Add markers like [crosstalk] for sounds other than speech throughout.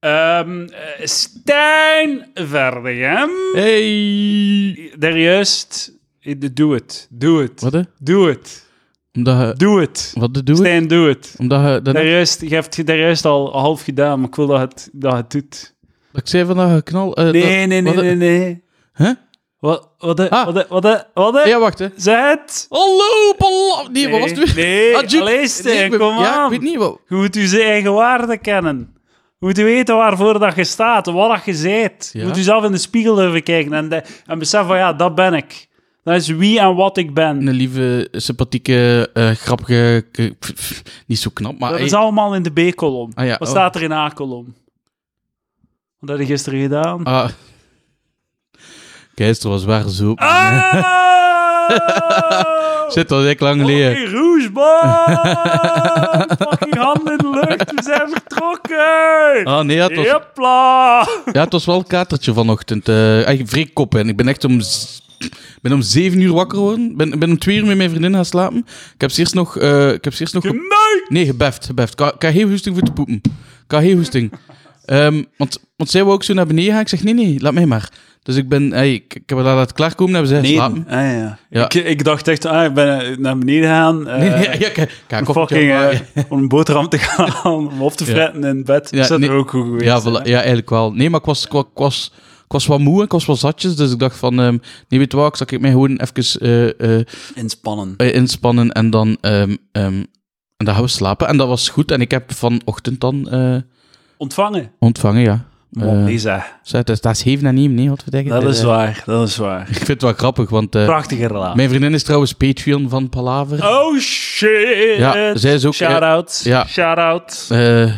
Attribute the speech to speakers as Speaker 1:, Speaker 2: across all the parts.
Speaker 1: Ehm eh, Stijn Verdegem.
Speaker 2: Hey!
Speaker 1: Daar juist. eh, Doe het. Doe het.
Speaker 2: Wat? hè?
Speaker 1: Doe het.
Speaker 2: Omdat je...
Speaker 1: Doe het.
Speaker 2: Wat de doe?
Speaker 1: Stijn, doe het.
Speaker 2: Omdat je... Dat,
Speaker 1: Daar juist, je hebt het daar juist al half gedaan, maar ik wil dat het, dat het doet.
Speaker 2: dat ik zei vandaag een knal... eh,
Speaker 1: Nee, nee, nee,
Speaker 2: wat-
Speaker 1: nee, nee.
Speaker 2: Hè?
Speaker 1: Wat, wat, wat,
Speaker 2: Ah.
Speaker 1: wat, wat, wat, wat,
Speaker 2: Ja, wacht, hè.
Speaker 1: Zeg het!
Speaker 2: Hallo, pala... Nee, wat was het weer? [laughs]
Speaker 1: Nee,
Speaker 2: Ah, Jude.
Speaker 1: allee, Stijn,
Speaker 2: Nee, ik ben-
Speaker 1: kom
Speaker 2: Ja,
Speaker 1: aan.
Speaker 2: ik weet niet wat...
Speaker 1: Je moet je zijn eigen waarde kennen. Je moet weten waarvoor dat je staat, wat dat je zijt.
Speaker 2: Ja.
Speaker 1: Je moet jezelf in de spiegel durven kijken en, de- en beseffen van ja, dat ben ik. Dat is wie en wat ik ben.
Speaker 2: Een lieve, sympathieke, eh, grappige... k- pff, pff, niet zo knap, maar...
Speaker 1: dat
Speaker 2: hey.
Speaker 1: is allemaal in de B-kolom.
Speaker 2: Ah, ja,
Speaker 1: Wat
Speaker 2: oh.
Speaker 1: staat er in A-kolom? Wat heb je gisteren gedaan?
Speaker 2: Ah. Keister was waar zo. Ah. [laughs]
Speaker 1: Ah!
Speaker 2: Zit al echt lang geleden.
Speaker 1: Fucking
Speaker 2: [laughs]
Speaker 1: roesbaan! Fucking handen in de lucht, we zijn vertrokken!
Speaker 2: Ah, nee, ja, het was,
Speaker 1: Jepla!
Speaker 2: ja, het was wel een katertje vanochtend. eh eigenlijk vrij kop, en ik ben echt om, z- ben om zeven uur wakker geworden. Ik ben, ben om twee uur met mijn vriendin gaan slapen. Ik heb ze eerst nog... eh, ik heb ze eerst nog ge-
Speaker 1: Geneukt!
Speaker 2: Nee, gebeft, gebeft. Ik had- Ik heb geen hoesting voor te poepen. Ik had geen hoesting. Ehm, want, want zij wou ook zo naar beneden gaan. Ik zeg, nee, nee, laat mij maar. Dus ik ben... Hey, ik, ik heb haar laten klaarkomen, hebben ze geslapen.
Speaker 1: Ah, ja.
Speaker 2: Ja.
Speaker 1: Ik, ik dacht echt, ah, ik ben eh, naar beneden gegaan. eh,
Speaker 2: Nee, nee, ja, ik, ik ga
Speaker 1: om
Speaker 2: koffietje
Speaker 1: fucking
Speaker 2: maken.
Speaker 1: eh, om een boterham te gaan, [laughs] om op te fretten in bed.
Speaker 2: Ja,
Speaker 1: dat is
Speaker 2: nee.
Speaker 1: er ook goed geweest.
Speaker 2: Ja,
Speaker 1: hè.
Speaker 2: voilà. ja, eigenlijk wel. Nee, maar ik was, ik, wa- ik was, ik was wat moe, ik was wat zatjes, dus ik dacht van, ehm, nee, weet je wat, ik zal ik mij gewoon even eh, eh,
Speaker 1: Inspannen.
Speaker 2: eh, inspannen en dan, ehm, ehm, en dan gaan we slapen. En dat was goed en ik heb vanochtend dan eh,
Speaker 1: Ontvangen.
Speaker 2: ontvangen, ja.
Speaker 1: Man,
Speaker 2: Eh,
Speaker 1: Oh, nee, zeg.
Speaker 2: Zeg, dat is- dat is heven en nemen, nee, wat we denken.
Speaker 1: Dat
Speaker 2: Het
Speaker 1: is waar, dat is waar.
Speaker 2: Ik vind het wel grappig, want eh,
Speaker 1: Prachtige relatie.
Speaker 2: mijn vriendin is trouwens Patreon van Palaver.
Speaker 1: Oh shit!
Speaker 2: Ja, zij is ook, eh,
Speaker 1: Shout-out.
Speaker 2: ja.
Speaker 1: Shout-out.
Speaker 2: Eh, eh,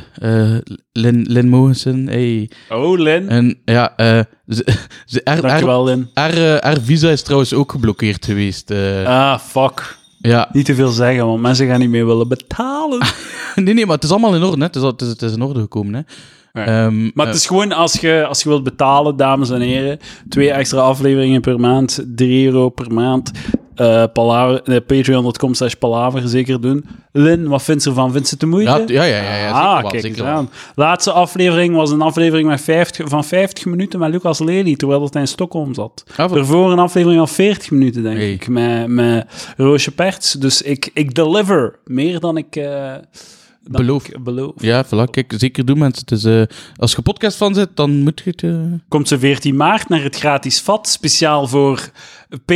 Speaker 2: Lin, Lin Mogensen, hey.
Speaker 1: Oh, Lin.
Speaker 2: En ja, eh, ze, [laughs] ze, haar, haar,
Speaker 1: Dankjewel, Lin.
Speaker 2: haar, eh, haar visa is trouwens ook geblokkeerd geweest. eh.
Speaker 1: Ah, fuck.
Speaker 2: ja, [laughs]
Speaker 1: Niet te veel zeggen, want mensen gaan niet meer willen betalen.
Speaker 2: Nee, nee, maar het is allemaal in orde. Hè. Het, is, al- het, is, het is in orde gekomen. Hè.
Speaker 1: Ja.
Speaker 2: Ehm,
Speaker 1: Maar het is gewoon, als je, als je wilt betalen, dames en heren, twee extra afleveringen per maand, 3 euro per maand, eh, palaver- eh, patreon.com slash palaver zeker doen. Lin, wat vindt ze ervan? Vindt ze het de moeite?
Speaker 2: ja, t- ja, ja, ja, ja, zeker
Speaker 1: ah,
Speaker 2: wel,
Speaker 1: kijk eens
Speaker 2: zeker wel.
Speaker 1: aan. Laatste aflevering was een aflevering met 50, van 50 minuten met Lucas Lely, terwijl dat hij in Stockholm zat.
Speaker 2: Ah, wat-
Speaker 1: Daarvoor een aflevering van 40 minuten, denk
Speaker 2: Hey.
Speaker 1: ik, met, met Roosje Perts. Dus ik, ik deliver meer dan ik... eh, dan
Speaker 2: Beloof.
Speaker 1: ik beloof.
Speaker 2: Ja, voilà, kijk, zeker doen mensen. Het is, eh, als je podcast van zit, dan moet je het... eh,
Speaker 1: Komt ze 14 maart naar het gratis vat, speciaal voor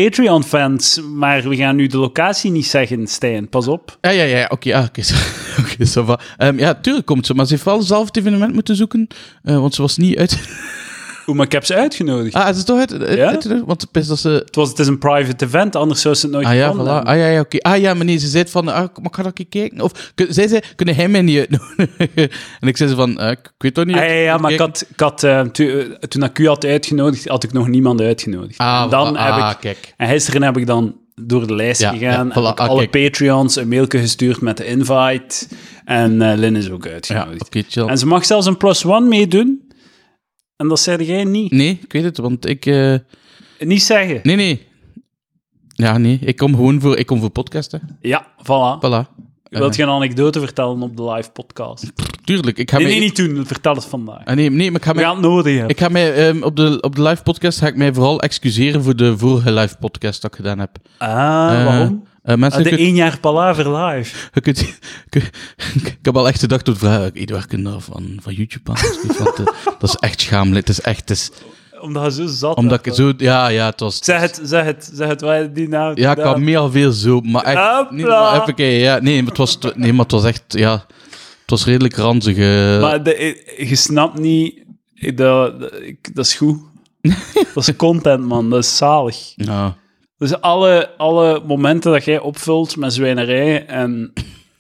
Speaker 1: Patreon-fans. Maar we gaan nu de locatie niet zeggen, Stijn. Pas op.
Speaker 2: Ja, ja, ja, oké, ah, oké, [laughs] zo- oké, ça va. Ehm, ja, tuurlijk komt ze, maar ze heeft wel zelf het evenement moeten zoeken, eh, want ze was niet uit... [laughs]
Speaker 1: Oeh, maar ik heb ze uitgenodigd.
Speaker 2: ah, is het toch uit? uit-
Speaker 1: Ja?
Speaker 2: uit- want het is dat ze...
Speaker 1: Het, was, het is een private event, anders zou ze het nooit
Speaker 2: Ah ja, voilà.
Speaker 1: gevonden hebben.
Speaker 2: ah ja, ja oké. Ah ja, meneer, ze zei het van, ah, maar ik ga dat een keer kijken? Of, kun- zij zei, kunnen hij mij niet uitnodigen? [laughs] en ik zei ze van, eh, ik ik weet toch niet...
Speaker 1: Ah, ja, ja, maar ik
Speaker 2: Kijk.
Speaker 1: had, ik had, eh, tu- eh, toen ik u had uitgenodigd, had ik nog niemand uitgenodigd.
Speaker 2: Ah,
Speaker 1: en, dan
Speaker 2: voilà.
Speaker 1: heb
Speaker 2: Ah,
Speaker 1: ik,
Speaker 2: kijk.
Speaker 1: en gisteren heb ik dan door de lijst
Speaker 2: Ja,
Speaker 1: gegaan.
Speaker 2: ja, voilà.
Speaker 1: heb ik
Speaker 2: Ah,
Speaker 1: alle
Speaker 2: kijk.
Speaker 1: Patreons een mailje gestuurd met de invite. En eh Lynn is ook
Speaker 2: Ja,
Speaker 1: uitgenodigd.
Speaker 2: oké, chill.
Speaker 1: En ze mag zelfs een plus one meedoen. En dat zei jij niet.
Speaker 2: Nee, ik weet het, want ik... eh,
Speaker 1: Niet zeggen.
Speaker 2: Nee, nee. Ja, nee. Ik kom gewoon voor, ik kom voor podcasten.
Speaker 1: Ja, voilà.
Speaker 2: Voilà.
Speaker 1: Ik wil je een anekdote vertellen op de live podcast.
Speaker 2: Tuurlijk. Ik ga
Speaker 1: Nee,
Speaker 2: mij...
Speaker 1: nee, niet toen. Vertel het vandaag.
Speaker 2: Ah, nee, nee, maar ik ga
Speaker 1: We
Speaker 2: mij...
Speaker 1: gaan het nodig hebben.
Speaker 2: Ik ga mij ehm, op, de, op de live podcast ga ik mij vooral excuseren voor de vorige live podcast dat ik gedaan heb.
Speaker 1: Ah,
Speaker 2: Eh,
Speaker 1: waarom?
Speaker 2: eh, mensen,
Speaker 1: Ah, de e-
Speaker 2: je kunt-
Speaker 1: één jaar Palaver live.
Speaker 2: je kunt- je kunt- [laughs] ik heb al echt gedacht tot vragen. Eduard, kun je dat van, van YouTube aan? Want, eh, dat is echt schamelijk. Het is echt. Het is,
Speaker 1: Omdat je zo zat werd,
Speaker 2: omdat ik
Speaker 1: hè.
Speaker 2: zo. Ja, ja, het was.
Speaker 1: Zeg het, zeg het, zeg het. Waar je die naam
Speaker 2: Ja, ik had meer al veel zo, maar echt...
Speaker 1: Hopla.
Speaker 2: Nee, maar even kijken, ja, nee, maar het was, nee, maar het was echt, ja... Het was redelijk ranzig. eh.
Speaker 1: Maar de, eh, je snapt niet... eh, Dat, dat, ik- dat is
Speaker 2: [laughs]
Speaker 1: goed. dat is content, man. Dat is zalig.
Speaker 2: ja.
Speaker 1: Dus alle, alle momenten dat jij opvult met zwijnerij en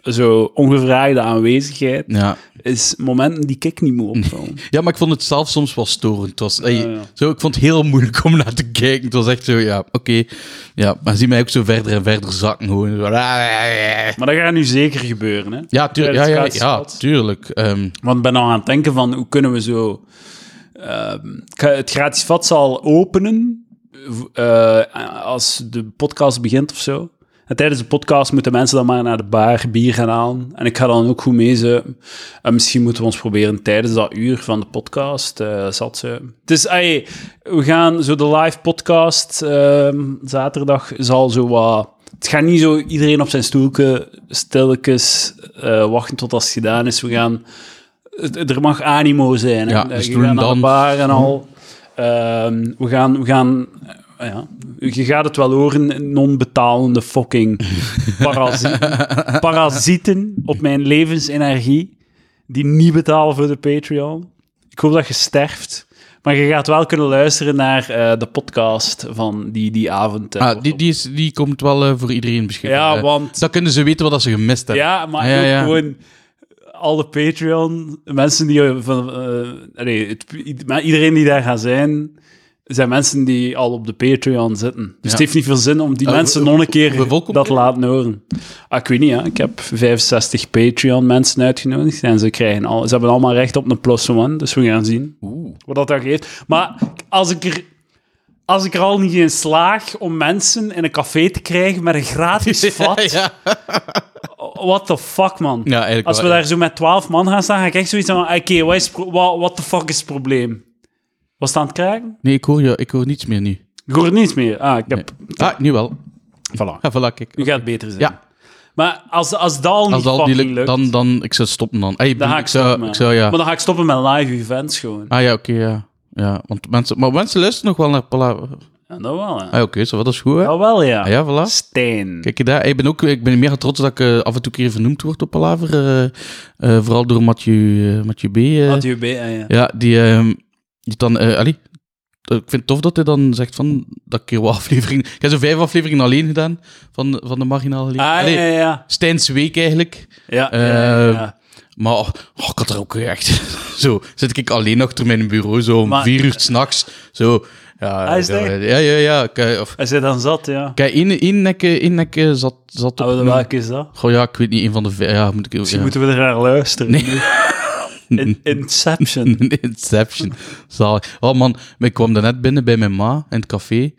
Speaker 1: zo ongevraagde aanwezigheid,
Speaker 2: Ja.
Speaker 1: is momenten die ik niet moet
Speaker 2: [laughs]
Speaker 1: opvullen.
Speaker 2: ja, maar ik vond het zelf soms wel storend. Het was, ey,
Speaker 1: ja.
Speaker 2: Zo, ik vond het heel moeilijk om naar te kijken. Het was echt zo, ja, oké. Ja, maar zie mij ook zo verder en verder zakken. Gewoon. Zo, ah,
Speaker 1: Maar dat gaat nu zeker gebeuren, hè?
Speaker 2: Ja, tuurlijk. Ja,
Speaker 1: Tijdens
Speaker 2: ja,
Speaker 1: het
Speaker 2: ja,
Speaker 1: schaatsen.
Speaker 2: tuurlijk. Ehm,
Speaker 1: Want ik ben al aan het denken van, hoe kunnen we zo... ehm, ik ga het gratis vat zal openen eh, v- eh, als de podcast begint of zo. En tijdens de podcast moeten mensen dan maar naar de bar bier gaan halen. En ik ga dan ook goed meezuipen. En misschien moeten we ons proberen tijdens dat uur van de podcast eh zat zuipen. Dus ey, we gaan zo de live podcast ehm, zaterdag zal zo wat... Het gaat niet zo iedereen op zijn stoelke stilletjes eh, wachten tot als het gedaan is. We gaan... het- Er mag animo zijn. hè. Eh,
Speaker 2: Ja, dus
Speaker 1: je
Speaker 2: doen
Speaker 1: gaat naar de
Speaker 2: dan. Mhm.
Speaker 1: bar en al. Ehm, we gaan... We gaan eh, ja. Je gaat het wel horen, non-betalende fucking parasieten, parasieten op mijn levensenergie, die niet betalen voor de Patreon. Ik hoop dat je sterft, maar je gaat wel kunnen luisteren naar eh, de podcast van die, die avond. eh,
Speaker 2: Ah, die, die, is, die komt wel eh, voor iedereen beschikbaar.
Speaker 1: Ja,
Speaker 2: eh.
Speaker 1: want-
Speaker 2: Dan kunnen ze weten wat dat ze gemist hebben.
Speaker 1: Ja, maar
Speaker 2: Ja,
Speaker 1: ook
Speaker 2: ja. [laughs]
Speaker 1: gewoon alle Patreon, mensen die eh, van, eh, nee, het, maar iedereen die daar gaat zijn, zijn mensen die al op de Patreon zitten. Dus
Speaker 2: Ja.
Speaker 1: het heeft niet veel zin om die
Speaker 2: Eh,
Speaker 1: mensen
Speaker 2: hoe-
Speaker 1: nog een keer
Speaker 2: hoeveel komt
Speaker 1: dat te
Speaker 2: er?
Speaker 1: laten horen. Ah, ik weet niet, ja. ik heb 65 Patreon mensen uitgenodigd en ze krijgen al, ze hebben allemaal recht op een plus one, dus we gaan zien
Speaker 2: Oeh.
Speaker 1: wat dat dan geeft. Maar als ik er... Als ik er al niet in slaag om mensen in een café te krijgen met een
Speaker 2: [laughs]
Speaker 1: gratis vat,
Speaker 2: ja.
Speaker 1: What the fuck, man.
Speaker 2: Ja, eigenlijk
Speaker 1: Als we
Speaker 2: wel,
Speaker 1: daar zo met 12 man gaan staan, ga ik echt zoiets van... Oké, wat is het pro- wa- what the fuck is het probleem? Was het aan het kraken?
Speaker 2: Nee, ik hoor, je, ik hoor niets meer nu.
Speaker 1: Ik hoor niets meer. Ah, ik heb...
Speaker 2: Ah, nu wel.
Speaker 1: Voilà.
Speaker 2: Ja, voilà, kijk.
Speaker 1: Nu gaat het beter zijn.
Speaker 2: Ja.
Speaker 1: Maar als, als dat al
Speaker 2: Als
Speaker 1: niet
Speaker 2: dat al niet
Speaker 1: fucking
Speaker 2: lukt,
Speaker 1: lukt,
Speaker 2: dan, dan... Ik zou stoppen dan. Ey,
Speaker 1: dan ga ik stoppen.
Speaker 2: zou,
Speaker 1: man.
Speaker 2: ik zou, ja.
Speaker 1: Maar dan ga ik stoppen met live events gewoon.
Speaker 2: Ah ja, oké, ja. Ja, want mensen... Maar mensen luisteren nog wel naar Palaver.
Speaker 1: Ja, dat wel, hè.
Speaker 2: Ah, oké, zo, dat is goed, hè?
Speaker 1: Dat wel, ja.
Speaker 2: Ah, ja, voilà.
Speaker 1: Stijn.
Speaker 2: Kijk je daar, ik ben ook ik ben mega trots dat ik eh, af en toe een keer vernoemd word op Palaver. eh, eh, vooral door Mathieu, eh, Mathieu B. eh.
Speaker 1: Had je bij, ja, Ah, ja.
Speaker 2: ja, die, ehm, die dan... eh allee, eh, ik vind het tof dat hij dan zegt van... Dat ik hier wat [laughs] afleveringen... Ik heb zo vijf afleveringen alleen gedaan van, van de marginale leven.
Speaker 1: Ah, ja, ja, ja.
Speaker 2: Stijn's Week eigenlijk.
Speaker 1: Ja, ja, ja, ja.
Speaker 2: Maar oh, oh, ik had er ook echt... [laughs] Zo, zit ik alleen achter mijn bureau, zo om
Speaker 1: Maar-
Speaker 2: vier uur s'nachts. Zo... Ja,
Speaker 1: Ah, is dat
Speaker 2: ja, ja, ja, ja. Ik, of,
Speaker 1: Hij zit dan zat, ja.
Speaker 2: Kijk, één, één nek, eh, één nek eh, zat, zat op...
Speaker 1: Oude, welke is dat?
Speaker 2: Goh, ja, ik weet niet, een van de vijf... Ja, moet ik...
Speaker 1: Misschien
Speaker 2: ja. [laughs]
Speaker 1: moeten we er naar luisteren.
Speaker 2: Nee.
Speaker 1: In-
Speaker 2: [laughs]
Speaker 1: Inception.
Speaker 2: Een Inception. Zalig. Oh man, ik kwam daarnet binnen bij mijn ma in het café.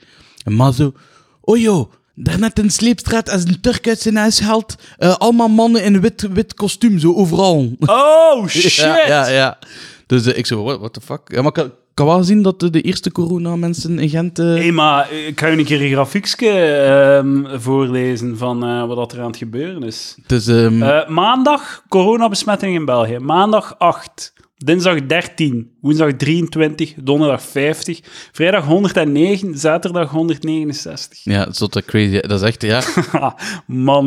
Speaker 2: En ma zo... Oh joh, daarnet in Sleepstraat als een Turk uit zijn huis haalt. eh, allemaal mannen in wit, wit kostuum, zo overal.
Speaker 1: Oh, shit!
Speaker 2: Ja, ja, ja. Dus eh, ik zo, what, what the fuck? Ja, maar ik kan- ik kan wel zien dat de, de eerste corona-mensen in Gent... eh,
Speaker 1: Hé, maar eh, ik ga je een keer een grafiekje ehm, voorlezen van eh, wat dat er aan het gebeuren is.
Speaker 2: het is, ehm,
Speaker 1: Eh, maandag, coronabesmetting in België. Maandag 8, dinsdag 13, woensdag 23, donderdag 50, vrijdag 109, zaterdag 169.
Speaker 2: ja, dat is tot, eh, crazy. Dat is echt, ja...
Speaker 1: Ha, [laughs] Man,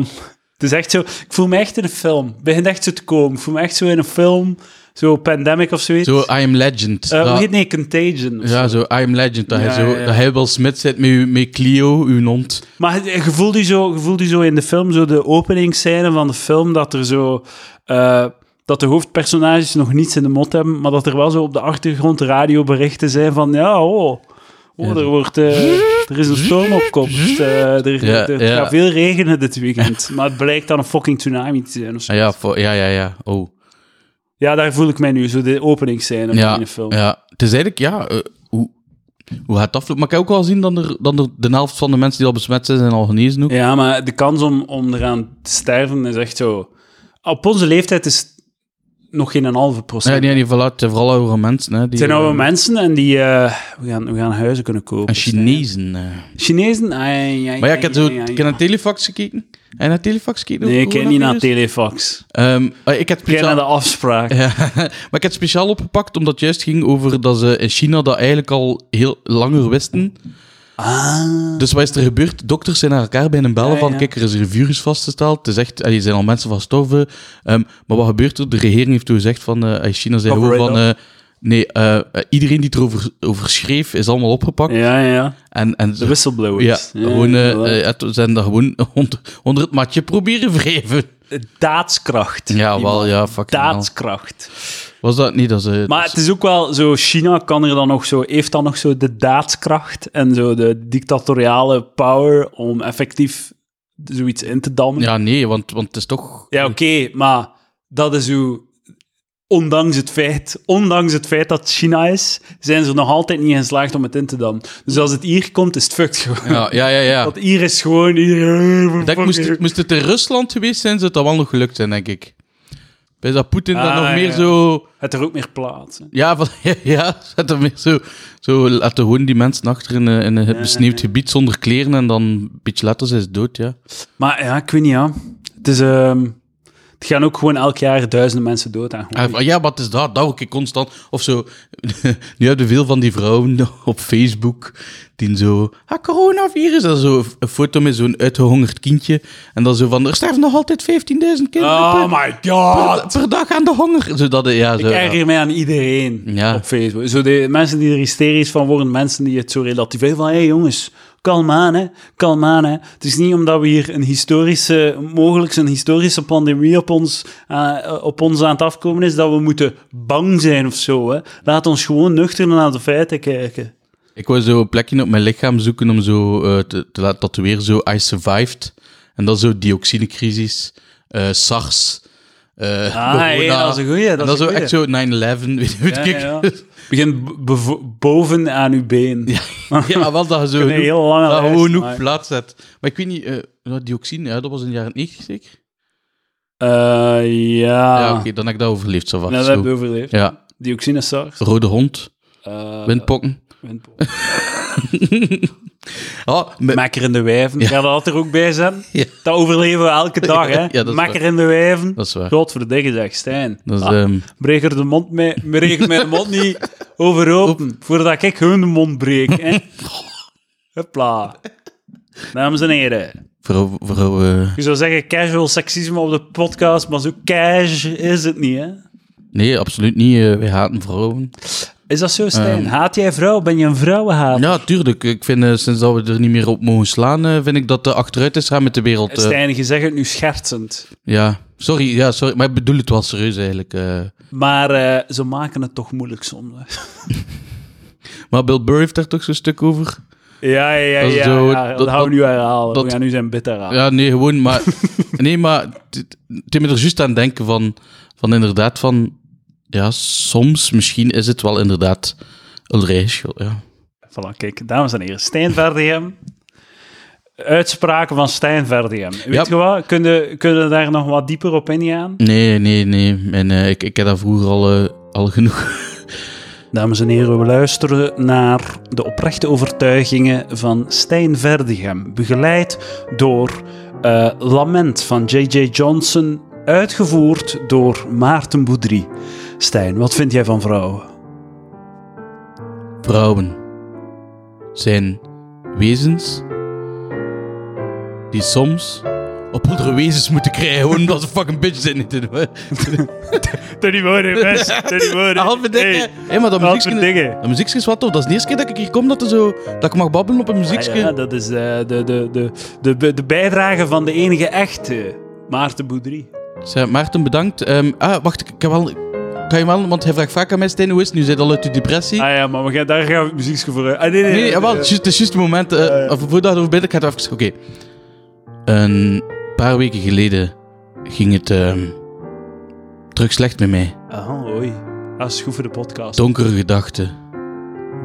Speaker 1: het is echt zo... Ik voel me echt in een film. Het begint echt zo te komen. Ik voel me echt zo in een film, zo Pandemic of zoiets.
Speaker 2: Zo, I am legend.
Speaker 1: Eh,
Speaker 2: Ja.
Speaker 1: hoe heet nee, Contagion. of
Speaker 2: Ja, zo I Am Legend. Dat,
Speaker 1: Ja,
Speaker 2: hij, zo,
Speaker 1: ja, ja.
Speaker 2: dat hij wel Smith zit met, uw- met Clio, uw hond.
Speaker 1: Maar je je voelt je zo, je voelt je zo in de film, zo de openingsscène van de film, dat er zo... eh, dat de hoofdpersonages nog niets in de mot hebben, maar dat er wel zo op de achtergrond radioberichten zijn van... Ja, oh, oh er, wordt, eh, er is een storm op kop. eh, er
Speaker 2: Ja,
Speaker 1: er
Speaker 2: ja.
Speaker 1: gaat veel regenen dit
Speaker 2: [laughs]
Speaker 1: weekend. Maar het blijkt dan een fucking tsunami te zijn of zo.
Speaker 2: Ah, ja, voor, ja, ja, ja. Oh.
Speaker 1: Ja, daar voel ik mij nu, zo de openingsscène
Speaker 2: Ja,
Speaker 1: van de film.
Speaker 2: ja. Het is eigenlijk, ja, eh, hoe, hoe gaat het aflopen? Maar ik heb ook wel zien dat, er, dat er de helft van de mensen die al besmet zijn, zijn al genezen ook.
Speaker 1: Ja, maar de kans om, om eraan te sterven is echt zo... Op onze leeftijd is het nog geen een halve procent.
Speaker 2: Ja, nee, nee, voilà, het zijn vooral oude mensen. Hè, die,
Speaker 1: Het zijn oude
Speaker 2: eh,
Speaker 1: mensen en die... eh, we, gaan, we gaan huizen kunnen kopen.
Speaker 2: En Chinezen. eh.
Speaker 1: Chinezen? Ai, ai,
Speaker 2: Maar ja, ik
Speaker 1: ai,
Speaker 2: heb zo,
Speaker 1: ai, ai.
Speaker 2: ik heb naar Telefax gekeken. Heb je naar Telefax gekeken?
Speaker 1: Nee, ik
Speaker 2: over
Speaker 1: ken niet naar
Speaker 2: coronavirus?
Speaker 1: Telefax.
Speaker 2: Ehm, eh, ik heb
Speaker 1: Ik ken
Speaker 2: speciaal-
Speaker 1: naar de afspraak.
Speaker 2: [laughs] Ja, maar ik heb het speciaal opgepakt omdat het juist ging over dat ze in China dat eigenlijk al heel langer wisten.
Speaker 1: Ah.
Speaker 2: Dus wat is er gebeurd? Dokters zijn naar elkaar bij een bellen
Speaker 1: Ja,
Speaker 2: van,
Speaker 1: ja.
Speaker 2: kijk, er is hier virus vastgesteld. Het is echt, allee, er zijn al mensen van stoffen. Ehm, maar wat gebeurt er? De regering heeft toen gezegd van, eh, China zei
Speaker 1: Cover
Speaker 2: gewoon
Speaker 1: it
Speaker 2: van, eh, nee, eh, eh, iedereen die het erover over schreef is allemaal opgepakt.
Speaker 1: Ja, ja.
Speaker 2: En, en
Speaker 1: De
Speaker 2: ze, ja,
Speaker 1: whistleblowers.
Speaker 2: gewoon, eh,
Speaker 1: voilà.
Speaker 2: eh, het- ze zijn daar gewoon [laughs] onder, onder het matje proberen wrijven.
Speaker 1: Daadskracht.
Speaker 2: Ja,
Speaker 1: Die
Speaker 2: wel,
Speaker 1: man.
Speaker 2: ja, fucking hell.
Speaker 1: Daadskracht.
Speaker 2: Was dat niet? Dat is, eh, dat
Speaker 1: Maar
Speaker 2: is-
Speaker 1: het is ook wel zo, China kan er dan nog zo, heeft dan nog zo de daadskracht en zo de dictatoriale power om effectief zoiets in te dammen.
Speaker 2: Ja, nee, want, want het is toch...
Speaker 1: Ja, oké, maar dat is hoe. Ondanks het, feit, ondanks het feit dat het China is, zijn ze er nog altijd niet in geslaagd om het in te dammen. Dus als het hier komt, is het fucked gewoon.
Speaker 2: Ja, ja, ja.
Speaker 1: [laughs]
Speaker 2: ja.
Speaker 1: Want hier is gewoon... Hier, eh,
Speaker 2: Dat moest, moest het in Rusland geweest zijn, zou het dan wel nog gelukt zijn, denk ik. Bij dat Poetin dan
Speaker 1: Ah,
Speaker 2: nog meer
Speaker 1: ja.
Speaker 2: zo...
Speaker 1: Het er ook meer plaats. hè.
Speaker 2: Ja, van, [laughs] ja, ja zet hem weer zo, zo laten gewoon die mensen achter in, een- in een besneeuwd gebied zonder kleren en dan een beetje later zijn ze dood, ja.
Speaker 1: Maar ja, ik weet niet, ja. Het is... ehm, het gaan ook gewoon elk jaar duizenden mensen dood aan.
Speaker 2: Ah, van, Ja, wat is dat? Dat ook ik constant. Of zo. [laughs] Nu hebben veel van die vrouwen [laughs] op Facebook die zo. Ah, coronavirus. En zo een foto met zo'n uitgehongerd kindje. En dan zo van. Er sterven nog altijd 15.000 kinderen
Speaker 1: Oh
Speaker 2: per,
Speaker 1: my god!
Speaker 2: per dag aan de honger. Zodat, ja, zo,
Speaker 1: Ik
Speaker 2: ja.
Speaker 1: erger mij aan iedereen
Speaker 2: Ja.
Speaker 1: op Facebook. Zo de mensen die er hysterisch van worden, mensen die het zo relativeren van... Hé hey, jongens, kalm aan hè, kalm aan hè. Het is niet omdat we hier een historische, mogelijk een historische pandemie op ons, eh, op ons aan het afkomen is, dat we moeten bang zijn of zo hè. Laat ons gewoon nuchter naar de feiten kijken.
Speaker 2: Ik wou zo een plekje op mijn lichaam zoeken om zo eh, te, te laten tatoeëren. Zo I survived. En dan zo dioxinecrisis. eh, SARS. eh
Speaker 1: Ah,
Speaker 2: corona.
Speaker 1: ja, dat is een goeie, dat
Speaker 2: en
Speaker 1: is
Speaker 2: dan
Speaker 1: een
Speaker 2: zo echt zo 9-11. Weet, weet
Speaker 1: Ja,
Speaker 2: ik.
Speaker 1: ja. [laughs] Begin b- bevo- boven aan uw been.
Speaker 2: Ja, wel dat je zo
Speaker 1: Een
Speaker 2: genoeg-
Speaker 1: hele lange
Speaker 2: dat je
Speaker 1: lijst
Speaker 2: gewoon genoeg
Speaker 1: maken.
Speaker 2: plaats hebt. Maar ik weet niet, eh, dat dioxine, ja, dat was in de jaren 90 zeker?
Speaker 1: Eh, ja,
Speaker 2: Ja, oké, dan heb ik dat overleefd, zo
Speaker 1: Nou,
Speaker 2: vast.
Speaker 1: dat
Speaker 2: zo.
Speaker 1: hebben we overleefd.
Speaker 2: Ja,
Speaker 1: Dioxine SARS.
Speaker 2: rode hond,
Speaker 1: eh,
Speaker 2: windpokken.
Speaker 1: windpoel.
Speaker 2: Ah, me-
Speaker 1: Makker in de wijven. Ga dat er ook bij zijn?
Speaker 2: [laughs] Ja.
Speaker 1: Dat overleven we elke dag, hè?
Speaker 2: [laughs] Ja, dat is
Speaker 1: Makker
Speaker 2: waar.
Speaker 1: in de wijven.
Speaker 2: dat is waar.
Speaker 1: God voor de dikke zeg, Stijn.
Speaker 2: Dat is,
Speaker 1: Ah,
Speaker 2: ehm,
Speaker 1: breek er de mond mee, breek
Speaker 2: [laughs]
Speaker 1: mijn mond niet over open, voordat ik hun de mond breek.
Speaker 2: [laughs]
Speaker 1: Hè? Hopla. Dames en heren.
Speaker 2: voor, voor, eh,
Speaker 1: Je zou zeggen casual seksisme op de podcast, maar zo cash is het niet, hè?
Speaker 2: nee, absoluut niet. eh, wij haten vrouwen.
Speaker 1: Is dat zo, Stijn?
Speaker 2: Ehm.
Speaker 1: Haat jij vrouwen? Ben je een vrouwenhaat?
Speaker 2: Ja, tuurlijk. Ik vind, eh, sinds dat we er niet meer op mogen slaan, eh, vind ik dat de achteruit is gaan met de wereld. eh.
Speaker 1: Stijn, je zegt het nu schertsend.
Speaker 2: ja, sorry, ja, sorry. Maar ik bedoel het wel serieus eigenlijk. eh.
Speaker 1: Maar eh, ze maken het toch moeilijk soms.
Speaker 2: Maar Bill Burr heeft daar toch zo'n stuk over?
Speaker 1: Ja, ja, ja.
Speaker 2: Dat is
Speaker 1: ja,
Speaker 2: zo-
Speaker 1: ja. Dat,
Speaker 2: dat-
Speaker 1: gaan we nu herhalen.
Speaker 2: dat-
Speaker 1: we gaan nu zijn bit herhalen.
Speaker 2: Ja, nee, gewoon, maar... nee, maar... dit- Het moet er juist aan denken van... Van inderdaad, van... Ja, soms misschien is het wel inderdaad... Een reisje, ja.
Speaker 1: Voilà, kijk, dames en heren. Stijn Verdegem. Uitspraken van Stijn Verdegem. Weet
Speaker 2: Ja.
Speaker 1: je wat? Kunnen kunnen daar nog wat dieper op ingaan?
Speaker 2: Nee, nee, nee. En eh, ik, ik heb dat vroeger al, eh, al genoeg... [laughs]
Speaker 1: Dames en heren, we luisteren naar de oprechte overtuigingen van Stijn Verdegem. Begeleid door eh, Lament van J.J. Johnson. Uitgevoerd door Maarten Boudry. Stijn, wat vind jij van vrouwen?
Speaker 2: Vrouwen zijn wezens die soms op andere wezens moeten krijgen, gewoon omdat ze fucking bitches zijn.
Speaker 1: Tony Moore, best. Tony Moore.
Speaker 2: [laughs] Halve dikke. Hé, maar dat
Speaker 1: halve dikke.
Speaker 2: muziekje, dat muziekje is wat tof. Dat is de eerste keer dat ik hier kom, dat, er zo, dat ik mag babbelen op een muziekje.
Speaker 1: Ah ja, dat is eh, de, de, de, de, de, de bijdrage van de enige echte Maarten Boudry.
Speaker 2: Zeg, Maarten, bedankt. Ehm, ah, wacht, ik ik heb wel... Kan je wel, want hij vraagt vaak aan mij, Stijn, hoe is het? Nu zit al uit je depressie.
Speaker 1: Ah ja, maar we gaan, daar gaan we het muziekje voor uit. Ah, nee, nee,
Speaker 2: nee, nee, jawel,
Speaker 1: eh,
Speaker 2: het is juist- het is juist het moment. eh,
Speaker 1: ja.
Speaker 2: of Voordat we binnen, ik ga het even... Oké. Een paar weken geleden ging het ehm terug slecht met mij.
Speaker 1: Ah, oei. Dat is goed voor de podcast.
Speaker 2: Donkere gedachten.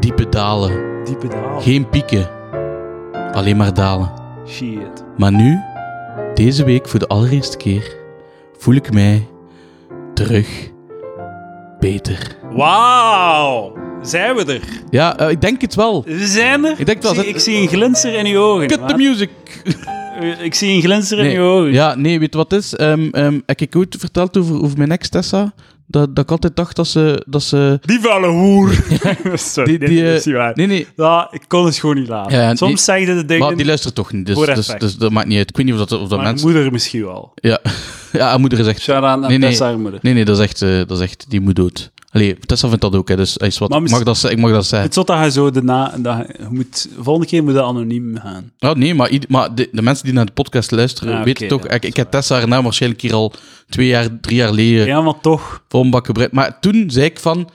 Speaker 2: Diepe dalen.
Speaker 1: Diepe daal.
Speaker 2: Geen pieken. Alleen maar dalen.
Speaker 1: Shit.
Speaker 2: Maar nu, deze week voor de allereerste keer, voel ik mij terug beter.
Speaker 1: Wauw. Zijn we er?
Speaker 2: Ja, eh, ik denk het wel.
Speaker 1: We zijn er.
Speaker 2: Ik denk wel,
Speaker 1: zie,
Speaker 2: zet-
Speaker 1: ik zie een glinster in uw ogen.
Speaker 2: Cut the
Speaker 1: maat.
Speaker 2: music!
Speaker 1: ik zie een glinster in [laughs]
Speaker 2: Nee.
Speaker 1: uw ogen.
Speaker 2: Ja, nee, weet je wat het is? Ehm, ehm, heb ik ooit verteld over, over mijn ex Tessa? Dat, dat ik altijd dacht dat ze... Dat ze
Speaker 1: Die vuile
Speaker 2: [laughs]
Speaker 1: hoer. [laughs] Sorry,
Speaker 2: die,
Speaker 1: dit
Speaker 2: die, eh,
Speaker 1: is niet waar.
Speaker 2: Nee, nee,
Speaker 1: Ja, ik kon het gewoon niet laten.
Speaker 2: Ja, die-
Speaker 1: Soms zeg je de dingen,
Speaker 2: maar die luistert toch niet. Dus,
Speaker 1: Voor
Speaker 2: dus,
Speaker 1: effect.
Speaker 2: dus dat maakt niet uit. Ik weet niet of dat, of dat
Speaker 1: maar mijn
Speaker 2: mensen...
Speaker 1: moeder misschien wel.
Speaker 2: Ja, [laughs] ja, haar moeder is echt...
Speaker 1: Shout-out aan
Speaker 2: Nee, nee.
Speaker 1: Tessa, haar moeder.
Speaker 2: Nee, nee, dat is echt... eh, dat is echt die moet dood. Allee, Tessa vindt dat ook, hè, dus hij is wat...
Speaker 1: Maar
Speaker 2: Ik mag
Speaker 1: misschien-
Speaker 2: dat, ze- ik mag dat zeggen.
Speaker 1: Het is zo dat je zo de na... Dat je- je moet, volgende keer moet je anoniem gaan.
Speaker 2: Ja, Oh, nee, maar, ied- maar de, de mensen die naar de podcast luisteren
Speaker 1: Ah,
Speaker 2: weten
Speaker 1: oké,
Speaker 2: toch...
Speaker 1: ja,
Speaker 2: ik, ik heb Tessa haar naam waarschijnlijk hier al twee jaar, drie jaar geleden
Speaker 1: Ja, maar toch.
Speaker 2: vol een bak gebruikt. Maar toen zei ik van...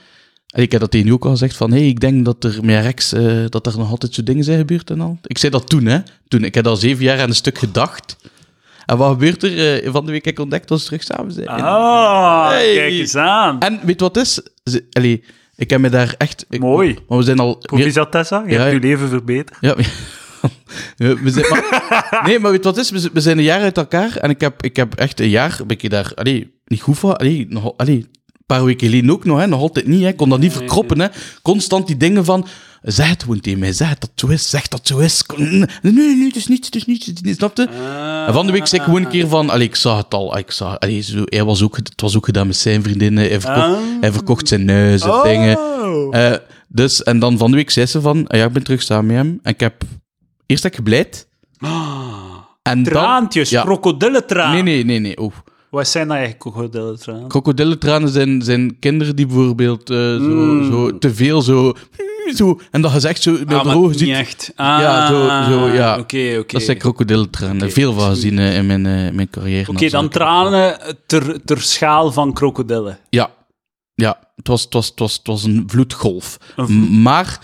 Speaker 2: en Ik heb dat tegen u ook al gezegd van... hey, ik denk dat er met Rex... eh, dat er nog altijd zo dingen zijn gebeurd en al. Ik zei dat toen, hè. Toen. Ik heb al zeven jaar aan een stuk gedacht. En wat gebeurt er? eh, van de week ik ontdekt dat ze terug samen zijn.
Speaker 1: Ah,
Speaker 2: Hey.
Speaker 1: kijk eens aan.
Speaker 2: En weet je wat het is? Ze, allee, ik heb me daar echt... ik-
Speaker 1: Mooi.
Speaker 2: Maar we zijn al... meer-
Speaker 1: Proficiat Tessa, je
Speaker 2: Ja,
Speaker 1: hebt
Speaker 2: ja.
Speaker 1: je leven verbeterd.
Speaker 2: Ja, [laughs] we we zijn, maar- nee, maar weet je wat het is? We z- We zijn een jaar uit elkaar en ik heb, ik heb echt een jaar, ben ik daar, allee, niet goed van, allee, nog, al- allee, een paar weken geleden ook nog, hè, nog altijd niet, hè, ik kon dat niet verkroppen, hè. Constant die dingen van, zeg het gewoon tegen mij, zeg dat het zo is, zeg dat het zo is. Kon- Nee, nee, nee, het is niets, het is niets, het is niets, snapte? En van de week zei ik gewoon een keer van, allee, ik zag het al, ik zag, allee, zo, hij was ook, het was ook gedaan met zijn vriendinnen, hij verkocht,
Speaker 1: Ah.
Speaker 2: hij verkocht zijn neus en dingen.
Speaker 1: Oh.
Speaker 2: Eh, dus, en dan van de week zei ze van, ah ja, ik ben terug samen met hem. En ik heb, eerst heb ik gebleid. En
Speaker 1: Ah, Traantjes,
Speaker 2: dan, ja.
Speaker 1: krokodillentranen.
Speaker 2: Nee, nee, nee, nee. Ah, Oh.
Speaker 1: Wat zijn dat eigenlijk, krokodillentranen?
Speaker 2: Krokodillentranen zijn, zijn kinderen die bijvoorbeeld eh, zo, zo te veel zo, zo... En dat je ze echt zo met
Speaker 1: Mm. Ah,
Speaker 2: de
Speaker 1: maar
Speaker 2: ogen
Speaker 1: niet
Speaker 2: ziet.
Speaker 1: echt. Ah,
Speaker 2: Ja, zo- zo, ja.
Speaker 1: Oké, oké.
Speaker 2: Dat zijn krokodillentranen.
Speaker 1: Oké,
Speaker 2: Veel van
Speaker 1: sorry.
Speaker 2: gezien eh, in mijn, eh, mijn carrière.
Speaker 1: Oké, dan tranen ter, ter schaal van krokodillen.
Speaker 2: Ja, ja het, was, het, was, het, was, het was een vloedgolf.
Speaker 1: Een vloed-
Speaker 2: M- Maar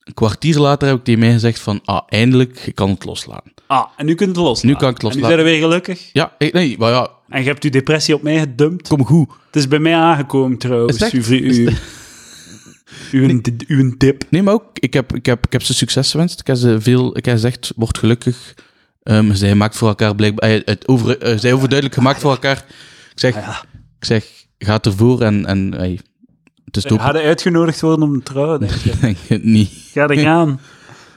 Speaker 2: een kwartier later heb ik tegen mij gezegd van, ah, eindelijk, ik kan het loslaten.
Speaker 1: Ah, en nu kunt je het loslaten.
Speaker 2: Nu kan ik het
Speaker 1: En nu
Speaker 2: loslaten.
Speaker 1: zijn we weer gelukkig.
Speaker 2: Ja, ik- nee, maar ja,
Speaker 1: En je hebt je depressie op mij gedumpt.
Speaker 2: kom goed.
Speaker 1: Het is bij mij aangekomen trouwens.
Speaker 2: Is het
Speaker 1: uw,
Speaker 2: echt?
Speaker 1: vri- uw, uw, uw dip.
Speaker 2: Nee, maar ook, ik heb, ik heb, ik heb ze succes gewenst. Ik heb ze veel, ik heb gezegd, word gelukkig. Ehm, zij maakt voor elkaar blijkbaar, eh, het over, eh, zij overduidelijk gemaakt voor elkaar. Ik
Speaker 1: Ah,
Speaker 2: zeg, ik zeg, ga ervoor en, en hey, het is
Speaker 1: Ga
Speaker 2: dope.
Speaker 1: je uitgenodigd worden om te trouwen? denk je?
Speaker 2: [laughs] Ik denk het niet.
Speaker 1: Ga er gaan.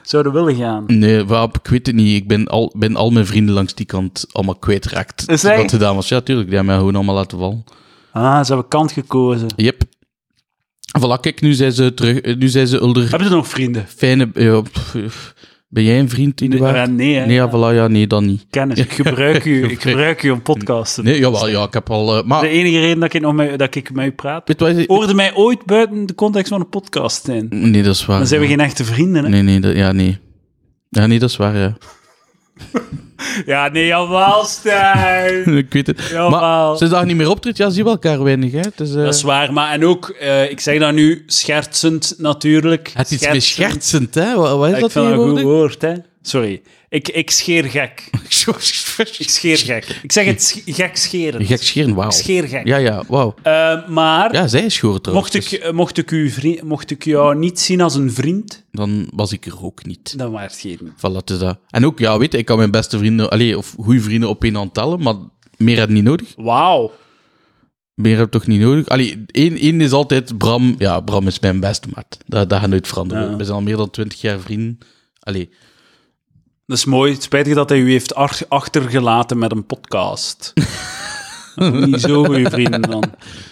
Speaker 1: Zouden willen gaan.
Speaker 2: Nee, wap, ik weet het niet. Ik ben al, ben al mijn vrienden langs die kant allemaal kwijtgeraakt.
Speaker 1: Is dat
Speaker 2: Dat gedaan was. Ja, tuurlijk. Die hebben mij gewoon allemaal laten vallen.
Speaker 1: Ah, ze hebben kant gekozen.
Speaker 2: Yep. Voilà, kijk, nu zijn ze terug. eh, Nu zijn ze ulder.
Speaker 1: Hebben ze nog vrienden?
Speaker 2: Fijne... eh, pff, eh, ben jij een vriend,
Speaker 1: Nee,
Speaker 2: Eduard?
Speaker 1: eh, nee, hè.
Speaker 2: Nee, ja, voilà, ja, nee, dan niet.
Speaker 1: Kennis. Ik gebruik u, ik gebruik u om podcasten.
Speaker 2: Nee, jawel, ja, ik heb al... eh, maar,
Speaker 1: De enige reden dat ik, nog met, dat ik met u praat.
Speaker 2: weet je wat?
Speaker 1: Hoorde mij ooit buiten de context van een podcast zijn.
Speaker 2: Nee, dat is waar.
Speaker 1: Dan zijn we geen echte vrienden, hè?
Speaker 2: Nee, nee, dat, ja, nee. Ja, nee, dat is waar, ja. [laughs]
Speaker 1: Ja, nee, jawel, Stijn.
Speaker 2: [laughs] ik weet het.
Speaker 1: Jawel.
Speaker 2: Maar sinds dat je niet meer optreedt, ja, zien we elkaar weinig, hè. Het is, eh,
Speaker 1: Dat is waar, maar en ook, eh, ik zeg dat nu schertsend natuurlijk.
Speaker 2: het is iets meer
Speaker 1: Schertsend.
Speaker 2: schertsend, hè. Wat, wat is
Speaker 1: Ik
Speaker 2: dat
Speaker 1: vind dat een goed
Speaker 2: tegenwoordig?
Speaker 1: woord, hè? Sorry. Ik, ik scheer gek.
Speaker 2: Oh,
Speaker 1: Ik scheer gek. Ik zeg het sch- gek scheren.
Speaker 2: [laughs] Gek scheren, wauw.
Speaker 1: Scheer gek.
Speaker 2: Ja, ja, wauw.
Speaker 1: Eh, maar
Speaker 2: Ja, zij is schoor trouwens. dus
Speaker 1: mocht, ik, eh, mocht, ik u vri- mocht ik jou niet zien als een vriend,
Speaker 2: Dan was ik er ook niet.
Speaker 1: dan was het geen.
Speaker 2: Voilà, het is dat. En ook, ja, weet je, ik kan mijn beste vrienden, allee, of goede vrienden op één hand tellen, maar meer had ik niet nodig.
Speaker 1: Wauw.
Speaker 2: Meer heb ik toch niet nodig? Allee, één, één is altijd Bram. Ja, Bram is mijn beste maat. Dat, dat gaat nooit veranderen.
Speaker 1: Ja.
Speaker 2: We zijn al meer dan twintig jaar vrienden. Allee,
Speaker 1: Dat is mooi. Het spijtig dat hij u heeft ach- achtergelaten met een podcast. [laughs] Dat is niet zo goede vrienden dan.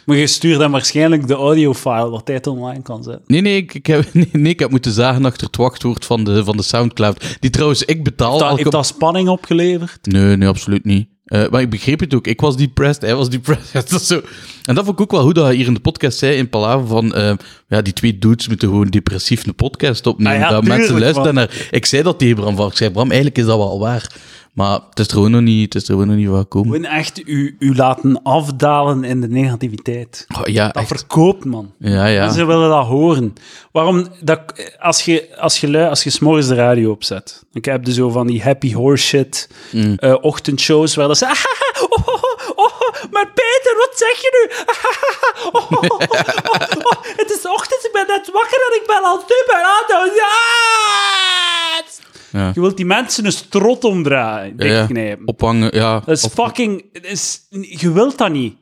Speaker 1: Maar je stuurt hem waarschijnlijk de audiofile dat hij het online kan zetten.
Speaker 2: nee, nee, ik, ik heb, [laughs] nee, nee, ik heb moeten zagen achter het wachtwoord van de, van de Soundcloud. Die trouwens ik betaal.
Speaker 1: Dat,
Speaker 2: Oh, elke-
Speaker 1: heeft dat spanning opgeleverd?
Speaker 2: Nee, nee, absoluut niet. Eh, maar ik begreep het ook. Ik was depressed, hij was depressed. [laughs] dat is zo. En dat vond ik ook wel goed dat hij hier in de podcast zei, in Palaver, van eh, ja, die twee dudes moeten gewoon depressief een podcast opnemen.
Speaker 1: Ah ja,
Speaker 2: dat mensen
Speaker 1: tuurlijk,
Speaker 2: luisteren naar... Ik zei dat tegen Bram van. Ik zei, Bram, eigenlijk is dat wel waar. Maar het is er gewoon nog niet, het is er gewoon nog niet van gekomen.
Speaker 1: Gewoon echt u, u laten afdalen in de negativiteit.
Speaker 2: Oh, ja,
Speaker 1: Dat
Speaker 2: echt.
Speaker 1: verkoopt, man.
Speaker 2: Ja, ja.
Speaker 1: Mensen willen dat horen. Waarom? Dat, als je, als je, lui- als je s'morgens de radio opzet, ik heb je zo van die happy horse shit
Speaker 2: Mm.
Speaker 1: eh, ochtendshows waar dat ze. "Ahaha, oh, oh, oh, maar Peter, wat zeg je nu? Ahaha, oh, oh, oh, oh, oh, het is ochtend, ik ben net wakker en ik ben al super aan het- Ja!
Speaker 2: Ja.
Speaker 1: Je wilt die mensen een strot omdraaien,
Speaker 2: Ja, ja.
Speaker 1: dichtknijpen.
Speaker 2: Ophangen, ja.
Speaker 1: Dat is
Speaker 2: Op-
Speaker 1: fucking... dat Is, je wilt dat niet.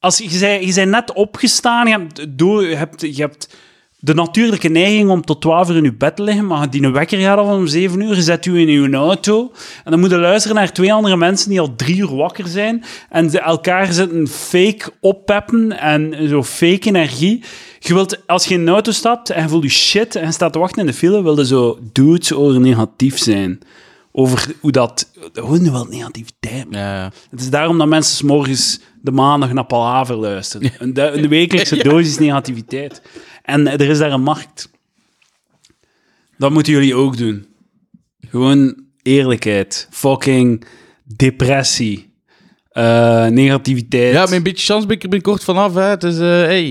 Speaker 1: Als, je, zei, je bent net opgestaan, je hebt, door, je, hebt, je hebt de natuurlijke neiging om tot 12 uur in je bed te liggen, maar die wekker gaat al om 7 uur, je zet u in uw auto en dan moet je luisteren naar twee andere mensen die al drie uur wakker zijn en ze elkaar zitten fake oppeppen en zo fake energie. Je wilt, als je in een auto stapt en je voelt je shit en je staat te wachten in de file, wil je zo dudes over negatief zijn. Over hoe dat... Gewoon wel negativiteit, man.
Speaker 2: Ja, ja.
Speaker 1: Het is daarom dat mensen 's morgens de maandag naar Palaver luisteren. Een, du- een wekelijkse dosis negativiteit. En er is daar een markt. Dat moeten jullie ook doen. Gewoon eerlijkheid. Fucking depressie. Eh, negativiteit. Ah,
Speaker 2: ja, met een beetje chance ben ik er binnenkort vanaf. Hè. Het is, eh, hey,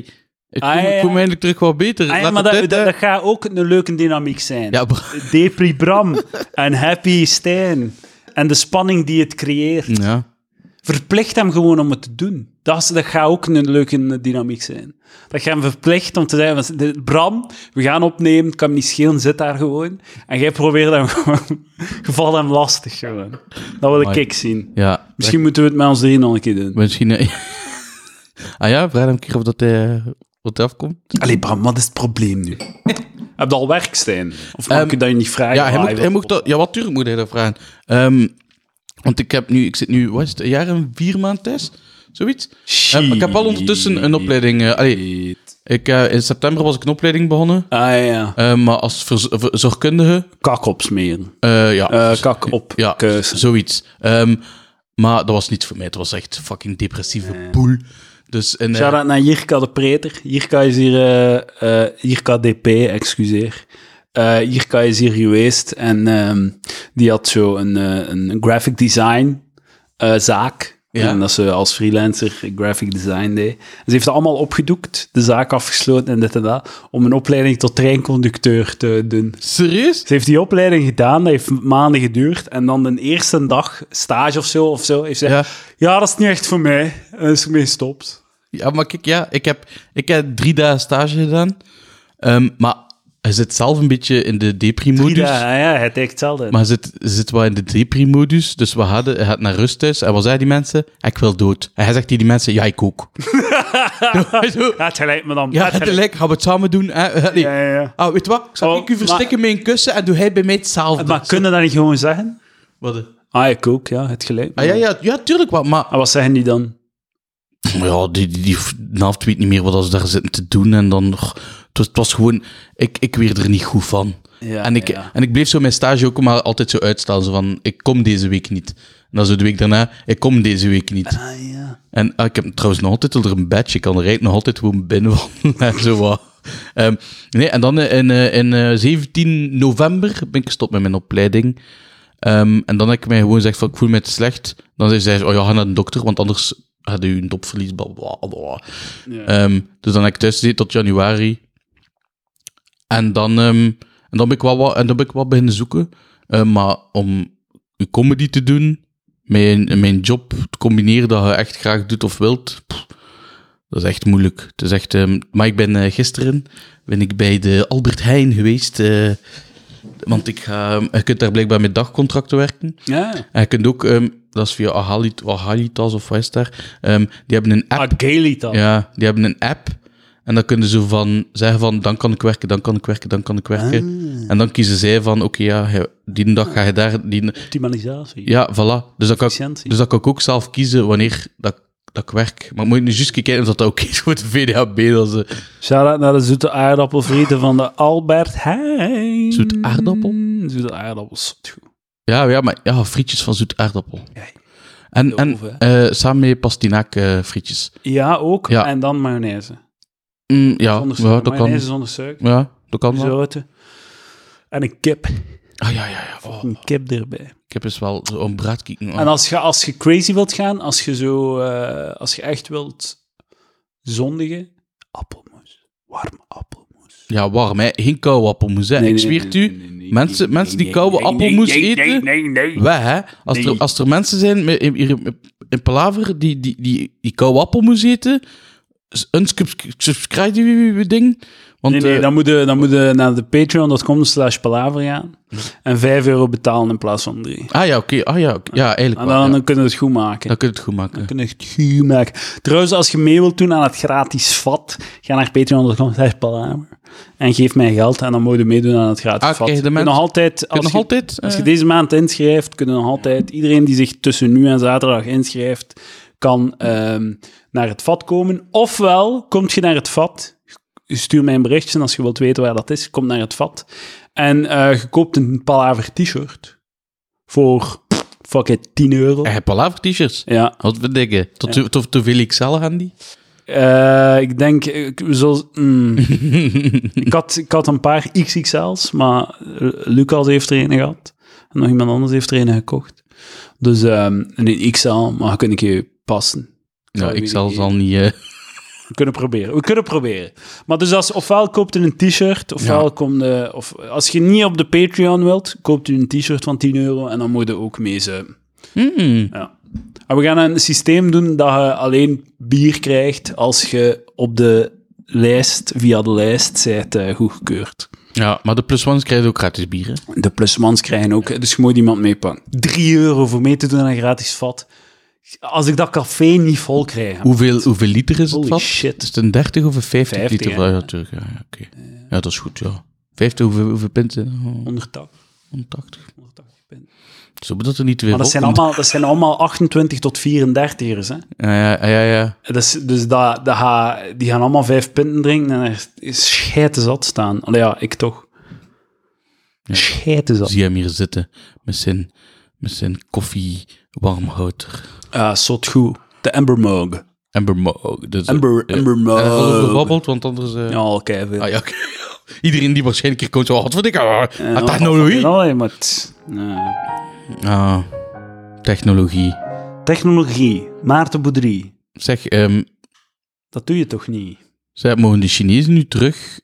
Speaker 2: ik voel,
Speaker 1: Ah, ja,
Speaker 2: ik
Speaker 1: ja.
Speaker 2: voel me eindelijk terug wat beter.
Speaker 1: Ah ja,
Speaker 2: Laat
Speaker 1: maar
Speaker 2: het
Speaker 1: dat,
Speaker 2: eh- uit,
Speaker 1: dat,
Speaker 2: hè.
Speaker 1: dat gaat ook een leuke dynamiek zijn.
Speaker 2: Ja, br-
Speaker 1: Depri Bram en Happy Stijn. en de spanning die het creëert.
Speaker 2: Ja.
Speaker 1: Verplicht hem gewoon om het te doen. Dat, is, dat gaat ook een leuke dynamiek zijn. Dat je hem verplicht om te zeggen: van, "Dit- Bram, we gaan opnemen, het kan me niet schelen, zit daar gewoon. En jij probeert hem [laughs] gewoon, je valt hem lastig gewoon. Dat wil ik
Speaker 2: Amai.
Speaker 1: ik zien.
Speaker 2: ja.
Speaker 1: Misschien moeten we het met ons drieën nog een keer doen.
Speaker 2: Misschien... eh, [laughs] ah ja, vraag hem een keer of dat hij... eh, Wat hij afkomt.
Speaker 1: Allee, Bram, wat is het probleem nu? Heb je al werk, Stijn? Of kan
Speaker 2: Ehm,
Speaker 1: ik je dat je niet vragen?
Speaker 2: Ja, hij
Speaker 1: Ah,
Speaker 2: mocht, hij mocht dat... Ja, wat tuurlijk moet hij dat vragen. Ehm, want ik heb nu... Ik zit nu, wat is het, een jaar en vier maanden thuis? Zoiets. Ehm, ik heb al
Speaker 1: Ah,
Speaker 2: ondertussen een opleiding... eh, allee,
Speaker 1: Shit.
Speaker 2: ik, eh, in september was ik een opleiding begonnen.
Speaker 1: Ah ja,
Speaker 2: eh, maar als verz- ver- zorgkundige...
Speaker 1: kak opsmeren.
Speaker 2: eh, ja.
Speaker 1: Eh kak op
Speaker 2: Ja,
Speaker 1: kuisen.
Speaker 2: zoiets. Ehm, maar dat was niet voor mij. Het was echt fucking depressieve poel. Dus en, eh,
Speaker 1: Shout out naar Jirka de Preter. Jirka is hier, eh, eh, Jirka DP, excuseer. Eh Jirka is hier geweest en ehm, die had zo een, eh, een graphic design eh, zaak.
Speaker 2: Ja.
Speaker 1: En dat ze als freelancer graphic design deed. En ze heeft dat allemaal opgedoekt, de zaak afgesloten en dit en dat, om een opleiding tot treinconducteur te doen.
Speaker 2: serieus?
Speaker 1: Ze heeft die opleiding gedaan, dat heeft maanden geduurd. En dan de eerste dag, stage of zo, of zo heeft ze
Speaker 2: Ja.
Speaker 1: ja, dat is niet echt voor mij. En is ermee gestopt.
Speaker 2: Ja, maar kijk, ja, ik heb, ik heb drie dagen stage gedaan. Ehm, maar hij zit zelf een beetje in de deprimodus.
Speaker 1: Ja, ja, hij deed hetzelfde.
Speaker 2: Maar hij zit, hij zit wel in de deprimodus. Dus we hadden, hij gaat naar rust thuis. En wat zei die mensen? Ik wil dood. En hij zegt tegen die mensen, ja, ik
Speaker 1: [laughs]
Speaker 2: ook. Zo,
Speaker 1: Ja, het gelijk me dan.
Speaker 2: ja,
Speaker 1: het
Speaker 2: het
Speaker 1: gelijk.
Speaker 2: gelijk, gaan we het samen doen. Hè? Nee.
Speaker 1: Ja, ja, ja.
Speaker 2: Ah, weet je wat? Zal
Speaker 1: Oh,
Speaker 2: ik u
Speaker 1: maar-
Speaker 2: verstikken met een kussen en doe hij bij mij hetzelfde?
Speaker 1: Maar kunnen dat niet gewoon zeggen?
Speaker 2: Wat, eh?
Speaker 1: Ah, ik ook, ja, het gelijk. me
Speaker 2: Ah, ja,
Speaker 1: dan.
Speaker 2: ja, ja, tuurlijk wat, maar...
Speaker 1: En wat zeggen die dan?
Speaker 2: Ja, die, die, die naft weet niet meer wat ze daar zitten te doen. En dan... och, het, was, het was gewoon... Ik, ik werd er niet goed van.
Speaker 1: Ja,
Speaker 2: en, ik,
Speaker 1: ja.
Speaker 2: en ik bleef zo mijn stage ook maar altijd zo uitstaan. Zo van, ik kom deze week niet. En dan zo de week daarna, ik kom deze week niet.
Speaker 1: Ah, ja.
Speaker 2: En ah, ik heb trouwens nog altijd onder een badge. Ik kan rijden nog altijd gewoon binnenwandelen [laughs] en zo wat. Ehm, nee, en dan eh, in, eh, in eh, 17 november ben ik gestopt met mijn opleiding. Ehm, en dan heb ik mij gewoon gezegd van, ik voel me te slecht. Dan zei ze, oh ja, ga naar de dokter, want anders had je een dopverlies, bla bla bla. Ehm, dus dan heb ik thuis gezeten tot januari. En dan, ehm, en dan ben ik wel wat, en dan ben ik wat beginnen zoeken. Eh, maar om een comedy te doen, mijn, mijn job te combineren dat je echt graag doet of wilt, pff, dat is echt moeilijk. Het is echt, ehm, maar ik ben eh, gisteren ben ik bij de Albert Heijn geweest. eh, want ik ga, ehm, je kunt daar blijkbaar met dagcontracten werken.
Speaker 1: Ja.
Speaker 2: En je kunt ook, ehm, dat is via Ahalit, Ahalitas of wat is daar, ehm, die hebben een app.
Speaker 1: Ah, Gaily dan.
Speaker 2: Ja, die hebben een app. En dan kunnen ze van zeggen van, dan kan ik werken, dan kan ik werken, dan kan ik werken. En dan kiezen zij van, oké, ja, je- die dag ga je daar... Die,
Speaker 1: Optimalisatie.
Speaker 2: ja, voilà. Dus dan, kan ik,
Speaker 1: Efficiëntie.
Speaker 2: dus dan kan ik ook zelf kiezen wanneer dat, dat ik werk. Maar moet je nu juist kijken of dat ook is voor de VDHB. Dat ze
Speaker 1: Shout-out naar de zoete aardappelvrieten van de Albert Heijn.
Speaker 2: Zoet aardappel?
Speaker 1: Zoete aardappels. zot goed.
Speaker 2: Ja, ja, maar ja, frietjes van zoet aardappel.
Speaker 1: Kijk.
Speaker 2: En, en
Speaker 1: Geloof,
Speaker 2: eh, samen met pastinaak eh, frietjes.
Speaker 1: Ja, ook.
Speaker 2: Ja.
Speaker 1: En dan mayonaise.
Speaker 2: Mm, ja,
Speaker 1: Zonder
Speaker 2: ja,
Speaker 1: suiker.
Speaker 2: dat kan.
Speaker 1: mayonaise zonder suiker.
Speaker 2: Ja, dat kan wel.
Speaker 1: Zouten. En een kip.
Speaker 2: Ah, ja, ja, ja. Oh,
Speaker 1: Een kip erbij.
Speaker 2: ik heb eens wel zo'n braadkieken.
Speaker 1: En als je, als je crazy wilt gaan, als je, zo, eh, als je echt wilt zondigen, appelmoes. Warme appelmoes.
Speaker 2: Ja, warm, hè. Geen koude appelmoes, hè. ik zweer het u. mensen- mensen die koude appelmoes eten,
Speaker 1: Nee, nee, nee.
Speaker 2: Weg, hè. Als, er,
Speaker 1: Nee.
Speaker 2: als er mensen zijn met, in- hier in- in Palaver die, die, die, die koude appelmoes eten, s- unsubscribe die ding. Want,
Speaker 1: Nee, nee,
Speaker 2: eh,
Speaker 1: dan moet je, dan moet je naar de patreon.com slash palaver gaan en 5 euro betalen in plaats van 3.
Speaker 2: Ah ja, oké. Ah ja, oké. ja
Speaker 1: En
Speaker 2: eigenlijk wel.
Speaker 1: dan,
Speaker 2: ja.
Speaker 1: dan kunnen we het goed maken.
Speaker 2: Dan kun je het goed maken.
Speaker 1: kunnen echt goed maken. Trouwens, als je mee wilt doen aan het gratis vat, ga naar patreon.com slash palaver en geef mij geld en dan mogen we meedoen aan het gratis
Speaker 2: Ah,
Speaker 1: vat.
Speaker 2: kijk, de
Speaker 1: Je kunt
Speaker 2: mensen-
Speaker 1: nog altijd, als
Speaker 2: Kun je nog
Speaker 1: je-
Speaker 2: altijd...
Speaker 1: Als je
Speaker 2: eh,
Speaker 1: deze maand inschrijft, kunnen nog altijd iedereen die zich tussen nu en zaterdag inschrijft, kan ehm, naar het vat komen. Ofwel, komt je naar het vat, stuur mij een berichtje als je wilt weten waar dat is, kom naar het vat. En eh, je koopt een Palaver t-shirt voor, pff, fuck it, 10 euro.
Speaker 2: eh, Palaver t-shirts.
Speaker 1: Ja,
Speaker 2: Wat we denken. Tot,
Speaker 1: Ja.
Speaker 2: tot, tot, veel XL gaan [laughs] die?
Speaker 1: eh, ik denk, ik, we zullen- mm. ik, had, ik had een paar XXL's, maar eh, Lucas heeft er een gehad. En nog iemand anders heeft er een gekocht. Dus ehm, een XL, maar kun ik je kunt een keer passen.
Speaker 2: Ja,
Speaker 1: zou je
Speaker 2: XL
Speaker 1: niet
Speaker 2: zal niet... eh,
Speaker 1: We kunnen proberen. We kunnen proberen. Maar dus als, ofwel koopt u een t-shirt, ofwel
Speaker 2: Ja.
Speaker 1: komt de, of als je niet op de Patreon wilt, koopt u een t-shirt van 10 euro en dan moet je ook mee zuipen. Ja. En we gaan een systeem doen dat je alleen bier krijgt als je op de lijst, via de lijst, zijt eh, goedgekeurd.
Speaker 2: Ja, maar de plus ones krijgen ook gratis bieren.
Speaker 1: De plusmans krijgen ook, dus je moet iemand meepakken. 3 euro voor mee te doen aan een gratis vat. Als ik dat café niet vol krijg.
Speaker 2: Hoeveel, hoeveel liter is
Speaker 1: Holy
Speaker 2: het vat?
Speaker 1: shit.
Speaker 2: Is het een 30 of een 50,
Speaker 1: 50,
Speaker 2: liter? Ah,
Speaker 1: hè?
Speaker 2: Ja, natuurlijk. Ja, ja, oké. ja, dat is goed, ja. 50, hoeveel, hoeveel pinten? Oh,
Speaker 1: 180,
Speaker 2: 180.
Speaker 1: 180 pint.
Speaker 2: Zo moet dat er niet te veel
Speaker 1: Maar dat zijn,
Speaker 2: opkomt.
Speaker 1: allemaal, dat zijn allemaal 28 tot 34ers. Hè?
Speaker 2: Ah, Ja, ja, ja. ja.
Speaker 1: Dat is- dus dat, dat ga- die gaan allemaal vijf pinten drinken en er is scheiden zat staan. Allee, ja, ik toch. Scheiden zat.
Speaker 2: Zie hem hier zitten met zijn, met zijn koffie warmhouter.
Speaker 1: Ah, zot goed. De Amber Mug.
Speaker 2: Amber Mug. Dus,
Speaker 1: Amber, Amber
Speaker 2: Eh, alles
Speaker 1: Mug.
Speaker 2: gebabbeld, want anders... eh,
Speaker 1: Ja, oké.
Speaker 2: Ah, ja, oké. [laughs] Iedereen die waarschijnlijk hier komt, zo, wat vind ik? Ah,
Speaker 1: Ja,
Speaker 2: technologie.
Speaker 1: Eh, Allee, maar... het- ja.
Speaker 2: Ah, technologie.
Speaker 1: Technologie. Maarten Boudry.
Speaker 2: Zeg, ehm,
Speaker 1: Dat doe je toch niet?
Speaker 2: Zij, mogen de Chinezen nu terug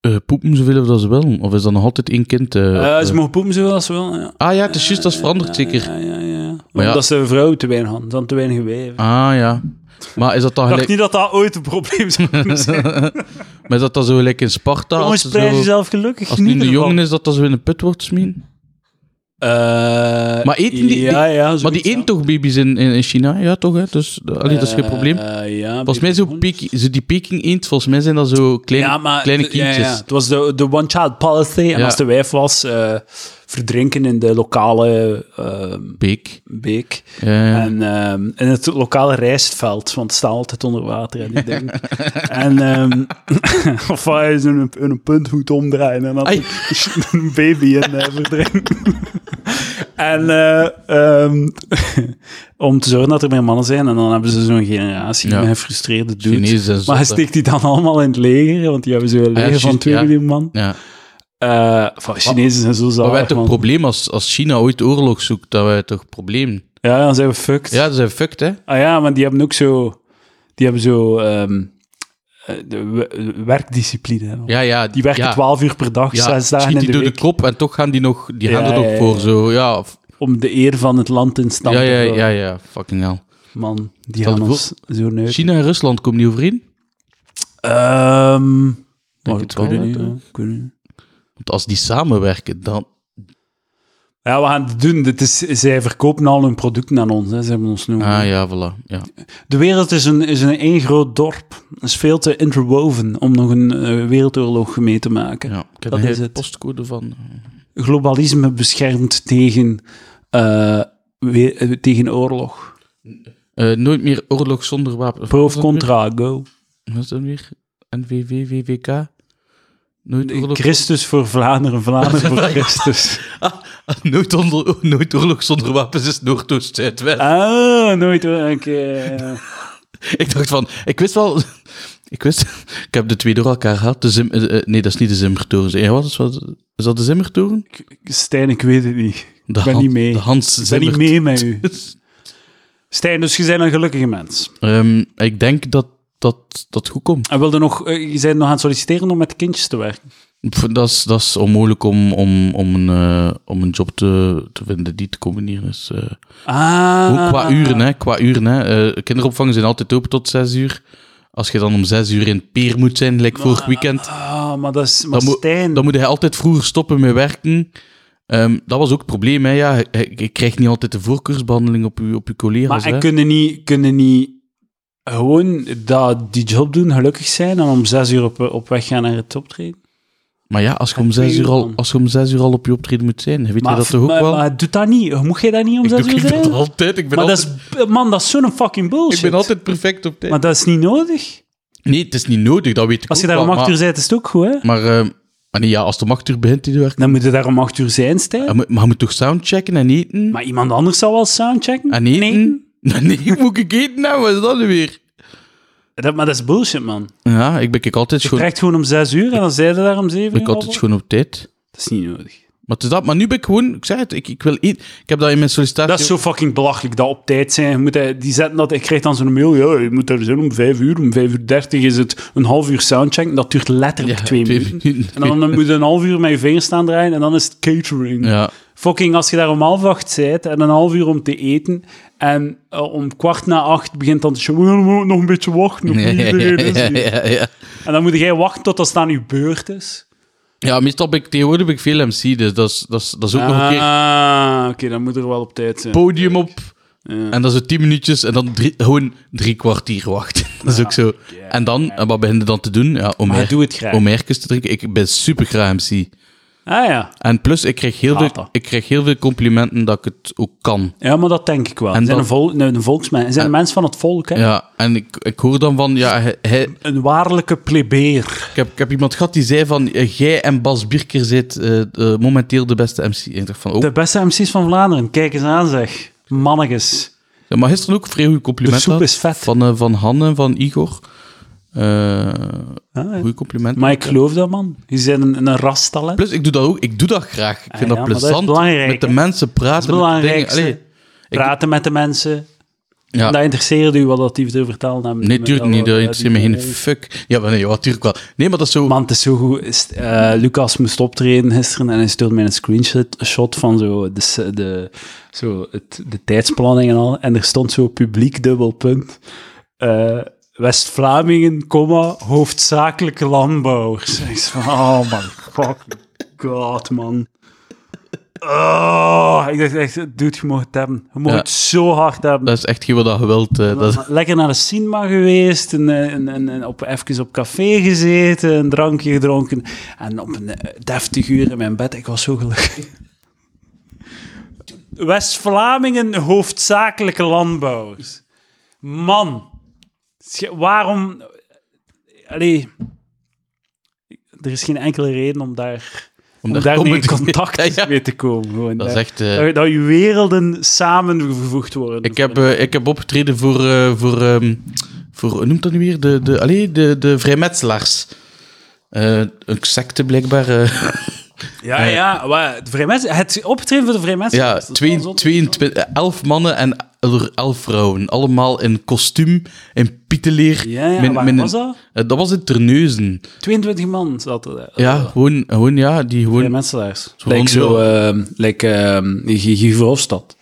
Speaker 2: eh, poepen zoveel dat ze willen? Of is dat nog altijd één kind? eh, op,
Speaker 1: Eh,
Speaker 2: eh?
Speaker 1: ze mogen poepen zoveel als ze willen, ja.
Speaker 2: Ah ja, het is juist, dat is veranderd zeker.
Speaker 1: Ja, ja, ja.
Speaker 2: Maar ja.
Speaker 1: Omdat ze vrouwen te weinig hadden. Ze hadden te weinig weven.
Speaker 2: Ah ja. Maar is dat dan
Speaker 1: Ik dacht
Speaker 2: gelijk...
Speaker 1: niet dat dat ooit een probleem
Speaker 2: [laughs]
Speaker 1: zou kunnen zijn.
Speaker 2: maar is dat dan zo gelijk in Sparta? Als,
Speaker 1: Jongens,
Speaker 2: ze
Speaker 1: prijs
Speaker 2: zo-
Speaker 1: jezelf gelukkig.
Speaker 2: als het nu een jongen is, dat dat zo in een put wordt smien? Maar eten die- die-
Speaker 1: Eh, Ja, ja.
Speaker 2: Maar die eten toch baby's in, in, in China? Ja, toch? Hè? Dus, eh, allee, dat is geen probleem.
Speaker 1: Eh, ja,
Speaker 2: Volgens mij zo, Peking, zo die Peking eend, volgens mij zijn dat zo kleine,
Speaker 1: ja, maar,
Speaker 2: kleine
Speaker 1: ja, ja,
Speaker 2: kindjes.
Speaker 1: Het was de, de One Child Policy. En
Speaker 2: Ja.
Speaker 1: als de wijf was, eh, verdrinken in de lokale eh,
Speaker 2: Peek.
Speaker 1: beek.
Speaker 2: Eh,
Speaker 1: En ehm, in het lokale rijstveld, want het staat altijd onder water, hè, die ding.
Speaker 2: [laughs]
Speaker 1: en ehm, [laughs] of hij is in een, in een punt goed omdraaien en dan
Speaker 2: Ai.
Speaker 1: [laughs] een baby in eh, verdrinken. [laughs] en eh, ehm, [laughs] om te zorgen dat er meer mannen zijn, en dan hebben ze zo'n generatie
Speaker 2: Ja.
Speaker 1: met gefrustreerde dudes.
Speaker 2: Chinezen zijn
Speaker 1: Maar hij
Speaker 2: zotte.
Speaker 1: steekt die dan allemaal in het leger, want die hebben zo'n leger
Speaker 2: juist,
Speaker 1: van 2
Speaker 2: Ah ja.
Speaker 1: miljoen man.
Speaker 2: Ja.
Speaker 1: Eh, van, Chinezen zijn zo
Speaker 2: Maar wij hebben
Speaker 1: zalig,
Speaker 2: toch
Speaker 1: man.
Speaker 2: probleem als, als China ooit oorlog zoekt, dat wij toch probleem...
Speaker 1: Ja, dan zijn we fucked.
Speaker 2: Ja, dat zijn fucked, hè?
Speaker 1: Ah ja, maar die hebben ook zo... Die hebben zo... ehm, eh, de we- werkdiscipline. hè.
Speaker 2: Ja, ja.
Speaker 1: Die werken
Speaker 2: ja,
Speaker 1: 12 uur per dag,
Speaker 2: ja,
Speaker 1: zes dagen
Speaker 2: schiet
Speaker 1: in
Speaker 2: die
Speaker 1: de
Speaker 2: door
Speaker 1: week,
Speaker 2: de kop en toch gaan die nog... Die
Speaker 1: Ja,
Speaker 2: gaan er ook
Speaker 1: ja, ja,
Speaker 2: voor,
Speaker 1: ja.
Speaker 2: zo. Ja, f-
Speaker 1: om de eer van het land in stand
Speaker 2: ja,
Speaker 1: te
Speaker 2: ja,
Speaker 1: houden.
Speaker 2: ja, ja, fucking hell.
Speaker 1: Man, die
Speaker 2: Dat
Speaker 1: gaan
Speaker 2: wil-
Speaker 1: ons zo neuken.
Speaker 2: China en Rusland komen niet overeen.
Speaker 1: Ehm, maar ik
Speaker 2: het
Speaker 1: weet
Speaker 2: wel,
Speaker 1: het niet,
Speaker 2: hè,
Speaker 1: ja, ik weet het niet.
Speaker 2: Want als die samenwerken, dan...
Speaker 1: Ja, we gaan het doen. Dit is, zij verkopen al hun producten aan ons. Hè. Ze hebben ons nu.
Speaker 2: Ah ja, voilà. Ja.
Speaker 1: De wereld is een, is een één groot dorp. Het is veel te interwoven om nog een eh, wereldoorlog mee te maken.
Speaker 2: ja. Ik
Speaker 1: Dat
Speaker 2: heb een
Speaker 1: is
Speaker 2: hele
Speaker 1: het.
Speaker 2: postcode van... eh,
Speaker 1: globalisme beschermt tegen, eh, we- eh, tegen oorlog.
Speaker 2: eh, nooit meer oorlog zonder wapen.
Speaker 1: Pro
Speaker 2: Wat is
Speaker 1: of
Speaker 2: dat
Speaker 1: contra, go.
Speaker 2: weer? Wat is dat weer? NVV, VVK? Nooit oorlog...
Speaker 1: Christus voor Vlaanderen, Vlaanderen
Speaker 2: [laughs]
Speaker 1: voor Christus.
Speaker 2: Ah, [laughs] nooit, onder- nooit oorlog zonder wapens is Noordoost, Zuidwest.
Speaker 1: Ah, nooit hoor. eh, Oké, ja.
Speaker 2: Ik dacht van, ik wist wel. [laughs] Ik wist, ik heb de twee door elkaar gehad. De Zim, eh, eh, nee, dat is niet de Zimmertoren. Ja, wat is, wat, is dat de Zimmertoren?
Speaker 1: Stijn, ik weet het niet.
Speaker 2: De
Speaker 1: Ik ben
Speaker 2: Han-
Speaker 1: niet mee.
Speaker 2: De Hans
Speaker 1: Ik ben niet
Speaker 2: Zimmer.
Speaker 1: mee met u. Stijn, dus je bent een gelukkige mens.
Speaker 2: Ehm, ik denk dat dat, dat goed komt.
Speaker 1: En wilde nog, eh, je bent nog aan het solliciteren om met kindjes te werken.
Speaker 2: Pff, Dat is, dat is onmogelijk om, om, om, een, eh, om een job te, te vinden die te combineren is. eh.
Speaker 1: Ah.
Speaker 2: Ook qua uren, hè. Qua uren, hè. Eh, kinderopvang zijn altijd open tot zes uur. Als je dan om zes uur in peer moet zijn, like vorig weekend,
Speaker 1: Ah, maar dat is... Maar
Speaker 2: Dan moet-
Speaker 1: Stijn...
Speaker 2: Dan moet hij altijd vroeger stoppen met werken. Ehm, dat was ook het probleem. Hè? Ja, ik krijg niet altijd de voorkeursbehandeling op uw, op uw collega's.
Speaker 1: Maar en
Speaker 2: hè.
Speaker 1: kunnen niet, kunnen niet gewoon dat die job doen, gelukkig zijn en om zes uur op, op weg gaan naar het optreden?
Speaker 2: maar ja, als je,
Speaker 1: en
Speaker 2: om zes
Speaker 1: twee
Speaker 2: uur
Speaker 1: uur
Speaker 2: al,
Speaker 1: dan.
Speaker 2: als je om zes uur al op je optreden moet zijn, weet
Speaker 1: Maar,
Speaker 2: je dat toch ook
Speaker 1: maar,
Speaker 2: wel?
Speaker 1: maar doet dat niet? Moet jij dat niet om
Speaker 2: ik
Speaker 1: zes
Speaker 2: doe
Speaker 1: uur
Speaker 2: ik doe
Speaker 1: zijn?
Speaker 2: dat altijd. Ik ben,
Speaker 1: maar dat
Speaker 2: altijd,
Speaker 1: is, man, dat is zo'n fucking bullshit.
Speaker 2: ik ben altijd perfect op tijd.
Speaker 1: Maar dat is niet nodig.
Speaker 2: nee, het is niet nodig, dat weet ik
Speaker 1: Als je
Speaker 2: ook
Speaker 1: daar om
Speaker 2: wel,
Speaker 1: acht uur
Speaker 2: maar,
Speaker 1: bent, is het ook goed, hè?
Speaker 2: Maar, ehm, maar nee, ja, als het om acht uur begint hij te werken...
Speaker 1: Dan moet je daar om acht uur zijn, Stijn.
Speaker 2: dan moet- Maar je moet toch soundchecken en eten?
Speaker 1: Maar iemand anders zal wel soundchecken?
Speaker 2: en eten? [laughs] Nee, moet ik eten? Nou, wat is dat nu weer?
Speaker 1: Dat, maar dat is bullshit, man.
Speaker 2: Ja, ik ben ik altijd
Speaker 1: Je
Speaker 2: schoon,
Speaker 1: krijgt gewoon om zes uur en dan zijn ze daar om zeven
Speaker 2: ben ik
Speaker 1: uur.
Speaker 2: altijd
Speaker 1: al.
Speaker 2: schoon op tijd.
Speaker 1: Dat is niet nodig.
Speaker 2: Maar, het is dat, maar nu ben ik gewoon, ik zeg het, ik, ik wil eet, Ik heb dat in mijn sollicitatie.
Speaker 1: Dat is zo fucking belachelijk, dat op tijd zijn. Je moet, hij- die zetten dat, ik krijg dan zo'n mail, ja, je moet er zijn om vijf uur, om vijf uur dertig is het een half uur soundcheck, en dat duurt letterlijk
Speaker 2: Ja,
Speaker 1: twee,
Speaker 2: twee
Speaker 1: minuten.
Speaker 2: minuten.
Speaker 1: En dan moet je een half uur met je vingers staan draaien, en dan is het catering.
Speaker 2: [laughs] Ja.
Speaker 1: Fucking, als je daar om half acht zit, en een half uur om te eten, en eh, om kwart na acht begint dan te showen, "Oh, we moeten nog een beetje wachten, op
Speaker 2: Ja, ja,
Speaker 1: iedereen is
Speaker 2: [laughs] ja,
Speaker 1: hier."
Speaker 2: ja, ja.
Speaker 1: En dan moet jij wachten tot dat aan je beurt is.
Speaker 2: Ja, meestal ben ik, tegenwoordig ben ik veel MC, dus dat is, dat is, dat is ook nog een keer
Speaker 1: Ah, oké, dan moet er wel op tijd zijn.
Speaker 2: podium op.
Speaker 1: Ja.
Speaker 2: En dat is zo tien minuutjes en dan drie, gewoon drie kwartier wachten. [laughs] Dat is ook zo. En dan, en wat begin je dan te doen? Ja, om,
Speaker 1: Maar
Speaker 2: merk-
Speaker 1: doe het graag.
Speaker 2: om merkjes te drinken. Ik ben super graag MC.
Speaker 1: Ah ja.
Speaker 2: En plus, ik krijg, heel
Speaker 1: Haat
Speaker 2: veel,
Speaker 1: dat.
Speaker 2: ik krijg heel veel complimenten dat ik het ook kan.
Speaker 1: Ja, maar dat denk ik wel. Ze zijn,
Speaker 2: dat-
Speaker 1: een, vol, een volksman. Ze zijn mensen van het volk, hè?
Speaker 2: Ja, en ik, ik hoor dan van, ja, hij, hij-
Speaker 1: Een waarlijke plebeer.
Speaker 2: ik, heb, ik heb iemand gehad die zei van, eh, jij en Bas Bierker zit eh, eh, momenteel de beste MC. En ik dacht van, oh,
Speaker 1: De beste MC's van Vlaanderen. Kijk eens aan, zeg. Mannetjes.
Speaker 2: Ja, maar gisteren ook vrij goede complimenten.
Speaker 1: De soep
Speaker 2: had
Speaker 1: is vet.
Speaker 2: Van, eh, van Hanne, van Igor. Eh Goede complimenten.
Speaker 1: Ah, Maar ik geloof dat, man. Die zijn een, een rastalent.
Speaker 2: Plus, ik doe dat ook. Ik doe dat graag. Ik
Speaker 1: Ah
Speaker 2: vind
Speaker 1: ja,
Speaker 2: dat
Speaker 1: maar dat is
Speaker 2: plezant.
Speaker 1: belangrijk,
Speaker 2: met de
Speaker 1: hè?
Speaker 2: mensen praten.
Speaker 1: Dat is het
Speaker 2: met de dingen.
Speaker 1: belangrijkste.
Speaker 2: ik-
Speaker 1: Praten met de mensen.
Speaker 2: Allee,
Speaker 1: Dat
Speaker 2: ja.
Speaker 1: interesseert u wat dat die te vertellen hebben.
Speaker 2: Nee,
Speaker 1: Met
Speaker 2: tuurlijk
Speaker 1: dat-
Speaker 2: niet. Dat
Speaker 1: eh,
Speaker 2: interesseert me
Speaker 1: die-
Speaker 2: geen fuck. Ja, maar nee, ja, tuurlijk wel. Nee, maar dat is zo...
Speaker 1: Man, het is zo goed. Is- eh, Lucas moest optreden gisteren en hij stuurde mij een screenshot shot van zo de, s- de, zo het, de tijdsplanning en al. En er stond zo publiek dubbelpunt. Eh West-Vlamingen, comma, hoofdzakelijk landbouwers. Ik zei van, oh my fucking god, man. Oh, ik dacht echt, dude, je mag het hebben. Je mag
Speaker 2: Ja.
Speaker 1: het zo hard hebben.
Speaker 2: Dat is echt geen wat dat je wilt. eh, dat is-
Speaker 1: Lekker naar de cinema geweest, en, eh, en, en, en op, even op café gezeten, een drankje gedronken. En op een eh, deftig uur in mijn bed, ik was zo gelukkig. West-Vlamingen, hoofdzakelijke landbouwers. Man, sche- waarom... Allee, er is geen enkele reden om daar, om
Speaker 2: daar
Speaker 1: daarmee in
Speaker 2: comment-
Speaker 1: contact
Speaker 2: [laughs] Ja, ja.
Speaker 1: mee te komen. Gewoon,
Speaker 2: Dat is
Speaker 1: daar-
Speaker 2: echt... eh,
Speaker 1: dat, dat je werelden samengevoegd worden.
Speaker 2: ik, heb, eh, ik heb opgetreden voor... eh, voor, ehm, voor hoe noemt dat nu weer? De, de, allee, de, de vrijmetselaars. Eh, een secte blijkbaar.
Speaker 1: [laughs]
Speaker 2: eh.
Speaker 1: Ja,
Speaker 2: Eh,
Speaker 1: ja. Maar de vrije mensen, het optreden voor de vrije mensen.
Speaker 2: Ja,
Speaker 1: dat is wel
Speaker 2: twee-
Speaker 1: zot.
Speaker 2: 22, eh, elf mannen en el- elf vrouwen. Allemaal in kostuum, in pieteleer.
Speaker 1: Ja, ja, waar
Speaker 2: een-
Speaker 1: was dat?
Speaker 2: Eh, dat was in Terneuzen.
Speaker 1: 22 man zat er. daar.
Speaker 2: Ja, gewoon, gewoon, ja, die
Speaker 1: Vrije
Speaker 2: gewoon...
Speaker 1: menselaars.
Speaker 2: rond
Speaker 1: Lijkt zo, ehm lijkt ehm, Guy Guy Verhofstadt.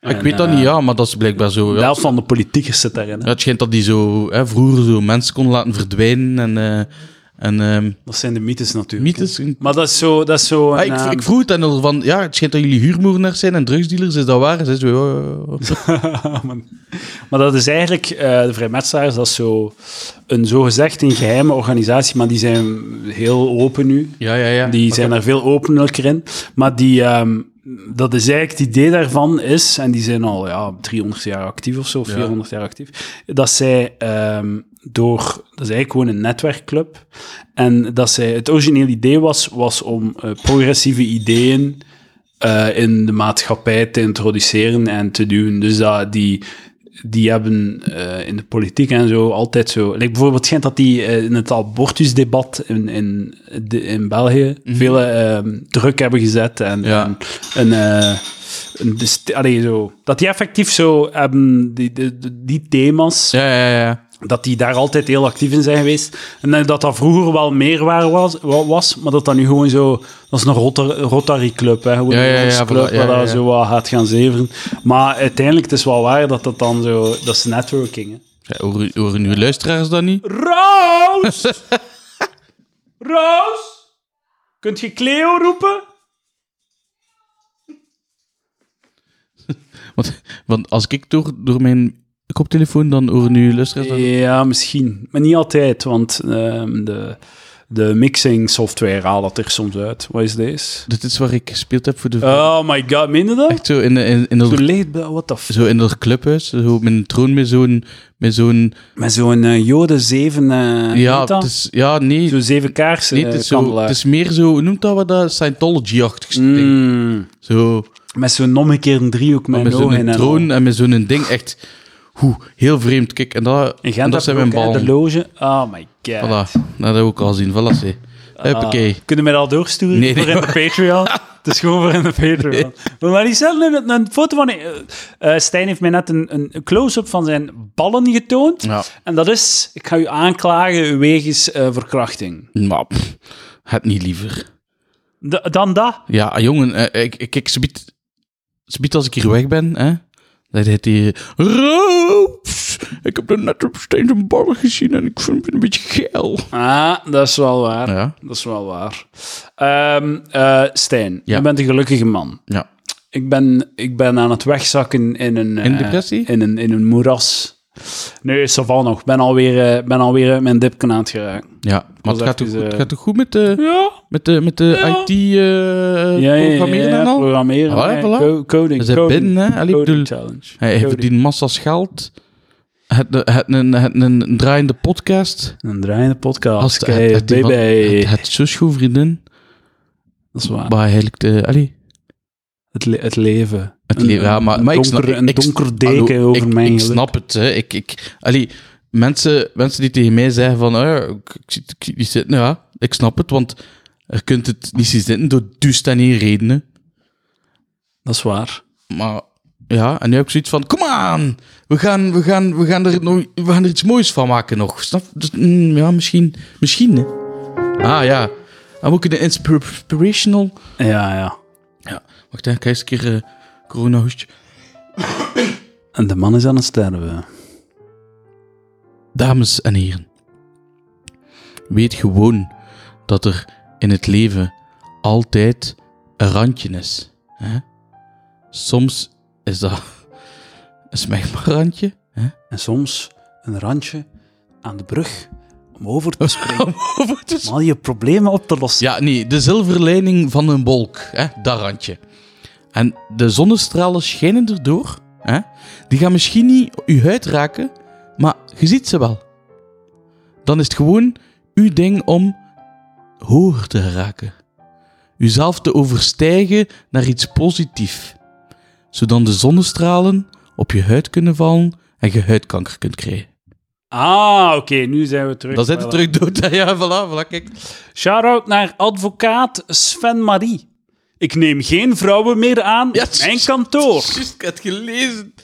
Speaker 2: ik weet dat
Speaker 1: eh,
Speaker 2: niet, ja, maar dat is blijkbaar zo.
Speaker 1: De
Speaker 2: Ja.
Speaker 1: helft van de politiekers zit daarin. hè.
Speaker 2: Ja, het schijnt dat die zo, hè, vroeger zo mensen kon laten verdwijnen en... eh, en ehm,
Speaker 1: Dat zijn de mythes natuurlijk.
Speaker 2: mythes...
Speaker 1: hè. Maar dat is zo... Dat is zo
Speaker 2: Ah,
Speaker 1: een,
Speaker 2: ik,
Speaker 1: ehm,
Speaker 2: ik vroeg het aan haar van, ja, het schijnt dat jullie huurmoordenaars zijn en drugsdealers, is dat waar? Ze "Oh, zei zo,
Speaker 1: [laughs]
Speaker 2: ja, ja, ja.
Speaker 1: maar dat is eigenlijk... eh, de vrijmetselaars, dat is zo... Een zogezegd een geheime organisatie, maar die zijn heel open nu.
Speaker 2: ja, ja, ja.
Speaker 1: Die zijn daar veel openlijker in. Maar die, ehm, dat is eigenlijk het idee daarvan is, en die zijn al ja, 300 jaar actief of zo, 400 jaar actief, dat zij ehm, door, dat is eigenlijk gewoon een netwerkclub, en dat zij, het origineel idee was, was om eh, progressieve ideeën eh, in de maatschappij te introduceren en te doen. Dus dat die, die hebben eh, in de politiek en zo altijd zo. Like bijvoorbeeld het schijnt dat die eh, in het abortusdebat in, in, de- in België veel ehm, druk hebben gezet en,
Speaker 2: Ja.
Speaker 1: en een. eh, een dist- allee, zo. Dat die effectief zo hebben, die, die, die- die thema's,
Speaker 2: Ja, ja, ja, ja.
Speaker 1: dat die daar altijd heel actief in zijn geweest. En eh, dat dat vroeger wel meer waar was, wa- was maar dat dat nu gewoon zo... Dat is een Rotar- Rotary Club, hè. Gewoon
Speaker 2: Ja, ja,
Speaker 1: een
Speaker 2: ja,
Speaker 1: Rotterdamse club
Speaker 2: voilà, ja,
Speaker 1: waar
Speaker 2: ja,
Speaker 1: dat
Speaker 2: ja.
Speaker 1: zo wat gaat gaan zeveren. Maar uiteindelijk, het is wel waar dat dat dan zo... Dat is networking, hè.
Speaker 2: Ja, Horen, horen uw luisteraars dat niet?
Speaker 1: [laughs] Roos! Roos! Kunt je Cleo roepen?
Speaker 2: Want, want als ik door, door mijn koptelefoon dan hoor nu luisteraars... Dan...
Speaker 1: Ja, misschien. Maar niet altijd, want ehm, de, de mixing software haalt dat er soms uit. Wat is deze?
Speaker 2: Dit is waar ik gespeeld heb voor de...
Speaker 1: Oh my god, meen je dat?
Speaker 2: echt zo in, in, in,
Speaker 1: Zo
Speaker 2: dat,
Speaker 1: leeg, what the fuck?
Speaker 2: zo in dat clubhuis, zo met een troon met zo'n... Met zo'n
Speaker 1: Met zo'n eh, jode zeven... eh
Speaker 2: ja,
Speaker 1: heet dat?
Speaker 2: het is, ja, nee,
Speaker 1: Zo'n zeven kaarsen eh,
Speaker 2: nee het, is zo, het is meer zo... Hoe noemt dat wat dat? Scientology-achtig
Speaker 1: Mm.
Speaker 2: ding. Zo,
Speaker 1: Met zo'n omgekeerde driehoek met,
Speaker 2: met
Speaker 1: een oog in
Speaker 2: zo'n
Speaker 1: en eh, al.
Speaker 2: troon en met zo'n ding. Echt, hoe, heel vreemd. Kijk, en dat,
Speaker 1: In
Speaker 2: en
Speaker 1: Gent
Speaker 2: dat zijn mijn
Speaker 1: hebben we ook, hè,
Speaker 2: ballen.
Speaker 1: de loge. Oh my god. Ah.
Speaker 2: Voilà, dat hebben we ook al zien. Voilà, zie. Huppakee.
Speaker 1: Kunnen we dat doorsturen
Speaker 2: Nee, nee.
Speaker 1: voor in de Patreon? Het is gewoon voor in de
Speaker 2: [laughs]
Speaker 1: Patreon. Maar die zelf een, een foto van... eh, eh, Stijn heeft mij net een, een close-up van zijn ballen getoond.
Speaker 2: Ja.
Speaker 1: En dat is... Ik ga u aanklagen wegens eh, verkrachting.
Speaker 2: Maar pff, het niet liever.
Speaker 1: D- dan dat.
Speaker 2: Ja, jongen, eh, ik, ik, ik subiet, subiet als ik hier weg ben, hè, dan heet hij... Roos, ik heb er net op steeds een bal gezien en ik vind het een beetje geil.
Speaker 1: Ah, dat is wel waar.
Speaker 2: Ja,
Speaker 1: Dat is wel waar. Ehm, eh, Stijn,
Speaker 2: Ja.
Speaker 1: je bent een gelukkige man.
Speaker 2: ja.
Speaker 1: Ik ben, ik ben aan het wegzakken in een... eh,
Speaker 2: In depressie?
Speaker 1: In een, in een moeras. Nee, savan nog. Ik ben alweer, eh ben alweer uit mijn dipkanaat geraakt.
Speaker 2: ja. maar het
Speaker 1: was
Speaker 2: gaat, toch
Speaker 1: even,
Speaker 2: goed, het
Speaker 1: eh,
Speaker 2: gaat toch goed met de,
Speaker 1: Ja.
Speaker 2: met de, met de
Speaker 1: Ja.
Speaker 2: IT-programmeren en al?
Speaker 1: Programmeren.
Speaker 2: Ah,
Speaker 1: ja,
Speaker 2: voilà.
Speaker 1: co- coding.
Speaker 2: We zijn
Speaker 1: coding,
Speaker 2: binnen, hè? Allee,
Speaker 1: coding
Speaker 2: bedoel-
Speaker 1: challenge.
Speaker 2: Hij
Speaker 1: Coding.
Speaker 2: heeft verdient massa's geld. Het, eh, het, een, het een draaiende podcast.
Speaker 1: Een draaiende podcast.
Speaker 2: Als het,
Speaker 1: Kijk,
Speaker 2: het, het, die van-
Speaker 1: baby.
Speaker 2: het, het zusgoed vriendin.
Speaker 1: dat is waar.
Speaker 2: Maar eigenlijk de... Allee,
Speaker 1: Het, le- het leven.
Speaker 2: het leven. Ja, maar, maar
Speaker 1: een
Speaker 2: ik snap...
Speaker 1: donker, een
Speaker 2: ik-
Speaker 1: donker deken
Speaker 2: hallo,
Speaker 1: over
Speaker 2: ik,
Speaker 1: mijn
Speaker 2: Ik
Speaker 1: geluk.
Speaker 2: snap het. Hè. Ik, ik, allee, mensen, mensen die tegen mij zeggen van... ah ja, ik, ik, zie- ik zie die zitten. Ja, ik snap het. Want je kunt het niet zien zitten door duist en één redenen.
Speaker 1: Dat is waar.
Speaker 2: Maar ja, en nu heb ik zoiets van: kom aan, we gaan, we gaan, we gaan, er, nog- we gaan er iets moois van maken nog. Snap? Dus, mm, ja, misschien. Misschien. Hè. Ah ja, dan moet ik de inspir- inspirational.
Speaker 1: Ja, ja.
Speaker 2: Ja, wacht even, kijk eens een keer. eh, Corona-hoestje.
Speaker 1: En de man is aan het sterven.
Speaker 2: Dames en heren, weet gewoon dat er in het leven altijd een randje is. Hè? Soms is dat een [laughs] smegma-randje. Hè?
Speaker 1: En soms een randje aan de brug om over
Speaker 2: Oh.
Speaker 1: te springen.
Speaker 2: Om over te
Speaker 1: om al je problemen op te lossen.
Speaker 2: Ja, nee, de zilverleiding van een wolk, hè, dat randje. En de zonnestralen schijnen erdoor. Hè? Die gaan misschien niet uw huid raken, maar je ziet ze wel. Dan is het gewoon uw ding om hoger te raken. Uzelf te overstijgen naar iets positiefs. Zodat de zonnestralen op je huid kunnen vallen en je huidkanker kunt krijgen.
Speaker 1: Ah, oké, nu zijn we terug.
Speaker 2: Dan zit het
Speaker 1: Voilà.
Speaker 2: terug dood. [laughs] hè. Ja, voilà, voilà, kijk.
Speaker 1: Shout-out naar advocaat Sven Marie. Ik neem geen vrouwen meer aan
Speaker 2: Ja,
Speaker 1: op mijn kantoor.
Speaker 2: Juist, ik had het gelezen.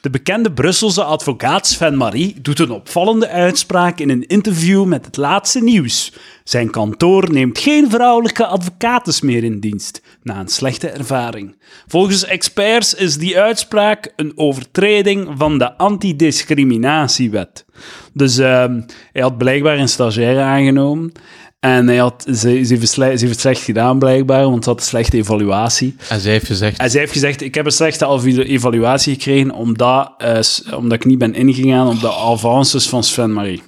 Speaker 1: De bekende Brusselse advocaat Sven Marie doet een opvallende uitspraak in een interview met het laatste nieuws. Zijn kantoor neemt geen vrouwelijke advocates meer in dienst, na een slechte ervaring. Volgens experts is die uitspraak een overtreding van de antidiscriminatiewet. Dus ehm, hij had blijkbaar een stagiaire aangenomen. En hij had, ze, ze, heeft het slecht- ze heeft het slecht gedaan, blijkbaar, want ze had een slechte evaluatie.
Speaker 2: En zij heeft gezegd,
Speaker 1: En zij heeft gezegd, ik heb een slechte alvi- evaluatie gekregen omdat, eh, s- omdat ik niet ben ingegaan op de avances van Sven-Marie.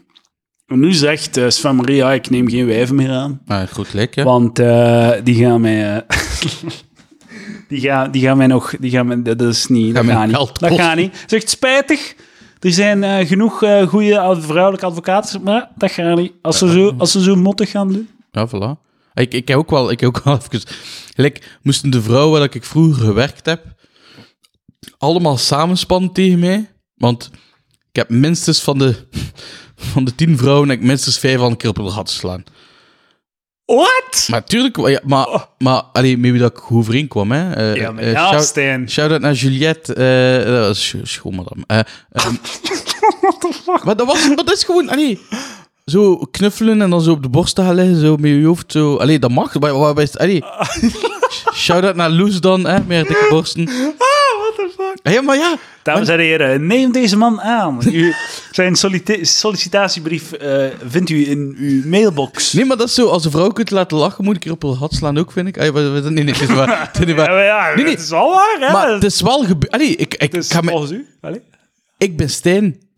Speaker 1: En nu zegt eh, Sven-Marie, ja, ik neem geen wijven meer aan,
Speaker 2: Maar Ah, goed gelijk, hè?
Speaker 1: want eh, die gaan mij... eh, [laughs] die, gaan, die gaan mij nog... Die gaan mij, dat is niet...
Speaker 2: Gaan
Speaker 1: dat
Speaker 2: mij
Speaker 1: gaat
Speaker 2: geld
Speaker 1: niet. Dat
Speaker 2: kosten.
Speaker 1: gaat niet. Zegt, spijtig, er zijn eh, genoeg eh, goede ad- vrouwelijke advocaten, maar dat gaat niet. Als ze zo, als ze zo mottig gaan doen...
Speaker 2: Ja, voilà. Ik, ik heb ook wel, ik heb ook wel [laughs] even... Gelijk, moesten de vrouwen waar ik vroeger gewerkt heb, allemaal samenspannen tegen mij. Want ik heb minstens van de, [laughs] van de tien vrouwen, heb ik minstens vijf aan een keer op het gat slaan.
Speaker 1: What?
Speaker 2: Maar tuurlijk, ja, maar, maar allee, maybe dat ik goed overeenkwam, hè. Eh,
Speaker 1: Oh. Ja, maar
Speaker 2: eh,
Speaker 1: ja,
Speaker 2: shout-
Speaker 1: Stijn.
Speaker 2: Shout-out naar Juliette. eh dat was scho- schoonmadam.
Speaker 1: [laughs]
Speaker 2: Eh, ehm, Maar dat, was, maar dat is gewoon... Allee, zo knuffelen en dan zo op de borst te gaan liggen, zo met je hoofd. Zo, allee, dat mag. Waar, waar
Speaker 1: [laughs]
Speaker 2: best, allee. Shout-out naar Loes dan, hè, met haar dikke borsten.
Speaker 1: Ah, what the fuck?
Speaker 2: Ah, Ja, maar ja.
Speaker 1: Dames en heren, neem deze man aan.
Speaker 2: [laughs]
Speaker 1: U, zijn sollicita- sollicitatiebrief eh, vindt u in uw mailbox.
Speaker 2: Nee, maar dat is zo. Als een vrouw kunt laten lachen, moet ik er op haar gat slaan ook, vind ik. Allee, wat- wat- nee, nee, het is waar. Het is niet
Speaker 1: Ja,
Speaker 2: waar.
Speaker 1: maar [laughs] ja,
Speaker 2: Nee, nee.
Speaker 1: het is al waar, hè?
Speaker 2: Maar
Speaker 1: het
Speaker 2: het is wel gebeurd. Allee, ik, ik,
Speaker 1: is
Speaker 2: ga me-
Speaker 1: volgens u. Allee.
Speaker 2: ik ben Stijn.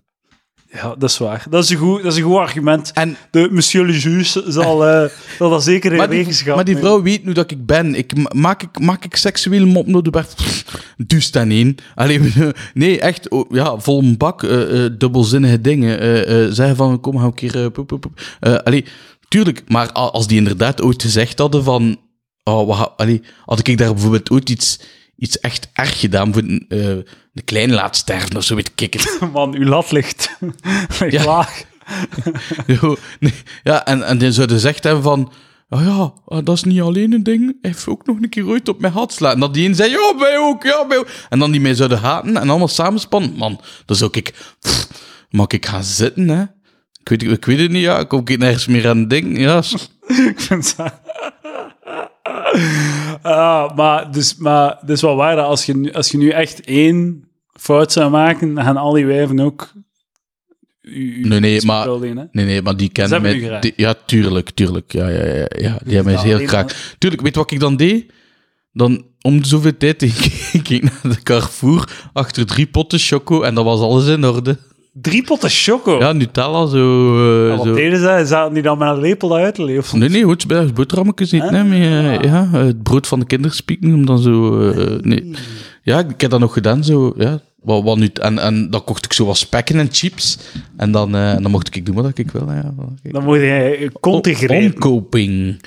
Speaker 1: Ja, dat is waar. Dat is een goed, dat is een goed argument.
Speaker 2: En
Speaker 1: De monsieur le juge zal, eh, zal dat zeker in
Speaker 2: maar
Speaker 1: wetenschap.
Speaker 2: die, maar die vrouw weet nu dat ik ben. Ik, ma- maak, ik, maak ik seksueel mop naar de Bert? Dus dan één. Allee, [laughs] nee, echt, oh, ja, vol een bak, eh, eh, dubbelzinnige dingen. eh, eh, zeggen van, kom, ga een keer... eh, poep, poep, poep. Eh, allee, tuurlijk, maar a- als die inderdaad ooit gezegd hadden van... Oh, wat ga- allee, had ik daar bijvoorbeeld ooit iets, iets echt erg gedaan voor een, eh, een klein laat sterven of zo, weet ik het.
Speaker 1: Man, uw lat ligt, [laughs] ligt
Speaker 2: Ja.
Speaker 1: laag.
Speaker 2: Yo, nee, ja, en, en die zouden gezegd hebben van... Ah ja, ah, dat is niet alleen een ding. Hij heeft ook nog een keer ooit op mijn hart slaan. En dat die een zei, ja, mij ook, ja, mij ook. En dan die mij zouden haten en allemaal samenspannen. Man, dan zou ik... Pff, mag ik gaan zitten, hè? Ik weet, ik weet het niet, ja. Kom ik nergens meer aan het ding? Ja, s-
Speaker 1: Ik vind het... Ah, maar, dus, maar het is wel waar dat als je, nu- als je nu echt één fout zou maken, dan gaan al die wijven ook... u- u-
Speaker 2: Nee, nee,
Speaker 1: iets
Speaker 2: maar-
Speaker 1: vergulden, hè.
Speaker 2: Nee, nee, maar die
Speaker 1: Ze
Speaker 2: kennen
Speaker 1: hebben
Speaker 2: mij.
Speaker 1: u graag.
Speaker 2: die- ja, tuurlijk, tuurlijk. Ja, ja, ja, ja. Die hebben mij
Speaker 1: dat
Speaker 2: heel
Speaker 1: nou, alleen
Speaker 2: graag. Tuurlijk, weet je wat ik dan deed? Dan om de zoveel tijd [laughs] ik ging naar de Carrefour achter drie potten choco en dat was alles in orde.
Speaker 1: Drie potten choco?
Speaker 2: Ja, Nutella zo. eh,
Speaker 1: Maar
Speaker 2: zo.
Speaker 1: Wat deden ze? Zaten die dan met een lepel uit te leven?
Speaker 2: Nee, nee, goed, bij boterhammetjes niet. Nee, maar, eh, ja, eh, het brood van de kinderspieken, om dan zo... eh, nee. Ja, ik heb dat nog gedaan, zo. Ja, wat, wat nu, en, en dan kocht ik zo wat spekken en chips. En dan, eh, dan mocht ik doen wat ik wil. Ja, wat ik-
Speaker 1: Dan moet je konten grijpen.
Speaker 2: Omkoping.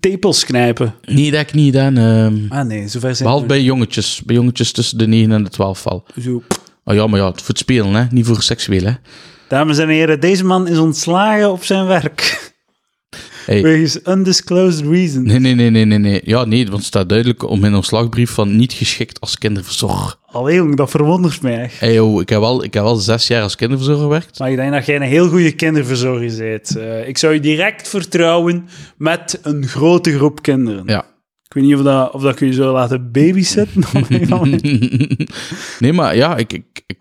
Speaker 1: Tepels knijpen.
Speaker 2: Nee, dat heb ik niet gedaan. ehm.
Speaker 1: Ah nee, zover zijn
Speaker 2: behalve bij jongetjes. Bij jongetjes tussen de 9 en de 12 val.
Speaker 1: Zo.
Speaker 2: Ah ja, maar ja, voor het spelen, hè. Niet voor seksueel, hè.
Speaker 1: Dames en heren, deze man is ontslagen op zijn werk.
Speaker 2: Hey.
Speaker 1: Wegens undisclosed reason.
Speaker 2: Nee, nee, nee, nee, nee, nee. Ja, nee, want het staat duidelijk om in ons slagbrief van niet geschikt als kinderverzorger.
Speaker 1: Allee, jong, dat verwondert mij echt.
Speaker 2: Hey, yo, ik, heb wel, ik heb wel zes jaar als kinderverzorger gewerkt. [laughs]
Speaker 1: Maar ik denk dat jij een heel goede kinderverzorger bent. Eh, ik zou je direct vertrouwen met een grote groep kinderen.
Speaker 2: Ja.
Speaker 1: Ik weet niet of, dat, of dat ik je zou laten [laughs] babysitten. op een of
Speaker 2: [laughs]
Speaker 1: andere manier.
Speaker 2: nee, maar ja, ik, ik, ik,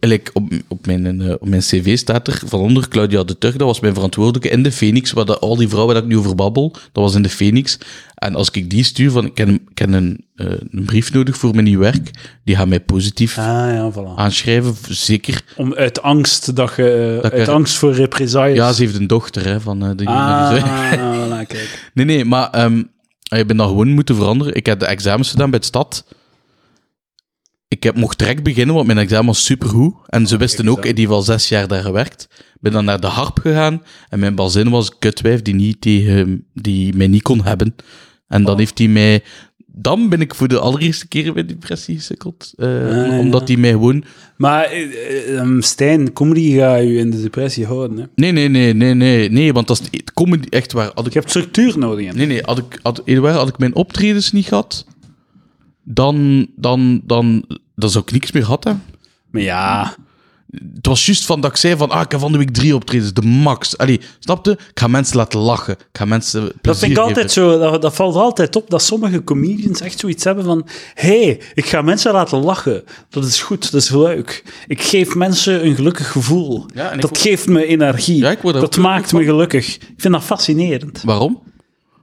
Speaker 2: eigenlijk op, op, mijn, eh, op mijn cv staat er van onder Claudia de Turk, dat was mijn verantwoordelijke in de Phoenix, waar dat, al die vrouwen dat ik nu over babbel, dat was in de Phoenix. En als ik die stuur van, ik heb, ik heb een, eh, een brief nodig voor mijn nieuw werk, die gaan mij positief
Speaker 1: ah ja, voilà.
Speaker 2: aanschrijven, zeker.
Speaker 1: Om, uit angst dat je... eh,
Speaker 2: Dat
Speaker 1: uit
Speaker 2: ik-
Speaker 1: angst voor represailles.
Speaker 2: Ja, ze heeft een dochter, hè, van eh, de...
Speaker 1: Ah, [laughs] voilà, kijk.
Speaker 2: Nee, nee, maar ehm ik ben dat gewoon moeten veranderen. Ik heb de examens gedaan bij de stad. Ik heb, mocht direct beginnen, want mijn examen was supergoed. En
Speaker 1: Ah,
Speaker 2: ze wisten ook, eh, die heeft al zes jaar daar gewerkt. ben dan naar de harp gegaan. En mijn bazin was een kutwijf die, niet tegen, die mij niet kon hebben. En
Speaker 1: Oh.
Speaker 2: dan heeft hij mij... Dan ben ik voor de allereerste keer bij depressie gesukkeld. eh,
Speaker 1: Ah, ja.
Speaker 2: Omdat hij mij gewoon...
Speaker 1: Maar eh, eh, ehm, Stijn, comedy gaat je in de depressie houden. Hè?
Speaker 2: Nee, nee, nee, nee, nee. nee want dat is het comedy echt waar. Had ik
Speaker 1: Je hebt structuur nodig. in.
Speaker 2: Nee, nee, had ik, had, eerder had ik mijn optredens niet gehad, dan, dan, dan, dan zou ik niks meer gehad hebben.
Speaker 1: Maar ja,
Speaker 2: Het was juist van dat ik zei van, ah, ik heb van de week drie optredens, de max. Allee, snapte? Ik ga mensen laten lachen. Ik ga mensen
Speaker 1: dat vind ik
Speaker 2: geven.
Speaker 1: altijd zo. Dat, dat valt altijd op dat sommige comedians echt zoiets hebben van: hé, hey, ik ga mensen laten lachen. Dat is goed, dat is leuk. Ik geef mensen een gelukkig gevoel.
Speaker 2: Ja, en ik
Speaker 1: dat
Speaker 2: ook-
Speaker 1: geeft me energie.
Speaker 2: Ja, ik word daar
Speaker 1: dat
Speaker 2: ook
Speaker 1: maakt me gelukkig. Ik vind dat fascinerend.
Speaker 2: Waarom?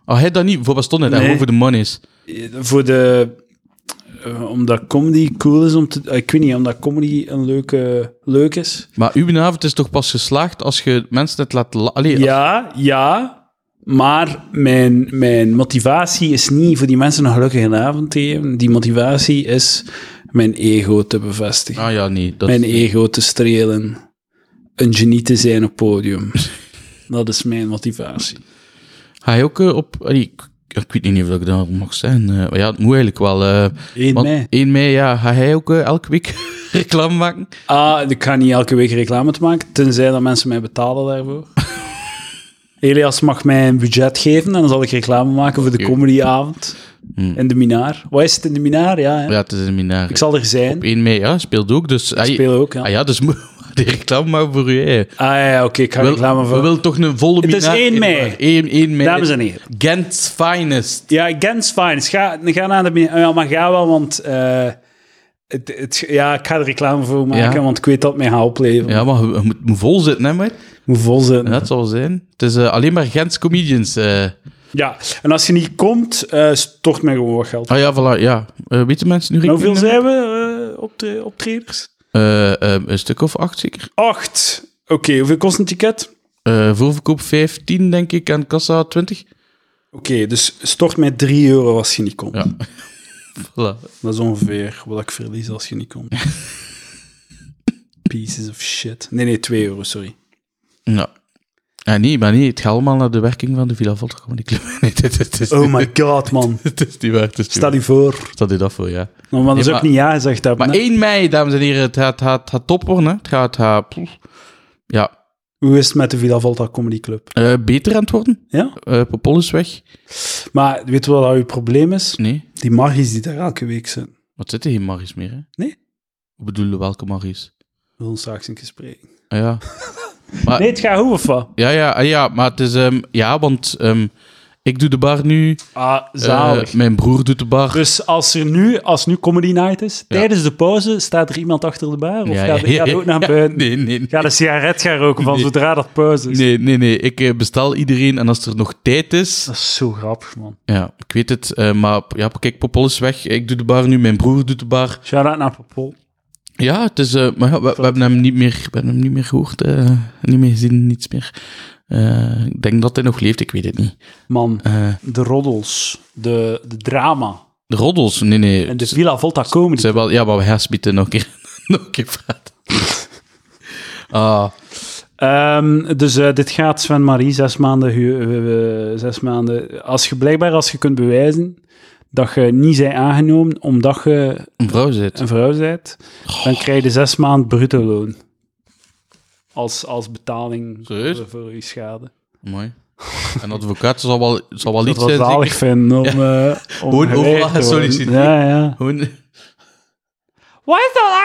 Speaker 2: Ah, hij dat niet. Voor wat stond hij daar?
Speaker 1: Nee.
Speaker 2: Gewoon voor de money's.
Speaker 1: Eh, Voor de. eh, omdat comedy cool is om te. eh, Ik weet niet, omdat comedy een leuke, leuk is.
Speaker 2: Maar uw avond is toch pas geslaagd als je mensen het laat lachen? Allee, als-
Speaker 1: Ja, ja. Maar mijn, mijn motivatie is niet voor die mensen een gelukkige avond te geven. Die motivatie is mijn ego te bevestigen.
Speaker 2: Ah ja, nee. Dat,
Speaker 1: Mijn ego te strelen. Een genie te zijn op podium. [laughs] Dat is mijn motivatie.
Speaker 2: Ga je ook eh, op... Allee, ik, ik weet niet of ik daar mag zijn. eh, maar ja, het moet eigenlijk wel... eh
Speaker 1: 1
Speaker 2: Want
Speaker 1: mei.
Speaker 2: 1 mei, ja. Ga jij ook eh, elke week [laughs] reclame maken?
Speaker 1: Ah, ik ga niet elke week reclame te maken, tenzij dat mensen mij betalen
Speaker 2: [laughs]
Speaker 1: daarvoor. Elias mag mij een budget geven en dan zal ik reclame maken voor de
Speaker 2: Oké. Hmm.
Speaker 1: comedyavond. In de Minaar. Wat is het in de Minaar? Ja, hè?
Speaker 2: Ja, het is een minaar.
Speaker 1: ik zal er zijn.
Speaker 2: 1 mei, ja, speelt ook. Dus, ah, je-
Speaker 1: speel ook, ja.
Speaker 2: Ah, ja, dus moet- [laughs] die reclame maar voor je eigen.
Speaker 1: Ah ja, ja, oké, ik ga
Speaker 2: Wil-
Speaker 1: reclame
Speaker 2: We
Speaker 1: voor.
Speaker 2: willen toch een volle
Speaker 1: Het
Speaker 2: minaar.
Speaker 1: is 1 mei.
Speaker 2: 1, 1 mei.
Speaker 1: Dames en heren.
Speaker 2: Gent's finest.
Speaker 1: Ja, Gens Fines. Ga, ga naar de. min- Ja, maar ga wel, want. eh, het, het, ja, ik ga er reclame voor maken,
Speaker 2: Ja.
Speaker 1: want ik weet dat het mij gaat opleveren.
Speaker 2: Ja, maar je, je moet, je moet vol zitten, hè, maar.
Speaker 1: Hoe vol zijn.
Speaker 2: En
Speaker 1: Ja.
Speaker 2: dat zal zijn. Het is eh, alleen maar Gents comedians. eh.
Speaker 1: en als je niet komt, eh, stort mij gewoon wat geld.
Speaker 2: Ah ja, voilà, ja. Eh weten mensen nu
Speaker 1: Nou,
Speaker 2: rekening
Speaker 1: hoeveel
Speaker 2: nummer?
Speaker 1: zijn we op de optreders?
Speaker 2: Eh, eh, een stuk of acht, zeker.
Speaker 1: Acht. Oké, hoeveel kost een ticket?
Speaker 2: Eh, voorverkoop 15, denk ik, en kassa 20.
Speaker 1: Oké, dus stort mij 3 euro als je niet komt.
Speaker 2: Ja. Voilà.
Speaker 1: Dat is ongeveer wat ik verlies als je niet komt. Pieces of shit. Nee, nee, 2 euro, sorry.
Speaker 2: Ja. Ja, nee, maar nee, het gaat allemaal naar de werking van de Villa Volta Comedy Club. [laughs] Nee, dit, dit is,
Speaker 1: Oh
Speaker 2: [laughs]
Speaker 1: my god, man.
Speaker 2: Het is niet waar. Het is niet
Speaker 1: Stel je voor.
Speaker 2: waar. Staat dit af voor, ja.
Speaker 1: Nou, maar dat is
Speaker 2: Nee,
Speaker 1: ook
Speaker 2: maar-
Speaker 1: niet ja gezegd hebben.
Speaker 2: Maar
Speaker 1: hè.
Speaker 2: 1 mei, dames en heren, het gaat, het gaat, het gaat top worden. hè. Het gaat... Het gaat poeh. eh, ja.
Speaker 1: Hoe is het met de Villa Volta Comedy Club?
Speaker 2: Eh, beter aan het worden.
Speaker 1: Ja?
Speaker 2: Eh Popol is weg.
Speaker 1: Maar weet je wat dat uw probleem is?
Speaker 2: Nee,
Speaker 1: Die margies die daar elke week zijn.
Speaker 2: wat zit er geen Maris meer? Hè?
Speaker 1: Nee.
Speaker 2: Ik bedoel, welke Maris?
Speaker 1: We zullen straks een keer spreken.
Speaker 2: Ah, ja. maar,
Speaker 1: Nee, het gaat hoe of wat?
Speaker 2: ja, ja, ah, ja, maar het is... ehm, ja, want ehm, ik doe de bar nu.
Speaker 1: Ah,
Speaker 2: eh,
Speaker 1: zalig.
Speaker 2: mijn broer doet de bar.
Speaker 1: Dus als er nu, als nu Comedy Night is, tijdens de pauze staat er iemand achter de bar? Of
Speaker 2: Ja,
Speaker 1: gaat,
Speaker 2: ja,
Speaker 1: gaat
Speaker 2: ja.
Speaker 1: ook naar
Speaker 2: Ja,
Speaker 1: buiten?
Speaker 2: Nee, nee, nee.
Speaker 1: Ga de sigaret gaan roken van
Speaker 2: Nee.
Speaker 1: zodra dat pauze is.
Speaker 2: Nee, nee, nee. Ik eh, bestel iedereen en als er nog tijd is...
Speaker 1: Dat is zo grappig, man.
Speaker 2: Ja, ik weet het. eh, maar ja, kijk, Popol is weg. Ik doe de bar nu. Mijn broer doet de bar.
Speaker 1: Shout-out naar Popol.
Speaker 2: Ja, het is, eh, maar ja, we, we hebben hem niet meer, we hebben hem niet meer gehoord, eh, niet meer gezien, niets meer. Eh, ik denk dat hij nog leeft, ik weet het niet.
Speaker 1: Man,
Speaker 2: Eh,
Speaker 1: de roddels, de, de drama
Speaker 2: de roddels, nee, nee.
Speaker 1: en dus-
Speaker 2: Het
Speaker 1: de Villa Volta Comedy.
Speaker 2: zijn wel, ja, maar we herspieten nog een keer, [laughs] nog een keer praten. Ah,
Speaker 1: Ehm, dus eh, dit gaat Sven Marie zes maanden, hu- eh, eh, zes maanden. Als je blijkbaar als je kunt bewijzen dat je niet zij aangenomen omdat je
Speaker 2: een vrouw zit.
Speaker 1: een vrouw bent, dan krijg je zes maanden bruto loon. Als, als betaling
Speaker 2: Serieus?
Speaker 1: voor, voor je schade.
Speaker 2: Mooi. Een advocaat zal wel, zal wel
Speaker 1: Dat
Speaker 2: iets
Speaker 1: was
Speaker 2: zijn,
Speaker 1: zalig
Speaker 2: zeker.
Speaker 1: vinden om, eh, om
Speaker 2: Gewoon
Speaker 1: geweigerd
Speaker 2: overal
Speaker 1: te worden.
Speaker 2: solliciteren.
Speaker 1: Ja, ja.
Speaker 2: Gewoon-
Speaker 1: Wat is dat?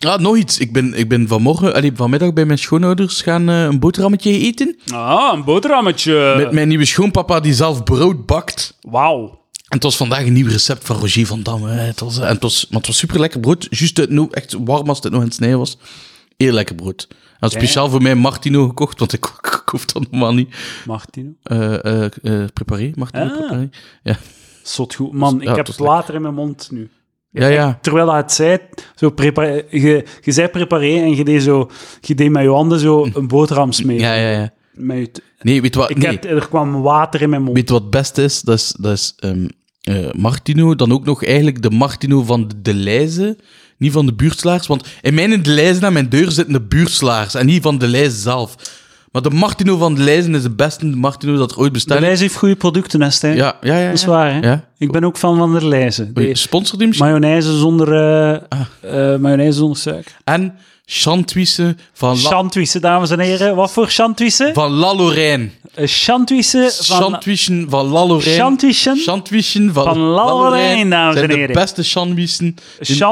Speaker 2: Ah, nog iets. Ik ben, ik ben vanmorgen, allee, vanmiddag bij mijn schoonouders gaan eh, een boterhammetje eten.
Speaker 1: Ah, een boterhammetje.
Speaker 2: Met mijn nieuwe schoonpapa die zelf brood bakt.
Speaker 1: Wauw.
Speaker 2: En het was vandaag een nieuw recept van Roger van Damme. hè. Het was, en het was, maar het was super lekker brood. Juist uit nou, echt warm als het nog aan het snijden was. Heel lekker brood. En speciaal voor mij Martino gekocht, want ik, [laughs] ik, hoef dat normaal niet.
Speaker 1: Martino.
Speaker 2: eh eh eh, preparé, Martino
Speaker 1: Ah.
Speaker 2: preparé. Ja,
Speaker 1: Zot goed. Man, ik
Speaker 2: Ja,
Speaker 1: heb
Speaker 2: tot
Speaker 1: het water in mijn mond nu.
Speaker 2: ja. ja.
Speaker 1: Terwijl hij het zei, zo prepare, je, je zei preparé en je deed, zo, je deed met je handen zo een boterham smeren.
Speaker 2: Ja, ja, ja.
Speaker 1: Met je t-
Speaker 2: Nee, weet je wat?
Speaker 1: ik
Speaker 2: nee.
Speaker 1: heb, er kwam water in mijn mond.
Speaker 2: Weet je wat het beste is? Dat is, dat is ehm, eh, Martino, dan ook nog eigenlijk de Martino van de, de Leize, niet van de buurtslaars. Want in mijn de Leize aan mijn deur zitten de buurtslaars en niet van de Leize zelf. Maar de Martino van de Leize is de beste Martino dat er ooit
Speaker 1: de
Speaker 2: bestaat.
Speaker 1: lijst heeft goede producten, hè, Stijn.
Speaker 2: Ja, ja, ja. ja.
Speaker 1: Dat is waar, hè?
Speaker 2: Ja.
Speaker 1: Ik ben ook fan van de lijzen.
Speaker 2: Oei, Ah.
Speaker 1: De
Speaker 2: Sponsor die misschien.
Speaker 1: mayonaise zonder, eh, eh, mayonaise zonder suiker.
Speaker 2: En Chantwisse van, La,
Speaker 1: Chantwisse, dames en heren. Wat voor chantwisse?
Speaker 2: van La Lorraine.
Speaker 1: Een Chantwisse van...
Speaker 2: Chantwissen van La Lorraine.
Speaker 1: Chantwissen?
Speaker 2: Chantwissen van,
Speaker 1: Van La Lorraine, dames
Speaker 2: zijn
Speaker 1: en heren.
Speaker 2: de beste Chantwissen.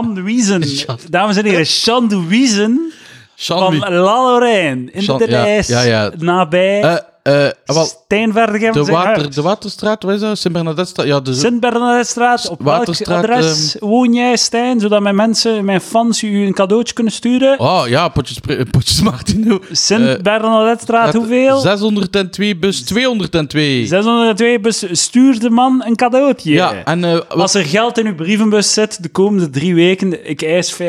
Speaker 1: Chantwissen.
Speaker 2: Chant-
Speaker 1: Dames en heren, Chantwissen van La Lorraine. In
Speaker 2: Chan-
Speaker 1: de
Speaker 2: ja,
Speaker 1: lijst.
Speaker 2: ja, ja.
Speaker 1: Nabij...
Speaker 2: Eh, eh, wel,
Speaker 1: Steenverdigem,
Speaker 2: De,
Speaker 1: zeg
Speaker 2: water,
Speaker 1: uit.
Speaker 2: de Waterstraat, wat is dat? Sint-Bernadettestraat? Ja, de...
Speaker 1: Sint-Bernadettestraat, op welk
Speaker 2: Waterstraat, ehm,
Speaker 1: adres woon jij, Stijn? Zodat mijn mensen, mijn fans, u een cadeautje kunnen sturen.
Speaker 2: Oh ja, potjes, Pri- eh, [laughs] potjes Martino.
Speaker 1: Sint-Bernadettestraat,
Speaker 2: Uit
Speaker 1: hoeveel?
Speaker 2: 602 bus 202.
Speaker 1: 602, bus, stuur de man een cadeautje.
Speaker 2: Ja, en eh, wat-
Speaker 1: Als er geld in uw brievenbus zit, de komende drie weken, ik eis 50%.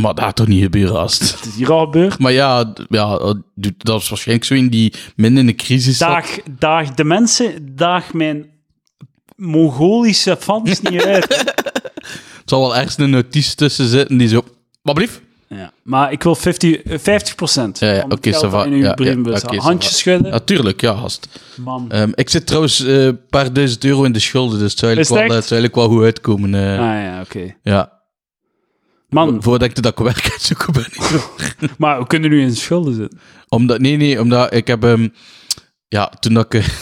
Speaker 2: Maar dat gaat toch niet gebeuren, als het-
Speaker 1: Het is hier al gebeurd.
Speaker 2: [laughs] Maar ja, d- ja, eh, d- dat is waarschijnlijk zo in die midden in de crisis zat.
Speaker 1: Daag, daag de mensen, daag mijn Mongolische fans
Speaker 2: [laughs]
Speaker 1: niet uit.
Speaker 2: Er zal wel ergens een notitie tussen zitten die zo... Wat blief?
Speaker 1: Ja, maar ik wil 50, eh, 50%
Speaker 2: Ja, ja,
Speaker 1: van het
Speaker 2: oké,
Speaker 1: geld
Speaker 2: ça va.
Speaker 1: dat in uw
Speaker 2: Ja, ja,
Speaker 1: brievenbus
Speaker 2: oké,
Speaker 1: zit.
Speaker 2: ça
Speaker 1: Handjes
Speaker 2: va.
Speaker 1: schudden.
Speaker 2: Natuurlijk, ja, gast.
Speaker 1: Man.
Speaker 2: Ehm, ik zit trouwens eh, een paar duizend euro in de schulden, dus het zou
Speaker 1: Is het
Speaker 2: eigenlijk, wel,
Speaker 1: echt?
Speaker 2: het zou eigenlijk wel goed uitkomen. eh.
Speaker 1: ah ja, oké.
Speaker 2: Ja,
Speaker 1: Man,
Speaker 2: voordat ik de dak werk uitzoeken ben.
Speaker 1: maar we kunnen nu in schulden zitten.
Speaker 2: Omdat, nee, nee, omdat ik heb... ehm, ja, toen dat ik... [laughs]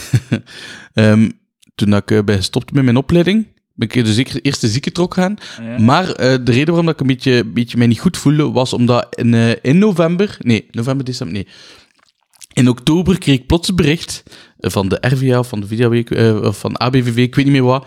Speaker 2: eh, ehm, toen dat ik eh, ben gestopt met mijn opleiding, ben ik dus eerst eerste ziekentrok gaan.
Speaker 1: Ja.
Speaker 2: Maar eh, de reden waarom dat ik een beetje, een beetje mij niet goed voelde, was omdat in, eh, in november... Nee, november, december, nee. In oktober kreeg ik plots een bericht eh, van de RVA, van de VDAW, eh, of van ABVV, ik weet niet meer wat.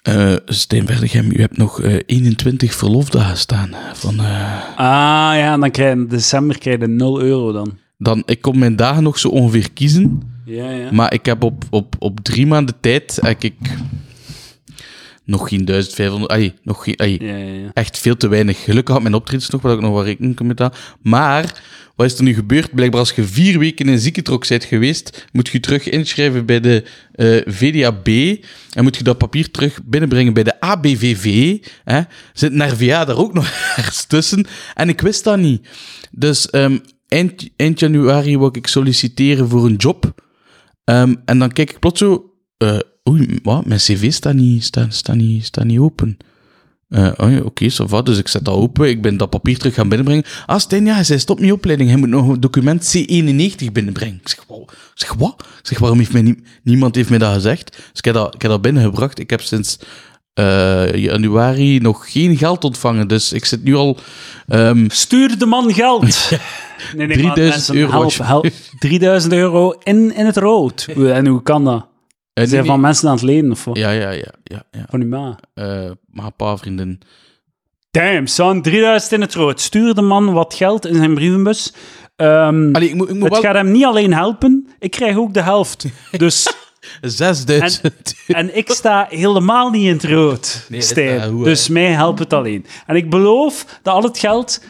Speaker 2: Eh Stijn Verdegem, u hebt nog eh, 21 verlofdagen staan. Van, eh,
Speaker 1: Ah ja, en dan krijg je in december krijg je 0 euro dan.
Speaker 2: dan, ik kon mijn dagen nog zo ongeveer kiezen.
Speaker 1: Ja, ja.
Speaker 2: Maar ik heb op, op, op drie maanden tijd heb ik nog geen 1500. Ai, nog geen, ai,
Speaker 1: ja, ja, ja.
Speaker 2: Echt veel te weinig. Gelukkig had mijn optredens nog, wat ik nog wel rekening kan betalen. Maar wat is er nu gebeurd? Blijkbaar als je vier weken in ziekentrok bent geweest, moet je je terug inschrijven bij de eh, VDAB. En moet je dat papier terug binnenbrengen bij de ABVV. E, Hè? Zit een RVA daar ook nog [laughs] ergens tussen? En ik wist dat niet. Dus ehm, eind, eind januari wou ik solliciteren voor een job. Ehm, en dan kijk ik plots zo... eh, oei, wat? Mijn cv staat niet, staat, staat niet, staat niet open. Eh, oh ja, oké, ça va. Dus ik zet dat open. Ik ben dat papier terug gaan binnenbrengen. Ah, Stijn, ja, hij zei, stop met je opleiding. Hij moet nog een document C91 binnenbrengen. Ik zeg, wow. Ik zeg, wat? Ik zeg, waarom heeft mij nie- niemand heeft mij dat gezegd? Dus ik heb dat, ik heb dat binnengebracht. Ik heb sinds eh, januari nog geen geld ontvangen. Dus ik zit nu al... ehm,
Speaker 1: Stuur de man [laughs] geld. Nee, nee,
Speaker 2: 3000 euro
Speaker 1: help,
Speaker 2: alsjeblieft.
Speaker 1: help. 3000 euro in, in het rood. En hoe kan dat?
Speaker 2: eh,
Speaker 1: Zijn
Speaker 2: nee,
Speaker 1: van
Speaker 2: nee.
Speaker 1: mensen aan het lenen of wat?
Speaker 2: Ja, ja, ja. ja, ja.
Speaker 1: Van uw ma.
Speaker 2: Eh, maar een paar vrienden...
Speaker 1: Mm. Damn, son, 3000 in het rood. Stuur de man wat geld in zijn brievenbus. Ehm,
Speaker 2: Allee, ik moet, ik moet
Speaker 1: het
Speaker 2: wel...
Speaker 1: gaat hem niet alleen helpen, ik krijg ook de [laughs] helft. Dus,
Speaker 2: 6000
Speaker 1: en ik sta helemaal niet in het rood,
Speaker 2: Nee, eh, dat is
Speaker 1: Stijn.
Speaker 2: wel goed,
Speaker 1: dus mij helpt het alleen. En ik beloof dat al het geld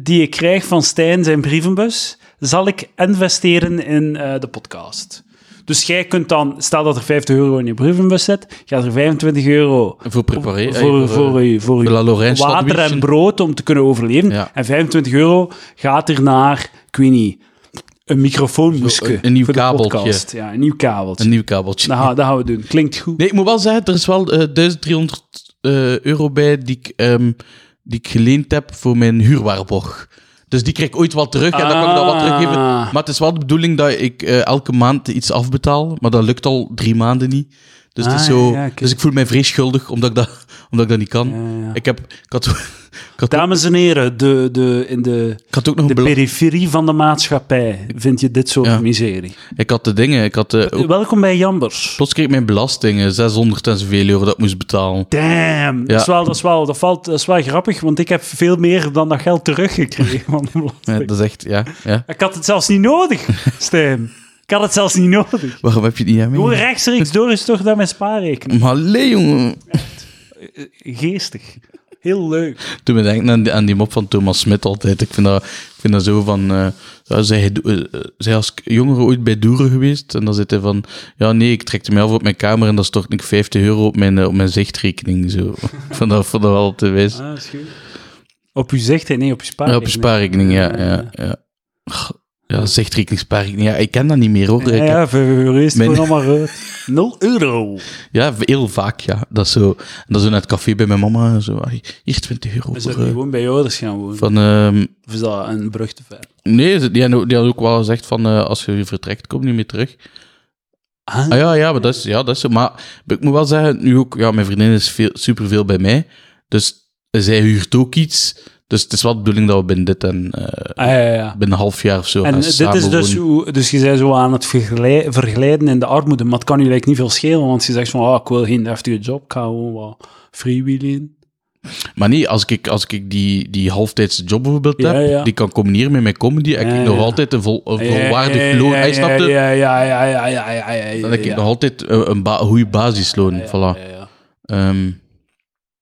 Speaker 1: die ik krijg van Stijn zijn brievenbus, zal ik investeren in eh, de podcast. Dus jij kunt dan, stel dat er 50 euro in je brievenbus zit, gaat er 25 euro
Speaker 2: [laughs] Voor prepareren. eh,
Speaker 1: voor,
Speaker 2: eh,
Speaker 1: voor, u- voor,
Speaker 2: voor
Speaker 1: uw
Speaker 2: La Lorraine
Speaker 1: water
Speaker 2: sandwich.
Speaker 1: en brood om te kunnen overleven.
Speaker 2: Ja.
Speaker 1: En 25 euro gaat er naar, ik weet niet, een microfoonmuske.
Speaker 2: Zo, een- een nieuw
Speaker 1: voor de
Speaker 2: kabeltje.
Speaker 1: podcast. Ja, een nieuw kabeltje.
Speaker 2: Een nieuw kabeltje.
Speaker 1: Dat, gaan, dat gaan we doen. Klinkt goed.
Speaker 2: Nee, ik moet wel zeggen, er is wel eh, 1300 eh, euro bij die ik, ehm, die ik geleend heb voor mijn huurwaarborg. Dus die krijg ik ooit wel terug en dan kan ik dat wat
Speaker 1: Ah.
Speaker 2: teruggeven. Maar het is wel de bedoeling dat ik eh, elke maand iets afbetaal, maar dat lukt al drie maanden niet. Dus, het
Speaker 1: Ah,
Speaker 2: is zo,
Speaker 1: ja, ja, oké.
Speaker 2: dus ik voel mij vrees schuldig omdat ik dat, [laughs] omdat ik dat niet kan. Ik, heb, ik, had, [laughs] ik, had,
Speaker 1: Dames en heren, de, de, in de,
Speaker 2: ik had ook nog
Speaker 1: de
Speaker 2: een bela-
Speaker 1: periferie van de maatschappij vind je dit soort
Speaker 2: Ja.
Speaker 1: miserie.
Speaker 2: Ik had de dingen. Ik had, eh, ook-
Speaker 1: Welkom bij Jambers.
Speaker 2: plots kreeg ik mijn belasting, eh, 600 en zoveel euro dat ik moest betalen.
Speaker 1: Damn, dat, is wel, dat, is wel, dat, valt, dat is wel grappig, want ik heb veel meer dan dat geld teruggekregen van de
Speaker 2: Ja,
Speaker 1: belasting.
Speaker 2: dat is echt, ja, ja.
Speaker 1: Ik had het zelfs niet nodig,
Speaker 2: [laughs]
Speaker 1: Stijn. Ik had het zelfs niet nodig.
Speaker 2: Waarom heb je het niet aan mij?
Speaker 1: Gewoon rechtsreeks door is toch naar mijn spaarrekening.
Speaker 2: Maar allee, jongen.
Speaker 1: Geestig. Heel leuk.
Speaker 2: Toen me denken aan die, aan die mop van Thomas Smit altijd. Ik vind dat, ik vind dat zo van... eh ja, zij, eh, eh, zij als jongere ooit bij Doeren geweest? En dan zit hij van... Ja, nee, ik trekte mij af op mijn kamer en dan stort ik 50 euro op mijn, eh, op mijn zichtrekening. Zo. [laughs] Ik vond dat, vond dat wel te wijs.
Speaker 1: Ah, is goed. Op uw zicht, nee, op uw
Speaker 2: Ja,
Speaker 1: spaarrekening.
Speaker 2: op je spaarrekening, ja. ja, ja. Ach, Ja, zichtrekening, spaarrekening. Ja, ik ken dat niet meer, hoor. Ik
Speaker 1: Ja,
Speaker 2: heb-
Speaker 1: ja, vijf euro is het
Speaker 2: Mijn-
Speaker 1: gewoon allemaal
Speaker 2: [laughs]
Speaker 1: rood. Nul euro.
Speaker 2: Ja, heel vaak, ja. Dat is zo... En dan zo naar het café bij mijn mama. Zo, ah, hier 20 euro.
Speaker 1: Zou
Speaker 2: voor,
Speaker 1: je
Speaker 2: eh,
Speaker 1: gewoon bij je ouders gaan wonen?
Speaker 2: van... ehm,
Speaker 1: Of is dat een brug te ver?
Speaker 2: Nee, ze- die hadden, ook- die hadden ook wel gezegd van eh, als je vertrekt, kom niet meer terug.
Speaker 1: Ah.
Speaker 2: Ah ja, ja, maar dat is, ja, dat is zo. Maar ik moet wel zeggen, nu ook, ja, mijn vriendin is veel, superveel bij mij. Dus zij huurt ook iets. Dus het is wel de bedoeling dat we binnen dit en eh,
Speaker 1: Ah, ja, ja, ja.
Speaker 2: binnen een half jaar of zo.
Speaker 1: En
Speaker 2: gaan
Speaker 1: dit is dus
Speaker 2: samenwonen.
Speaker 1: hoe... Dus je zei zo aan het verglij- verglijden in de armoede, maar het kan je eigenlijk niet veel schelen, want je zegt van, ah, ik wil geen heftige job, ik ga gewoon wat freewheelen.
Speaker 2: Maar nee, als ik, als ik die, die halftijdse job bijvoorbeeld
Speaker 1: Ja,
Speaker 2: heb,
Speaker 1: ja.
Speaker 2: die kan combineren met mijn comedy, heb
Speaker 1: Ja,
Speaker 2: ik nog
Speaker 1: ja.
Speaker 2: altijd een, vol, een
Speaker 1: Ja,
Speaker 2: volwaardig
Speaker 1: ja,
Speaker 2: loon.
Speaker 1: ja,
Speaker 2: Hij
Speaker 1: ja,
Speaker 2: snapte,
Speaker 1: Ja, ja, ja, ja, ja, ja, ja, ja,
Speaker 2: dan heb ik
Speaker 1: ja.
Speaker 2: nog altijd eh, een, ba goede basisloon.
Speaker 1: Ja,
Speaker 2: voilà.
Speaker 1: ja, ja.
Speaker 2: Ehm,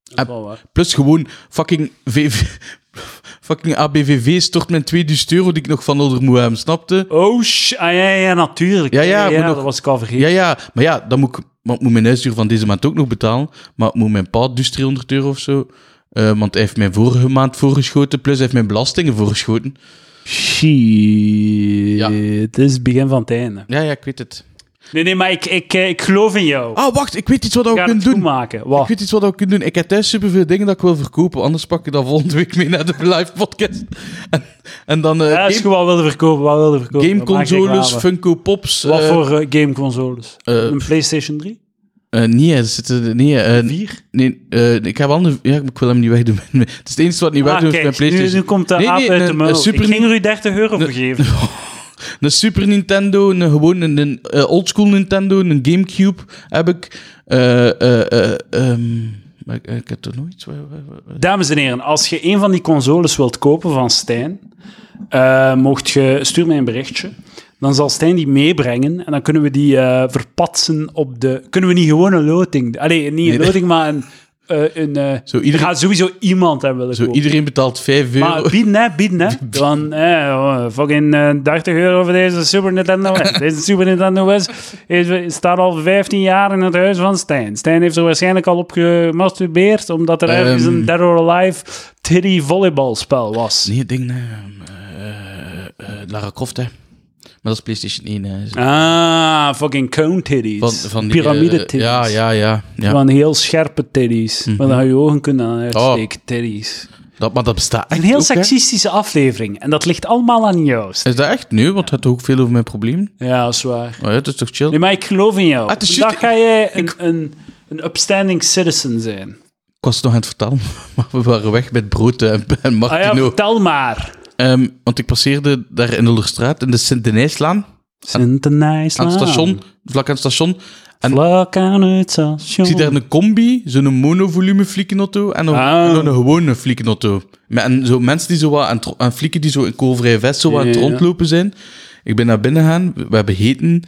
Speaker 1: Dat is wel waar.
Speaker 2: Plus gewoon fucking VV, [laughs] fucking ABVV stort mijn 2000 euro die ik nog van onder moet hebben, snapte?
Speaker 1: Oh, sh- ah, ja, ja, natuurlijk.
Speaker 2: Ja, ja, moet nog-
Speaker 1: dat was ik al vergeten.
Speaker 2: Ja, ja, maar ja, dan moet ik, want ik moet mijn huisduur van deze maand ook nog betalen, maar ik moet mijn pa dus 300 euro of zo, Eh, want hij heeft mij vorige maand voorgeschoten, plus hij heeft mijn belastingen voorgeschoten.
Speaker 1: Shit.
Speaker 2: Ja.
Speaker 1: Het is het begin van het einde.
Speaker 2: Ja, ja, ik weet het.
Speaker 1: Nee, nee, maar ik, ik, eh, ik geloof in jou.
Speaker 2: Ah, wacht, ik weet iets wat
Speaker 1: ik
Speaker 2: we
Speaker 1: ga het
Speaker 2: kunnen
Speaker 1: goed
Speaker 2: doen.
Speaker 1: maken. Wat?
Speaker 2: Ik weet iets wat we kunnen doen. Ik heb thuis superveel dingen dat ik wil verkopen, anders pak ik dat volgende week mee naar de live podcast. En, en dan eh,
Speaker 1: Ja, is
Speaker 2: game,
Speaker 1: gewoon wat wilde verkopen. Wat wilde verkopen. We maken
Speaker 2: gameconsoles,
Speaker 1: reclame.
Speaker 2: Funko Pops.
Speaker 1: Wat
Speaker 2: eh,
Speaker 1: voor eh, gameconsoles?
Speaker 2: eh,
Speaker 1: een PlayStation 3?
Speaker 2: Eh, nee, er zitten... Nee, eh,
Speaker 1: 4?
Speaker 2: nee eh, ik heb wel een... Ja, ik wil hem niet wegdoen. [laughs] Het is het enige wat niet
Speaker 1: Ah,
Speaker 2: wegdoet is
Speaker 1: kijk,
Speaker 2: mijn
Speaker 1: nu,
Speaker 2: dus PlayStation.
Speaker 1: nu komt de
Speaker 2: Nee,
Speaker 1: aap
Speaker 2: nee,
Speaker 1: uit
Speaker 2: een-
Speaker 1: de
Speaker 2: een
Speaker 1: muil.
Speaker 2: Super
Speaker 1: ik ging er u 30 euro voor
Speaker 2: Een-
Speaker 1: geven.
Speaker 2: Een Super Nintendo, een, gewoon een, een eh, oldschool Nintendo, een Gamecube heb ik. eh eh eh ehm, maar ik, ik heb er nog iets... waar- waar- waar-
Speaker 1: Dames en heren, als je een van die consoles wilt kopen van Stijn, eh, mocht je, stuur mij een berichtje. Dan zal Stijn die meebrengen en dan kunnen we die eh, verpatsen op de... Kunnen we niet gewoon een loting... Allee, niet een
Speaker 2: Nee.
Speaker 1: loting, maar een... eh, een eh,
Speaker 2: Zo iedereen-
Speaker 1: Er gaat sowieso iemand hebben willen
Speaker 2: Zo,
Speaker 1: kopen.
Speaker 2: iedereen betaalt 5 euro. [laughs]
Speaker 1: Maar bieden, hè, bieden, hè. Dan, eh, oh, fucking eh, 30 euro voor deze Super
Speaker 2: [laughs]
Speaker 1: Nintendo West. Deze Super Nintendo West is, staat al 15 jaar in het huis van Stijn. Stijn heeft er waarschijnlijk al op gemasturbeerd, omdat er ergens
Speaker 2: Ehm.
Speaker 1: een Dead or Alive titty volleybalspel was.
Speaker 2: Nee, ding... eh, eh, eh, ehm, Lara Croft, hè. Maar dat is PlayStation 1. Hè.
Speaker 1: Ah, fucking cone titties.
Speaker 2: Van, van die,
Speaker 1: Piramide
Speaker 2: eh,
Speaker 1: titties.
Speaker 2: ja, Mhm. ja, ja. ja.
Speaker 1: Van heel scherpe titties. Maar dan ga je ogen kunnen aan
Speaker 2: Oh.
Speaker 1: uitsteken, titties.
Speaker 2: Dat, maar dat bestaat echt
Speaker 1: Een heel
Speaker 2: ook, hè.
Speaker 1: seksistische aflevering. En dat ligt allemaal aan Joost.
Speaker 2: Is dat echt nu? Want het had ook veel over mijn probleem.
Speaker 1: Ja, dat is waar.
Speaker 2: Oh, ja, dat is toch chill?
Speaker 1: Nee, maar ik geloof in jou.
Speaker 2: het is
Speaker 1: Vandaag
Speaker 2: juist-
Speaker 1: ga jij een, een, een upstanding citizen zijn.
Speaker 2: Ik was het nog aan het vertellen, [laughs] maar we waren weg met Brood en, en
Speaker 1: Ah ja,
Speaker 2: Martino.
Speaker 1: vertel maar.
Speaker 2: Ehm, want ik passeerde daar in de Ullerstraat, in de Sint-Denijslaan,
Speaker 1: Sint-Nijslaan.
Speaker 2: aan het station, vlak aan het station. En
Speaker 1: Vlak aan het
Speaker 2: ik
Speaker 1: station.
Speaker 2: zie daar een combi, zo'n monovolume fliekenauto en nog,
Speaker 1: Ah.
Speaker 2: nog een gewone fliekenauto. Met- En zo mensen die zo wat, en, en flieken die zo in koolvrij vest zo wat aan het
Speaker 1: Ja, ja.
Speaker 2: rondlopen zijn. Ik ben naar binnen gegaan, we we hebben heten.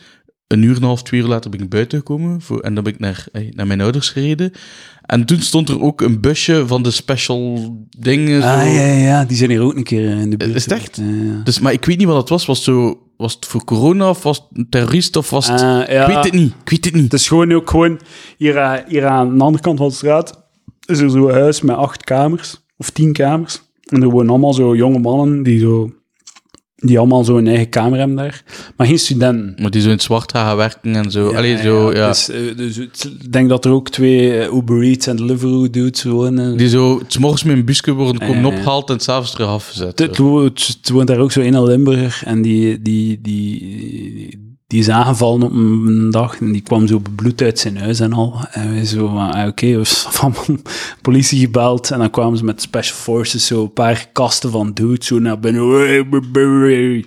Speaker 2: Een uur en een half, twee uur later ben ik buiten gekomen voor, en dan ben ik naar, eh, naar mijn ouders gereden. En toen stond er ook een busje van de special dingen. Zo.
Speaker 1: Ah ja, ja, die zijn hier ook een keer eh, in de buurt.
Speaker 2: Is het echt?
Speaker 1: Ja, ja.
Speaker 2: Dus, maar ik weet niet wat dat was. Was, zo, was het voor corona of was het een terrorist of was het...
Speaker 1: Ah, ja. Dus-
Speaker 2: Ik weet het niet. Ik weet het niet.
Speaker 1: Het is gewoon ook gewoon... Hier, eh, hier aan de andere kant van de straat is er zo'n huis met acht kamers. Of tien kamers. En er wonen allemaal zo jonge mannen die zo... Die allemaal zo een eigen kamer hebben daar. Maar geen studenten.
Speaker 2: Maar die zo in het zwart gaan werken en zo. Allee, zo, ja.
Speaker 1: Dus, eh, dus het- ik denk dat er ook twee eh, Uber Eats en Deliveroo dudes wonen.
Speaker 2: Die zo 's morgens met een busje worden komen
Speaker 1: ja.
Speaker 2: opgehaald en s'avonds terug afgezet.
Speaker 1: Het,
Speaker 2: zo.
Speaker 1: wo- het- het woont daar ook zo in een Limburger en die, die, die, die is aangevallen op een dag en die kwam zo bebloed uit zijn huis en al. En wij zo van, ah, oké, we [laughs] van politie gebeld en dan kwamen ze met special forces zo een paar kasten van dudes zo naar binnen. Wee, wee, wee, wee.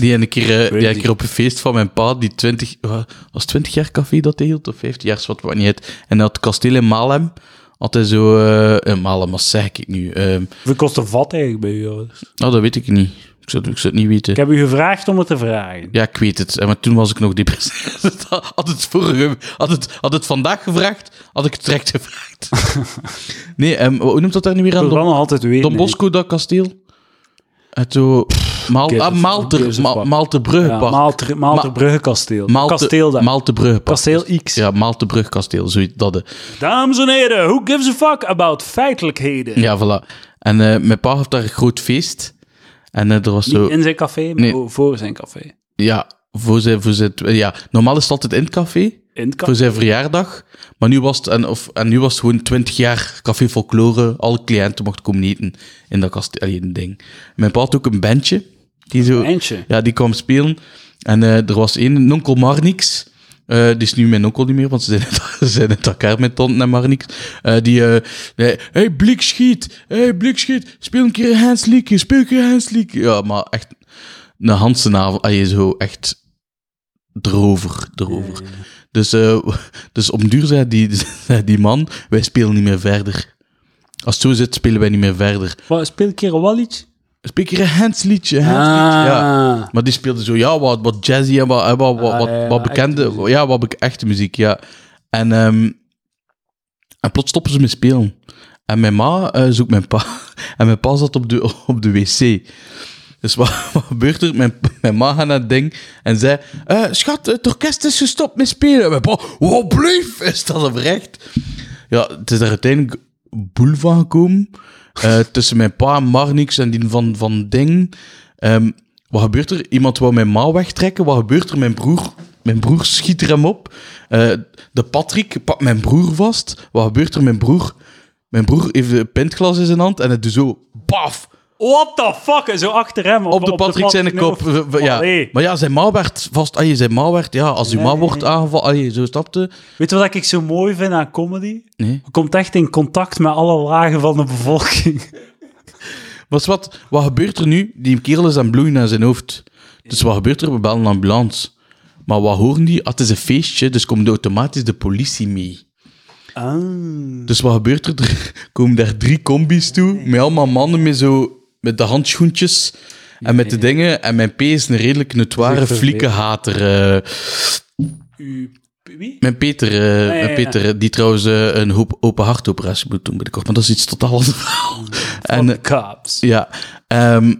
Speaker 2: Die ene keer, eh, die ene
Speaker 1: niet.
Speaker 2: keer op een feest van mijn pa, die 20, wa- was 20 jaar café dat hij hield, of 15 jaar, wat maakt niet uit. En dat kasteel in Malem, had hij zo... eh, in Malem, wat zeg ik nu? Ehm,
Speaker 1: Hoeveel kost een vat eigenlijk bij jou?
Speaker 2: nou, dat weet ik niet. Ik zou, ik zou het niet weten.
Speaker 1: Ik heb u gevraagd om het te vragen.
Speaker 2: Ja, ik weet het. Eh, Maar toen was ik nog depressief. [laughs] Had het, vorige, had, het, had het vandaag gevraagd, had ik het direct gevraagd. nee, ehm, hoe noemt dat daar nu weer aan?
Speaker 1: Ik wil wel
Speaker 2: Don,
Speaker 1: nog altijd weten.
Speaker 2: Don Bosco, dat kasteel? Het zo... Maal,
Speaker 1: gives
Speaker 2: ah,
Speaker 1: a-
Speaker 2: Maalter,
Speaker 1: gives a
Speaker 2: Ma,
Speaker 1: fuck.
Speaker 2: Maalterbruggepark.
Speaker 1: Ja, Maalter, Maalterbruggenkasteel.
Speaker 2: Maalte-
Speaker 1: Kasteel daar.
Speaker 2: Maalterbruggepark.
Speaker 1: Kasteel X. Hm.
Speaker 2: Ja, Maalterbrugkasteel, zoiets. Dat, eh.
Speaker 1: Dames en heren, who gives a fuck about feitelijkheden?
Speaker 2: Ja, voilà. En eh, mijn pa had daar een groot feest. En eh, er was zo...
Speaker 1: Niet in zijn café, maar
Speaker 2: Nee.
Speaker 1: voor zijn café.
Speaker 2: Ja, voor zijn, voor zijn... Ja, normaal is het altijd in het café.
Speaker 1: In het café.
Speaker 2: voor zijn verjaardag. Maar nu was het, en, of, en nu was het gewoon 20 jaar Café Folklore. Alle cliënten mochten komen eten in dat kasteel. allee, een ding. Mijn pa had ook een bandje. Die zo,
Speaker 1: Eindje.
Speaker 2: ja, die kwam spelen. En eh, er was één, een onkel Marnix. Eh, die is nu mijn onkel niet meer, want ze zijn uit, [laughs] ze zijn uit elkaar met tante en Marnix. Eh, die, eh die, hey Blik schiet, hey Blik schiet, speel een keer een handsliekje, speel een keer een handsliekje. Ja, maar echt, een Hansenavond, je zo echt erover, erover. Dus, eh, [laughs] dus om duur zei die, [laughs] zei die man, wij spelen niet meer verder. Als het zo zit, spelen wij niet meer verder.
Speaker 1: Wat, speel een keer een wallietje.
Speaker 2: Speel een keer een handsliedje, een
Speaker 1: Ah,
Speaker 2: handsliedje. Ja. Maar die speelde zo, ja, wat, wat jazzy en wat, en wat, wat,
Speaker 1: Ah,
Speaker 2: wat,
Speaker 1: ja, ja,
Speaker 2: wat
Speaker 1: echte
Speaker 2: bekende,
Speaker 1: muziek.
Speaker 2: ja, wat bek- echte muziek, ja. En, ehm, en plots stoppen ze met spelen. En mijn ma eh, zoekt mijn pa. [laughs] En mijn pa zat op de, [laughs] op de wc. Dus wat, [laughs] wat gebeurt er? Mijn, mijn ma gaat naar het ding en zei... eh, schat, het orkest is gestopt met spelen. En mijn pa... Wat blief, [laughs] is dat oprecht? Ja, het is daar uiteindelijk boel van gekomen. Eh, tussen mijn pa en Marnix en die van, van Ding. Ehm, wat gebeurt er? Iemand wou mijn ma wegtrekken. Wat gebeurt er? Mijn broer, mijn broer schiet er hem op. Eh, de Patrick pakt mijn broer vast. Wat gebeurt er? Mijn broer, mijn broer heeft een pintglas in zijn hand en het doet zo... Baf!
Speaker 1: What the fuck? En Zo achter hem.
Speaker 2: op de Patrick
Speaker 1: [laughs]
Speaker 2: zijn kop. v- v- [laughs] Ja.
Speaker 1: Allee.
Speaker 2: Maar ja, zijn ma werd vast. Allee, zijn ma werd, ja, als uw ma wordt aangevallen. Allee, zo stapte.
Speaker 1: Weet je wat ik zo mooi vind aan comedy?
Speaker 2: Nee.
Speaker 1: Je komt echt in contact met alle lagen van de bevolking.
Speaker 2: [laughs] Maar is wat, wat gebeurt er nu? Die kerel is aan het bloeien aan zijn hoofd. Dus wat gebeurt er? We bellen een ambulance. Maar wat horen die? Ah, het is een feestje, dus komt automatisch de politie mee.
Speaker 1: Ah.
Speaker 2: Dus wat gebeurt er? Er komen daar drie combis toe, met allemaal mannen met, zo, met de handschoentjes en met de dingen. En mijn P is een redelijk notoire
Speaker 1: Zich verveelt.
Speaker 2: fliekenhater. eh.
Speaker 1: U, wie?
Speaker 2: Mijn Peter, eh,
Speaker 1: ja,
Speaker 2: mijn
Speaker 1: ja.
Speaker 2: Peter eh, die trouwens eh, een hoop open hartoperatie moet doen binnenkort. Maar dat is iets totaal
Speaker 1: [laughs]
Speaker 2: anders. en eh,
Speaker 1: Van de cops.
Speaker 2: ja, ehm,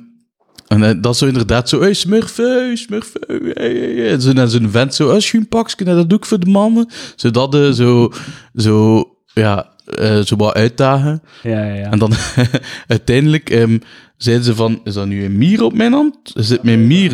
Speaker 2: en eh, dat zo inderdaad zo, hey smurf, hey smurf, hey, hey, hey, hey. En zo naar zo'n vent zo, "Ah, hey schuimpakje, nou, dat doe ik voor de mannen. Zodat eh zo, zo, ja, eh, zo wat uitdagen.
Speaker 1: Ja, ja, ja.
Speaker 2: En dan [laughs] uiteindelijk ehm, zeiden ze van, is dat nu een mier op mijn hand? Er zit mijn mier...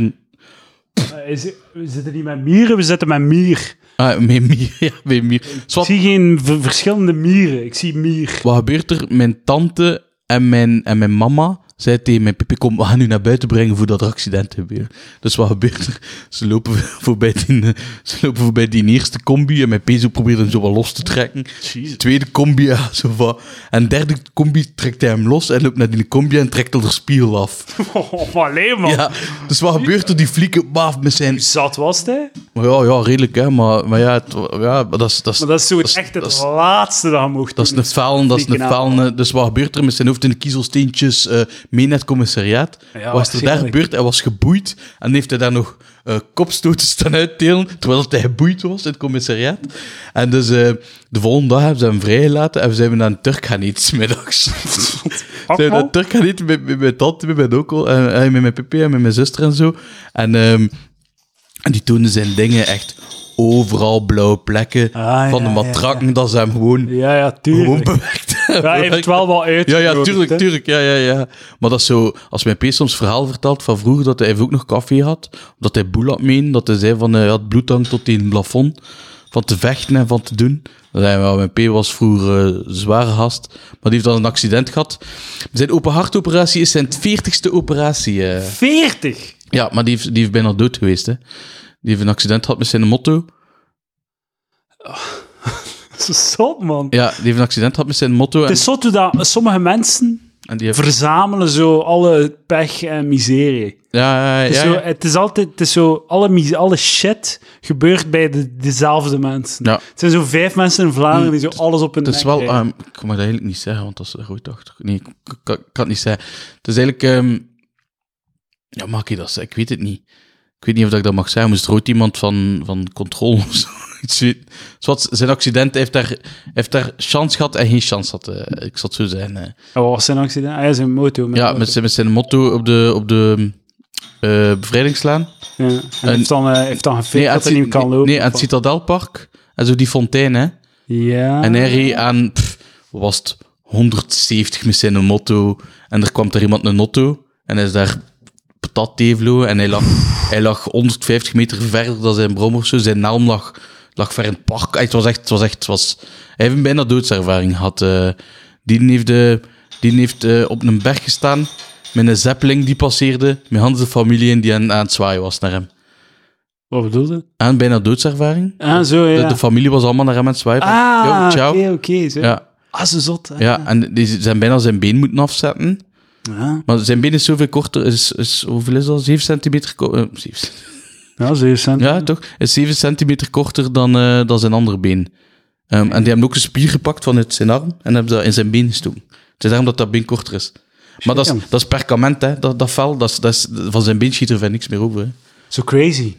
Speaker 1: Eh, is- we zitten niet met mieren, we zitten met mier.
Speaker 2: Ah, met mier. [laughs] Ja, met mier.
Speaker 1: Ik
Speaker 2: Zwat,
Speaker 1: zie geen v- verschillende mieren, ik zie mier.
Speaker 2: wat gebeurt er? Mijn tante en mijn, en mijn mama zei tegen mijn pipi, kom, we gaan u naar buiten brengen voordat er accident gebeurt. Dus wat gebeurt er? Ze lopen [laughs] voorbij die, eh, ze lopen voorbij die eerste combi en mijn pezo probeert hem zo wat los te trekken.
Speaker 1: Jezus.
Speaker 2: Tweede combi, ja, zo wat. En derde combi trekt hij hem los en loopt naar die combi en trekt al de spiegel
Speaker 1: [laughs] [laughs]
Speaker 2: af.
Speaker 1: Oh, maar alleen man.
Speaker 2: Ja, dus wat gebeurt er? Die flieken, baaf, met zijn...
Speaker 1: Zat was hij?
Speaker 2: Ja, ja, redelijk, hè. Maar, maar ja, het, ja, dat is... Dat is
Speaker 1: Maar dat is zo
Speaker 2: is-
Speaker 1: echt het
Speaker 2: dat is-
Speaker 1: laatste dat je mocht
Speaker 2: Dat is
Speaker 1: doen.
Speaker 2: een fel, dat is een
Speaker 1: Flieken aan.
Speaker 2: fel. eh, Dus wat gebeurt er met zijn hoofd in de kiezelsteentjes eh, mee naar het commissariaat?
Speaker 1: Ja,
Speaker 2: wat is er daar
Speaker 1: zekerlijk.
Speaker 2: gebeurd? Hij was geboeid en heeft hij daar nog eh kopstoten staan uitdelen, terwijl dat hij geboeid was in het commissariaat. En dus eh, de volgende dag hebben ze hem vrijgelaten en we zijn we naar een Turk gaan eten, 's
Speaker 1: [laughs]
Speaker 2: middags. zijn we naar een Turk gaan eten met, met mijn tante, met mijn onkel, en, en met mijn pipi en met mijn zuster en zo. En... ehm, en die toonde zijn dingen echt overal blauwe plekken.
Speaker 1: Ah,
Speaker 2: van
Speaker 1: ja,
Speaker 2: de
Speaker 1: ja,
Speaker 2: matrakken, dat ze hem gewoon
Speaker 1: Ja, ja,
Speaker 2: gewoon
Speaker 1: tuurlijk.
Speaker 2: bewerkt.
Speaker 1: Ja, hij heeft wel wat uit.
Speaker 2: Ja, ja, tuurlijk, tuurlijk. Ja, ja, ja. Maar dat is zo, als mijn pees soms verhaal vertelt van vroeger dat hij even ook nog koffie had, dat hij boel had meen, dat hij zei van eh, ja, het bloed hangt tot in het plafond, van te vechten en van te doen. Dan zei hij, ja, mijn P was vroeger eh, een zware gast, maar die heeft dan een accident gehad. Zijn open hartoperatie is zijn 40ste operatie. eh.
Speaker 1: 40!
Speaker 2: Ja, maar die heeft, die heeft bijna dood geweest. Hè. Die heeft een accident gehad met zijn motto.
Speaker 1: Dat is zot, man.
Speaker 2: Ja, die heeft een accident gehad met zijn motto. En,
Speaker 1: Het is zot hoe dat sommige mensen
Speaker 2: en die heeft,
Speaker 1: verzamelen zo alle pech en miserie.
Speaker 2: ja, ja,
Speaker 1: Het is,
Speaker 2: ja,
Speaker 1: zo,
Speaker 2: ja.
Speaker 1: het is altijd het is zo, alle, mis- alle shit gebeurt bij de, dezelfde mensen.
Speaker 2: Ja.
Speaker 1: Het zijn zo vijf mensen in Vlaanderen die zo alles op hun
Speaker 2: Het is
Speaker 1: nek
Speaker 2: wel,
Speaker 1: krijgen.
Speaker 2: ehm, ik mag dat eigenlijk niet zeggen, want dat is goed achter. Nee, ik ik- ik kan ik kan het niet zeggen. Het is eigenlijk, ehm, ja, mag ik dat zeggen? Ik weet het niet. Ik weet niet of dat ik dat mag zeggen. Moest er ooit iemand van, van controle of [laughs] zoiets weten. Zoals zijn accident hij heeft daar, hij heeft daar chance gehad en geen chance had. eh, ik zal het zo zeggen. eh.
Speaker 1: Oh, wat was zijn accident? Ah, ja, zijn moto. Met
Speaker 2: Ja,
Speaker 1: moto.
Speaker 2: met zijn, met zijn motto op de, op de eh bevrijdingslaan.
Speaker 1: Ja. En hij heeft dan, eh, heeft dan gefikt
Speaker 2: aan
Speaker 1: dat hij
Speaker 2: Cit-
Speaker 1: niet meer kan
Speaker 2: nee,
Speaker 1: lopen.
Speaker 2: Nee, aan het Citadelpark. En zo die fontein, hè.
Speaker 1: Ja.
Speaker 2: En hij reed aan, pff, wat was het, 170 met zijn motto. En er kwam er iemand een auto. En hij is daar patat tevelo. En hij lag, hij lag 150 meter verder dan zijn brommer. Zo. Zijn naam lag, lag ver in het park. Het was echt, het was echt, het was... Hij heeft een bijna doodservaring gehad. eh. die heeft, de, die heeft eh, op een berg gestaan. Met een zeppeling die passeerde. Met Hans de familie en die aan, aan het zwaaien was naar hem.
Speaker 1: Wat bedoelde?
Speaker 2: En bijna doodservaring.
Speaker 1: Ah, zo, ja.
Speaker 2: De, de familie was allemaal naar hem aan het zwaaien. van,
Speaker 1: ah,
Speaker 2: "Yo,
Speaker 1: oké,
Speaker 2: ciao."
Speaker 1: oké. zo.
Speaker 2: Ja,
Speaker 1: Ah, zo zot. hè.
Speaker 2: ja, en die zijn bijna zijn been moeten afzetten.
Speaker 1: Ja.
Speaker 2: Maar zijn been is zoveel korter, is, is hoeveel is dat? 7 centimeter ko- eh, zeven cent-
Speaker 1: Ja, zo is het.
Speaker 2: [laughs] Ja, toch? Is 7 centimeter korter dan, eh, dan zijn andere been. Ehm, En die hebben ook een spier gepakt vanuit zijn arm en hebben dat in zijn been gestoken. Het is daarom dat dat been korter is. Maar dat is,
Speaker 1: Shit,
Speaker 2: dat is perkament, hè. Dat, dat vel, dat is, dat is, van zijn been schiet er verder niks meer over. Hè.
Speaker 1: Zo crazy.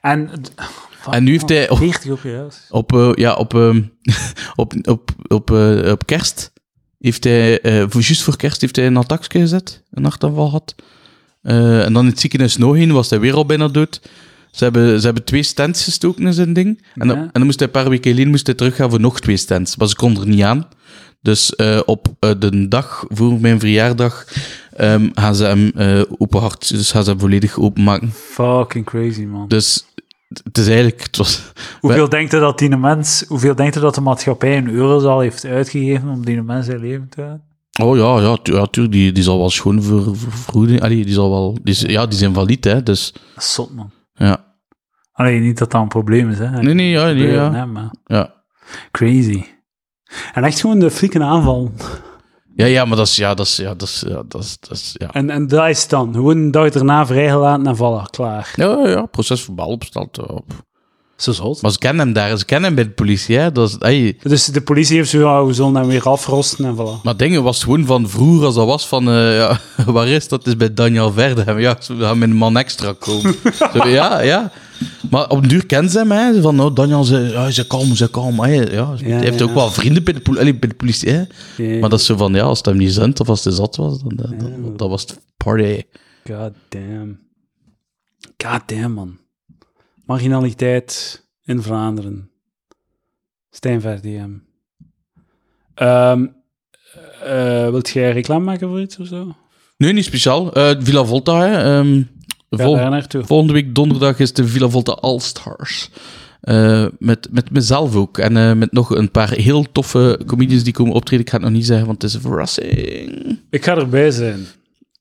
Speaker 1: En, eh,
Speaker 2: En nu heeft hij op,
Speaker 1: 40 op je huis.
Speaker 2: op, eh, ja, op, ehm, [laughs] op, op, op, eh, op kerst heeft hij, eh, voor, juist voor kerst, heeft hij een attackje gezet, een hartaanval gehad. Eh, en dan in het ziekenhuis nog heen, was hij weer al bijna dood. Ze hebben, ze hebben twee stents gestoken in zijn ding. En, dan,
Speaker 1: Ja.
Speaker 2: en dan moest hij een paar weken geleden moest hij teruggaan voor nog twee stents. Maar ze kon er niet aan. Dus eh, op eh, de dag voor mijn verjaardag ehm, gaan ze hem eh open hart, dus gaan ze hem volledig openmaken.
Speaker 1: Fucking crazy, man.
Speaker 2: Dus het is eigenlijk, het was,
Speaker 1: hoeveel denkt u dat die mens, hoeveel denkt u dat de maatschappij een euro al heeft uitgegeven om die mens zijn leven te houden?
Speaker 2: Oh ja, ja, tu- ja tuurlijk, die, die zal wel schoon voor, voor vergoeding. Allee, die zal wel... Die, is- ja, die zijn valide, hè, dus...
Speaker 1: Dat is zot, man.
Speaker 2: Ja.
Speaker 1: Allee, niet dat dat een probleem is, hè.
Speaker 2: Nee, nee, ja, nee,
Speaker 1: Gebeuren,
Speaker 2: ja.
Speaker 1: hè, maar
Speaker 2: Ja,
Speaker 1: crazy. En echt gewoon de flieken aanval.
Speaker 2: ja, ja maar dat is... Ja, dat is... Ja, dat is... Ja, dat is, dat is ja.
Speaker 1: En, en dat is dan. Gewoon een dag daarna vrijgelaten en voilà, klaar.
Speaker 2: Ja, ja, ja, proces verbaal opstelt. eh, Op.
Speaker 1: Zo zot.
Speaker 2: Maar ze kennen hem daar, ze kennen hem bij de politie, hè. Dat is, hey.
Speaker 1: Dus de politie heeft zo, ja, we zullen hem weer afrosten en voilà.
Speaker 2: Maar dingen was gewoon van vroeger als dat was van... eh, ja, [laughs] waar is dat? Het is bij Daniel Verde. Ja, ze gaan met een man extra
Speaker 1: [laughs]
Speaker 2: komen. Zo, ja, ja. Maar op den duur kennen ze hem, hè. Zo Van, nou, Daniel, ze, ja, ze kalm, ze kalm. hè. Ja, hij
Speaker 1: Ja,
Speaker 2: heeft
Speaker 1: ja.
Speaker 2: ook wel vrienden bij de, poli- allee, bij de politie, hè.
Speaker 1: Yeah.
Speaker 2: Maar dat is zo van, ja, als het hem niet zendt of als hij zat was, dan, dan, dan- dat was het party.
Speaker 1: God damn. God damn, man. Marginaliteit in Vlaanderen. Stijn VDM. Ehm eh, wilt jij reclame maken voor iets of zo?
Speaker 2: Nee, niet speciaal. Eh, Villa Volta, hè. ehm,
Speaker 1: Vol.
Speaker 2: Vol-
Speaker 1: daar naartoe.
Speaker 2: Volgende week donderdag is de Villa Volta All Stars. Eh, met, met mezelf ook. En eh, met nog een paar heel toffe comedians die komen optreden. Ik ga het nog niet zeggen, want het is een verrassing.
Speaker 1: Ik ga erbij zijn.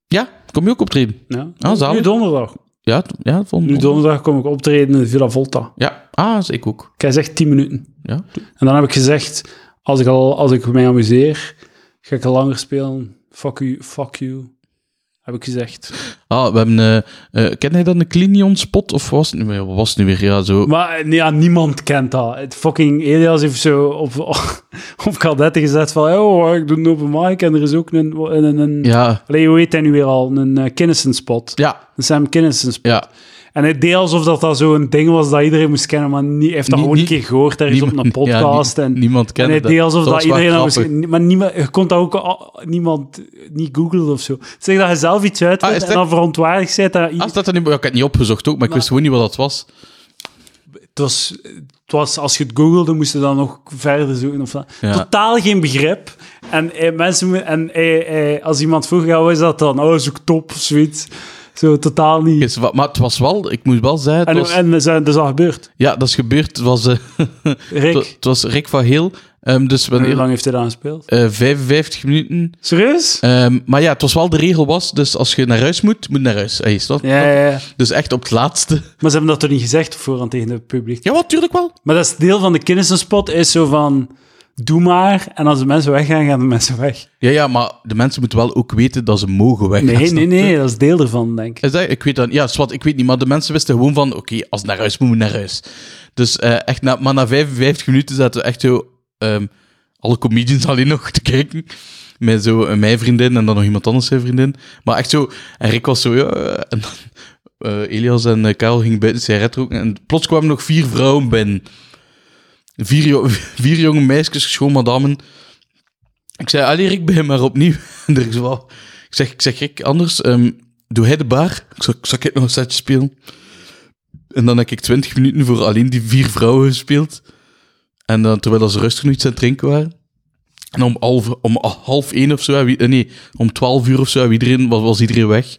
Speaker 2: Ja, kom je ook optreden?
Speaker 1: Ja.
Speaker 2: Ah, zalig.
Speaker 1: nu donderdag.
Speaker 2: Ja, t- ja volgende
Speaker 1: Nu donderdag kom ik optreden in Villa Volta.
Speaker 2: Ja, ah, is ik ook.
Speaker 1: Ik heb gezegd 10 minuten.
Speaker 2: Ja.
Speaker 1: En dan heb ik gezegd, als ik, al, als ik mij amuseer, ga ik langer spelen. Fuck you, fuck you. Heb ik gezegd.
Speaker 2: Ah, we hebben... eh eh, ken jij dan de Clinion spot? Of was het nu weer? Wat Was het nu weer? Ja, zo.
Speaker 1: Maar eh, nee, ja, niemand kent dat. Het fucking Elias heeft zo op, [laughs] op kadetten gezet van, oh, ik doe een open mic en er is ook een... een, een, een
Speaker 2: Ja,
Speaker 1: Allee, hoe heet hij nu weer al? Een eh, Kinnison spot.
Speaker 2: ja,
Speaker 1: Een Sam Kinnison spot.
Speaker 2: ja.
Speaker 1: En hij deed alsof dat, dat zo'n ding was dat iedereen moest kennen, maar niet, hij heeft dat
Speaker 2: Nie-
Speaker 1: gewoon een
Speaker 2: nie-
Speaker 1: keer gehoord ergens op
Speaker 2: Niemand-
Speaker 1: een podcast.
Speaker 2: [laughs] ja, nie-
Speaker 1: en,
Speaker 2: niemand
Speaker 1: en
Speaker 2: kende
Speaker 1: hij deed alsof dat,
Speaker 2: was wel
Speaker 1: iedereen dat
Speaker 2: grappig.
Speaker 1: moest- Maar niemand, je kon dat ook al- niemand niet googlen of zo. Zeg dat je zelf iets uitvindt
Speaker 2: Ah, is
Speaker 1: en
Speaker 2: dat-
Speaker 1: dan verontwaardigd bent. Dat,
Speaker 2: Ah, staat er niet... ja, ik heb het niet opgezocht ook, maar, ik wist gewoon niet wat dat was.
Speaker 1: het, was, het was, als je het googelde, moest je dan nog verder zoeken. Of dat.
Speaker 2: Ja.
Speaker 1: Totaal geen begrip. En, eh, mensen, mo- en eh, eh, als iemand vroeg, ja, wat is dat dan? Oh, zoek top of zoiets. Zo, totaal niet.
Speaker 2: Ik wist wat- Maar het was wel... Ik moet wel zeggen... Het
Speaker 1: en
Speaker 2: was...
Speaker 1: en dat is- dat is al gebeurd.
Speaker 2: Ja, dat is gebeurd. Het was, eh,
Speaker 1: Rick,
Speaker 2: het was Rick van Heel. Ehm, dus
Speaker 1: en hoe
Speaker 2: wanneer,
Speaker 1: lang heeft hij dat gespeeld?
Speaker 2: eh 55 minuten.
Speaker 1: Serieus?
Speaker 2: Ehm, maar ja, het was wel de regel was, dus als je naar huis moet, moet je naar huis. Hey, snap je?
Speaker 1: Ja, ja, ja.
Speaker 2: Dus echt op het laatste. [laughs]
Speaker 1: Maar ze hebben dat toch niet gezegd op voorhand tegen het publiek?
Speaker 2: Ja, wat, tuurlijk wel.
Speaker 1: Maar dat is deel van de kennissenspot, is zo van... Doe maar, en als de mensen weggaan, gaan de mensen weg.
Speaker 2: [laughs] Ja, ja, maar de mensen moeten wel ook weten dat ze mogen weggaan.
Speaker 1: Nee,
Speaker 2: [laughs] snap
Speaker 1: nee,
Speaker 2: je?
Speaker 1: nee, dat is deel ervan, denk ik.
Speaker 2: Is dat, ik weet dat, ja, zwart, ik weet niet, maar de mensen wisten gewoon van, oké, als het naar huis moet, moet het naar huis. Dus eh, echt, na, maar na 55 minuten zaten we echt zo, ehm, alle comedians [laughs] alleen nog te kijken. Met zo eh, mijn vriendin en dan nog iemand anders zijn vriendin. Maar echt zo, en Rick was zo, ja, eh, en dan, eh, Elias en eh, Karel gingen buiten sigaret roken en plots kwamen nog vier vrouwen binnen. Vier, jo- [laughs] vier jonge meisjes, schoon madamen. Ik zei, allee Rick, begin maar opnieuw. [laughs] En er is wel... Ik zeg, ik zeg Rick, anders, ehm, doe hij de bar? Ik zal, zal ik nog een setje spelen? En dan heb ik 20 minuten voor alleen die vier vrouwen gespeeld. En dan, terwijl dat ze rustig nog iets aan het drinken waren. En om half, om half één of zo, heb i- eh, nee, om twaalf uur of zo, heb iedereen, was, was iedereen weg.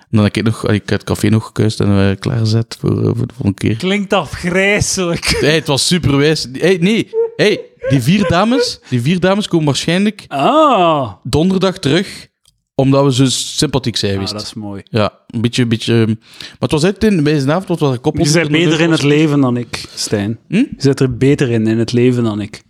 Speaker 2: En dan heb ik nog, allee, ik heb het café nog gekuist en eh, klaargezet voor, eh, voor de volgende keer. [laughs]
Speaker 1: Klinkt afgrijzelijk.
Speaker 2: Hey, het was superwijs. Hey, nee, hey, die vier dames, die vier dames komen waarschijnlijk [laughs]
Speaker 1: Ah,
Speaker 2: donderdag terug, omdat we zo sympathiek zijn
Speaker 1: Ah,
Speaker 2: geweest.
Speaker 1: dat is mooi.
Speaker 2: Ja, een beetje, een beetje... ehm, Maar het was uit in, bij zijn avond, wat was een koppel.
Speaker 1: Je bent beter in het leven dan ik, Stijn.
Speaker 2: Hm? Hmm.
Speaker 1: Je zit er beter in, in het leven dan ik.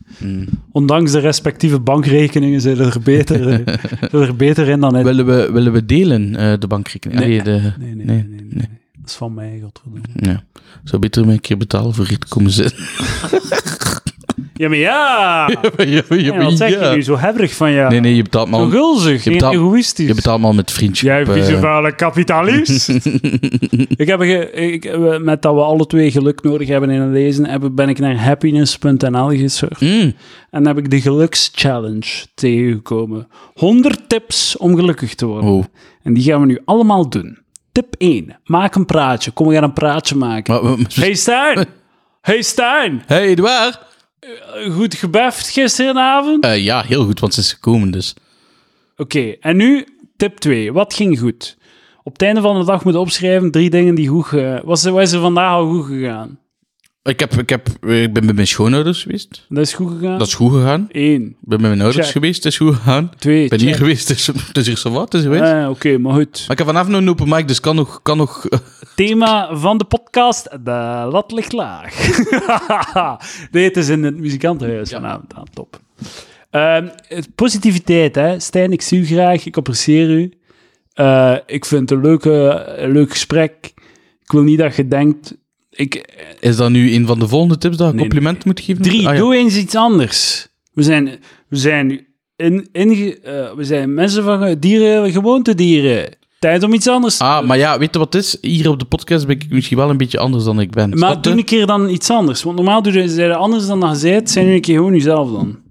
Speaker 1: Ondanks de respectieve bankrekeningen zit er beter,
Speaker 2: [laughs]
Speaker 1: eh, zit er beter in dan ik.
Speaker 2: Willen we, willen we delen, eh, de bankrekening?
Speaker 1: Nee.
Speaker 2: Allee, de...
Speaker 1: Nee, nee,
Speaker 2: nee, Hmm.
Speaker 1: nee, nee, nee. Dat is van mij, godverdomme.
Speaker 2: Ja. Zou beter me een keer betalen voor hier te komen zitten. [laughs]
Speaker 1: Ja, maar ja!
Speaker 2: ja, ja,
Speaker 1: Ja, wat zeg
Speaker 2: ja.
Speaker 1: je nu? Zo hebberig van jou.
Speaker 2: Nee, nee, je betaalt me
Speaker 1: Zo
Speaker 2: al,
Speaker 1: gulzig
Speaker 2: je
Speaker 1: en
Speaker 2: betaalt-
Speaker 1: egoïstisch.
Speaker 2: je betaalt me al met vriendschap.
Speaker 1: Jij
Speaker 2: eh.
Speaker 1: vieze vuile
Speaker 2: [laughs]
Speaker 1: kapitalist. ik heb, ge- ik, eh, we- met dat we alle twee geluk nodig hebben in het lezen, heb, ben ik naar happiness.nl gesurfd.
Speaker 2: Mm.
Speaker 1: En heb ik de gelukschallenge tegengekomen. 100 tips om gelukkig te worden.
Speaker 2: Oh.
Speaker 1: En die gaan we nu allemaal doen. Tip 1. Maak een praatje. Kom, we gaan een praatje maken.
Speaker 2: Maar, maar-
Speaker 1: Hey
Speaker 2: [laughs]
Speaker 1: Stijn! Hey Stijn!
Speaker 2: hey, Edouard!
Speaker 1: Goed gebeft gisteravond?
Speaker 2: Eh, ja, heel goed, want ze is gekomen, dus.
Speaker 1: Oké, en nu tip 2. Wat ging goed? Op het einde van de dag moeten opschrijven drie dingen die goed gaan. Wat is, wat is er vandaag al goed gegaan?
Speaker 2: Ik, heb, ik, heb, eh, ik ben bij mijn schoonouders geweest.
Speaker 1: Dat is goed gegaan?
Speaker 2: Dat is goed gegaan.
Speaker 1: Eén,
Speaker 2: Ik ben bij mijn ouders
Speaker 1: Check.
Speaker 2: geweest, dat is goed gegaan.
Speaker 1: twee,
Speaker 2: Ik ben hier
Speaker 1: check.
Speaker 2: geweest, dus, dus hier zo wat, dus je weet.
Speaker 1: Ah, Oké, maar goed.
Speaker 2: Maar ik heb vanavond nog een open mic, dus kan nog... Kan nog [laughs]
Speaker 1: Thema van de podcast, de lat ligt laag. [laughs] nee, het is in het muzikantenhuis vanavond. Ah, top. Ehm, het- positiviteit, hè. Stijn, ik zie u graag, ik apprecieer u. Eh, ik vind het een, leuke, een leuk gesprek. Ik wil niet dat je denkt... Ik,
Speaker 2: is dat nu een van de volgende tips dat ik
Speaker 1: Nee,
Speaker 2: compliment moet geven?
Speaker 1: Drie,
Speaker 2: Ah, ja.
Speaker 1: doe eens iets anders. We zijn, we zijn, in, inge- eh, we zijn mensen van ge- dieren, gewoontedieren. Tijd om iets anders.
Speaker 2: Ah, maar ja, weet je wat het is? Hier op de podcast ben ik misschien wel een beetje anders dan ik ben.
Speaker 1: maar
Speaker 2: Snap
Speaker 1: doe
Speaker 2: je?
Speaker 1: een keer dan iets anders. Want normaal doe je ze anders dan dat je zei. Zijn nu een keer gewoon jezelf dan.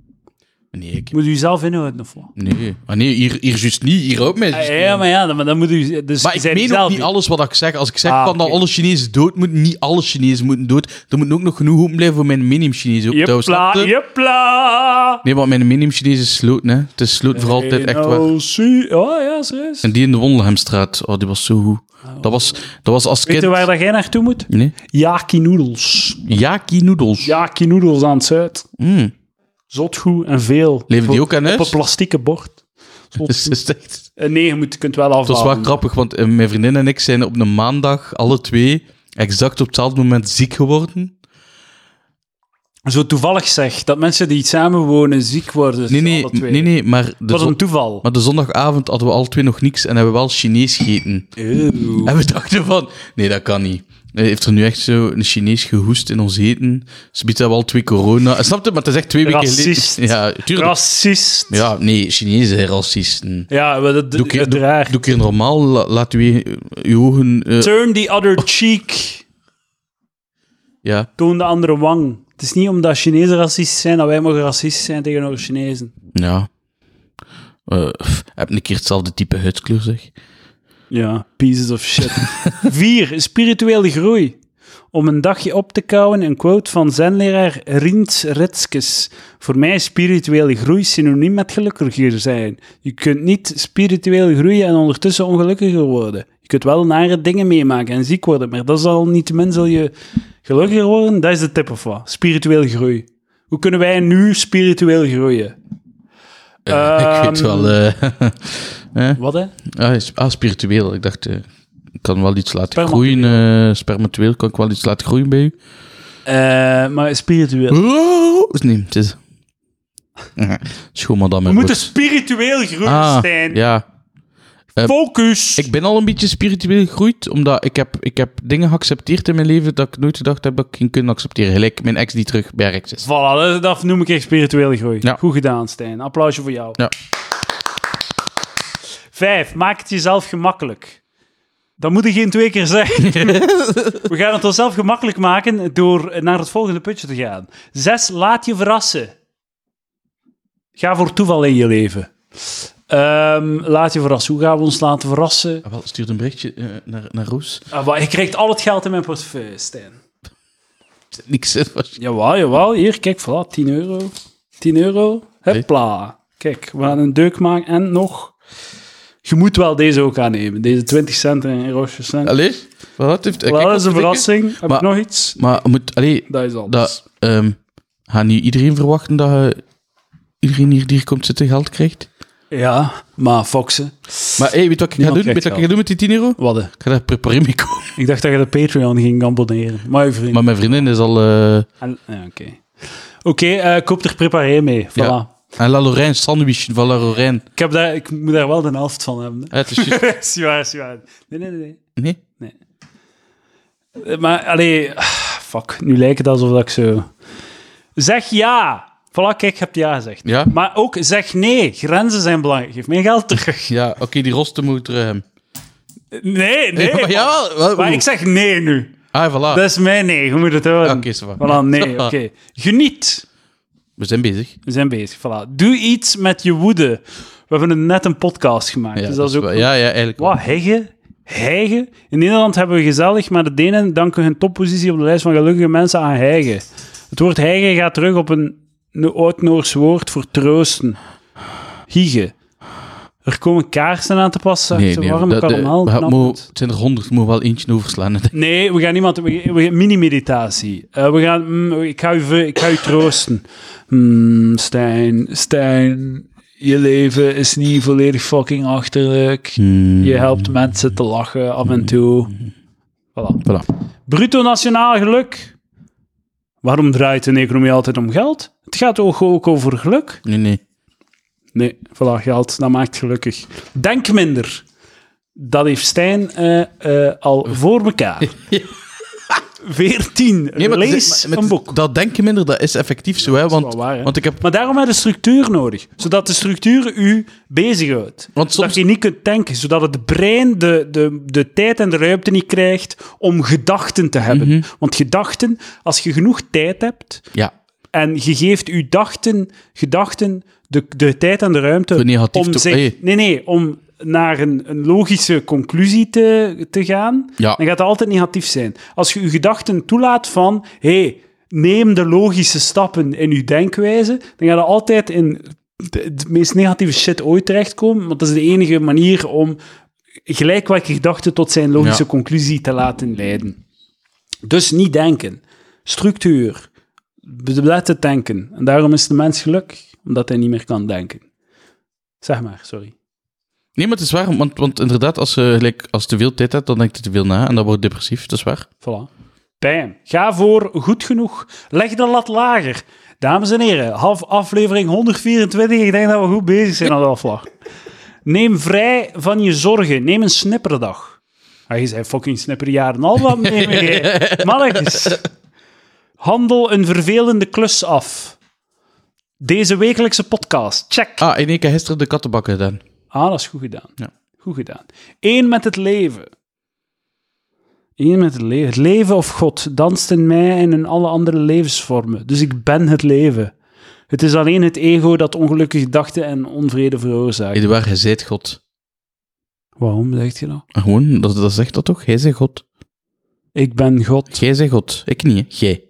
Speaker 2: Nee, ik...
Speaker 1: Moet u zelf inhouden of wat?
Speaker 2: Nee. Ah, nee, hier, hier juist niet. Hier ook mij. juist
Speaker 1: Ah, Ja,
Speaker 2: niet.
Speaker 1: maar ja, dan, maar dan moet u... Dus
Speaker 2: Maar ik
Speaker 1: zij
Speaker 2: meen ook
Speaker 1: zelf
Speaker 2: niet alles wat ik zeg. Als ik zeg
Speaker 1: Ah,
Speaker 2: van dat
Speaker 1: oké.
Speaker 2: alle Chinezen dood moeten, niet alle Chinezen moeten dood. Er moet ook nog genoeg open blijven voor mijn minimum-Chinezen. ook, trouwens.
Speaker 1: Jepla,
Speaker 2: Snap je?
Speaker 1: jepla!
Speaker 2: Nee, want mijn minimum-Chinezen is sloten, hè. Het is sloten voor altijd, echt waar.
Speaker 1: Oh, zie- oh ja, serieus.
Speaker 2: En die in de Wondelhemstraat, oh, die was zo goed. Dat was, dat was als
Speaker 1: Ah, Weet
Speaker 2: kind...
Speaker 1: je waar dat jij naartoe moet?
Speaker 2: Nee?
Speaker 1: Yaki Noedels.
Speaker 2: Yaki noedels.
Speaker 1: Yaki Noedels aan het zuid.
Speaker 2: Mm.
Speaker 1: Zot goed en veel.
Speaker 2: Leven die ook aan
Speaker 1: Op een
Speaker 2: huis?
Speaker 1: plastieke
Speaker 2: [laughs]
Speaker 1: bord. Zot
Speaker 2: Dus
Speaker 1: goed.
Speaker 2: het is echt...
Speaker 1: Eh, Nee, je moet, je kunt wel afhalen.
Speaker 2: Het was wel grappig, want eh, mijn vriendin en ik zijn op een maandag alle twee exact op hetzelfde moment ziek geworden.
Speaker 1: Zo toevallig zeg, dat mensen die samen wonen ziek worden.
Speaker 2: Nee, nee,
Speaker 1: alle twee.
Speaker 2: nee, nee maar, de
Speaker 1: Dat was een
Speaker 2: zon-
Speaker 1: toeval.
Speaker 2: maar de zondagavond hadden we alle twee nog niks en hebben we wel Chinees gegeten.
Speaker 1: Eeuw.
Speaker 2: En we dachten van, nee, dat kan niet. Eh, Heeft er nu echt zo een Chinees gehoest in ons eten? Ze biedt hebben we al twee corona. Eh, Snap je? Maar het is echt twee weken
Speaker 1: Racist.
Speaker 2: geleden. Ja, tuurlijk.
Speaker 1: Racist.
Speaker 2: Ja, nee, Chinezen zijn racisten.
Speaker 1: Ja, maar dat
Speaker 2: Doe ik-
Speaker 1: uiteraard.
Speaker 2: Doe een keer normaal, la- laat u je, uw ogen... eh,
Speaker 1: Turn the other cheek.
Speaker 2: ja,
Speaker 1: Toon de andere wang. Het is niet omdat Chinezen racistisch zijn dat wij mogen racistisch zijn tegenover Chinezen.
Speaker 2: ja. Eh, pff, heb een keer hetzelfde type huidskleur, zeg.
Speaker 1: Ja, pieces of
Speaker 2: [laughs]
Speaker 1: shit. Vier, spirituele groei. Om een dagje op te kouwen, een quote van zenleraar Rins Ritskes. Voor mij is spirituele groei synoniem met gelukkiger zijn. Je kunt niet spiritueel groeien en ondertussen ongelukkiger worden. Je kunt wel nare dingen meemaken en ziek worden, maar dat zal niet zal je gelukkiger worden. Dat is de tip of wat. Spiritueel groei. Hoe kunnen wij nu spiritueel groeien?
Speaker 2: Eh, [laughs] ik
Speaker 1: Ehm,
Speaker 2: weet wel... eh, [laughs] eh,
Speaker 1: Wat hè?
Speaker 2: ah, is- ah, spiritueel. Ik dacht, eh, ik kan wel iets laten
Speaker 1: Spermatueel.
Speaker 2: groeien. eh, spermatueel kan ik wel iets laten groeien bij u.
Speaker 1: Eh, maar spiritueel.
Speaker 2: Oh, nee, het is... [laughs] Schoon madame.
Speaker 1: We moeten spiritueel groeien,
Speaker 2: ah,
Speaker 1: Stijn.
Speaker 2: ja.
Speaker 1: Focus!
Speaker 2: Ik ben al een beetje spiritueel gegroeid, omdat ik heb, ik heb dingen geaccepteerd in mijn leven dat ik nooit gedacht heb dat ik ging kunnen accepteren. Gelijk mijn ex die terug bij haar ex is.
Speaker 1: Voilà, dat, dat noem ik echt spirituele groei.
Speaker 2: Ja.
Speaker 1: Goed gedaan, Stijn. Applausje voor jou.
Speaker 2: Ja.
Speaker 1: Vijf, maak het jezelf gemakkelijk. Dat moet ik geen twee keer zeggen.
Speaker 2: [laughs]
Speaker 1: We gaan het onszelf gemakkelijk maken door naar het volgende putje te gaan. Zes, laat je verrassen. Ga voor toeval in je leven. Ehm, laat je verrassen. Hoe gaan we ons laten verrassen?
Speaker 2: Ah, wel, stuurt een berichtje eh, naar, naar Roos.
Speaker 1: Ah, maar je krijgt al het geld in mijn portefeuille, Stijn.
Speaker 2: Niks. [laughs] eh, was-
Speaker 1: Jawel, jawel. Hier, kijk, voilà, 10 euro. 10 euro. Hopla. Kijk, we gaan een deuk maken. En nog... Je moet wel deze ook aannemen. Deze 20 cent en roosje cent.
Speaker 2: Allee? Wat heeft kijk,
Speaker 1: Wel, dat
Speaker 2: wat
Speaker 1: is een
Speaker 2: vind ik?
Speaker 1: verrassing. Heb
Speaker 2: Maar-
Speaker 1: ik nog iets?
Speaker 2: Maar moet, allee,
Speaker 1: Dat is alles.
Speaker 2: dat, ehm gaat nu iedereen verwachten dat eh, iedereen hier die hier komt zitten geld krijgt?
Speaker 1: Ja, maar foxen.
Speaker 2: Maar hey, weet je wat ik ga
Speaker 1: Niemand
Speaker 2: doen? Weet je wat ik
Speaker 1: krijgt
Speaker 2: ga doen met die 10 euro?
Speaker 1: Wadden.
Speaker 2: Ik ga daar preparé mee komen. [laughs]
Speaker 1: Ik dacht dat je de Patreon ging abonneren. Maar je vriend.
Speaker 2: Maar mijn vriendin is al... eh,
Speaker 1: En- ja, Oké, Oké, eh, koop er preparé mee. Voilà.
Speaker 2: Ja. En La Lorraine sandwich van La Lorraine.
Speaker 1: Ik, heb daar, ik moet daar wel de helft van hebben.
Speaker 2: Eh, het is juist-
Speaker 1: [laughs] hè. Zie waar, zie waar. Nee, nee, nee, nee.
Speaker 2: [laughs] Nee?
Speaker 1: Eh, Maar, allee, ah, fuck. Nu lijkt het alsof dat ik zo... Zeg ja! Voilà, kijk, je hebt ja gezegd.
Speaker 2: Ja?
Speaker 1: Maar ook zeg nee. Grenzen zijn belangrijk. Geef mijn geld terug.
Speaker 2: Ja, oké, die rosten moet terug hebben.
Speaker 1: Nee, nee.
Speaker 2: [laughs] Ja, jawel, wel-
Speaker 1: Maar
Speaker 2: oeh.
Speaker 1: ik zeg Dus- nee nu.
Speaker 2: Ah, voilà.
Speaker 1: Dat is mijn nee. Je moet het horen.
Speaker 2: Oké, ça va.
Speaker 1: Voilà, nee. Oké. Geniet.
Speaker 2: We zijn bezig.
Speaker 1: We zijn bezig. Voilà. Doe iets met je woede. We hebben een- net een podcast gemaakt.
Speaker 2: Ja,
Speaker 1: dus dat is ook
Speaker 2: wel- ja, ja, eigenlijk wel.
Speaker 1: Wat, heggen? Hijgen? In Nederland hebben we gezellig, maar de Denen danken hun toppositie op de lijst van gelukkige mensen aan hijgen. Het woord hijgen gaat terug op een no- oud-Noors woord voor troosten. Hiegen. Er komen kaarsen aan te passen, nee, warme
Speaker 2: dat- de-
Speaker 1: karamel,
Speaker 2: we gaan-
Speaker 1: knappend.
Speaker 2: moet- het zijn er honderd, moet wel eentje overslaan. [laughs] hè.
Speaker 1: Nee, we gaan niemand... We, we- Mini-meditatie. Eh, we gaan... mm, ik, ga u, ver- ik ga u troosten. Hmm, Stijn, Stijn... Je leven is niet volledig fucking achterlijk.
Speaker 2: Hmm. Mm.
Speaker 1: Je helpt mensen te lachen af en toe. Voilà.
Speaker 2: Voilà.
Speaker 1: Bruto nationaal geluk. Waarom draait een economie altijd om geld? Het gaat ook, ook over geluk.
Speaker 2: Nee, nee.
Speaker 1: Nee, voilà, geld, dat maakt gelukkig. Denk minder. Dat heeft Stijn eh, eh, al voor
Speaker 2: [laughs]
Speaker 1: elkaar. Veertien.
Speaker 2: maar het is-
Speaker 1: Lees
Speaker 2: maar- maar
Speaker 1: een
Speaker 2: het-
Speaker 1: boek.
Speaker 2: Dat denk je minder, dat is effectief zo, hè. Want,
Speaker 1: wel waar, hè.
Speaker 2: want ik heb...
Speaker 1: Maar daarom heb je structuur nodig. Zodat de structuur u bezighoudt.
Speaker 2: Want
Speaker 1: Zodat
Speaker 2: soms...
Speaker 1: je niet kunt denken. Zodat het brein de, de, de tijd en de ruimte niet
Speaker 2: Mhm.
Speaker 1: krijgt om gedachten te hebben. Want gedachten, als je genoeg tijd hebt,
Speaker 2: Ja.
Speaker 1: En je geeft uw dachten, gedachten de, de tijd en de ruimte
Speaker 2: Zo negatief
Speaker 1: om
Speaker 2: te-
Speaker 1: zich...
Speaker 2: hey.
Speaker 1: Nee, nee, om naar een, een logische conclusie te, te gaan.
Speaker 2: Ja.
Speaker 1: Dan gaat het altijd negatief zijn. Als je uw gedachten toelaat van... hey, neem de logische stappen in uw denkwijze, dan gaat het altijd in de, de meest negatieve shit ooit terechtkomen, want dat is de enige manier om gelijk welke gedachte tot zijn logische
Speaker 2: Ja.
Speaker 1: conclusie te laten leiden. Dus niet denken. Structuur. Beletten denken. En daarom is de mens gelukkig, omdat hij niet meer kan denken. Zeg maar, sorry.
Speaker 2: Nee, maar het is waar, want, want inderdaad, als je gelijk, als je te veel tijd hebt, dan denkt je te veel na en dan wordt je depressief, dat is waar.
Speaker 1: Voilà. Bam. Ga voor goed genoeg. Leg de lat lager. Dames en heren, half aflevering 124. Ik denk dat we goed bezig zijn aan de afslag. Neem vrij van je zorgen. Neem een snipperdag. Hij is fucking snipperjaren al wat nemen jij. Mannetjes. Handel een vervelende klus af. Deze wekelijkse podcast. Check.
Speaker 2: Ah, en ik heb gisteren de kattenbakken gedaan.
Speaker 1: Ah, dat is goed gedaan.
Speaker 2: Ja.
Speaker 1: Goed gedaan. Eén met het leven. Eén met het leven. Het leven of God danst in mij en in alle andere levensvormen. Dus ik ben het leven. Het is alleen het ego dat ongelukkige gedachten en onvrede veroorzaakt.
Speaker 2: Eduard, hij zijt God.
Speaker 1: Waarom zegt nou? je dat?
Speaker 2: Gewoon, dat, dat zegt dat toch? Jij zegt God.
Speaker 1: Ik ben God.
Speaker 2: Jij zegt God. Ik niet, hè. Jij.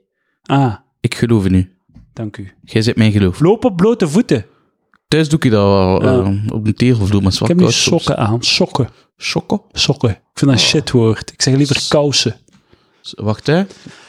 Speaker 1: Ah,
Speaker 2: Ik geloof in u.
Speaker 1: dank u.
Speaker 2: Jij zit mijn geloof.
Speaker 1: Loop op blote voeten.
Speaker 2: Thuis doe ik dat wel, eh, op een tegelvloer, maar
Speaker 1: Ik
Speaker 2: zwart
Speaker 1: heb nu sokken aan. Sokken.
Speaker 2: Sokken?
Speaker 1: Sokken. Ik vind dat een shitwoord. Ik zeg liever kousen.
Speaker 2: Wacht, hè.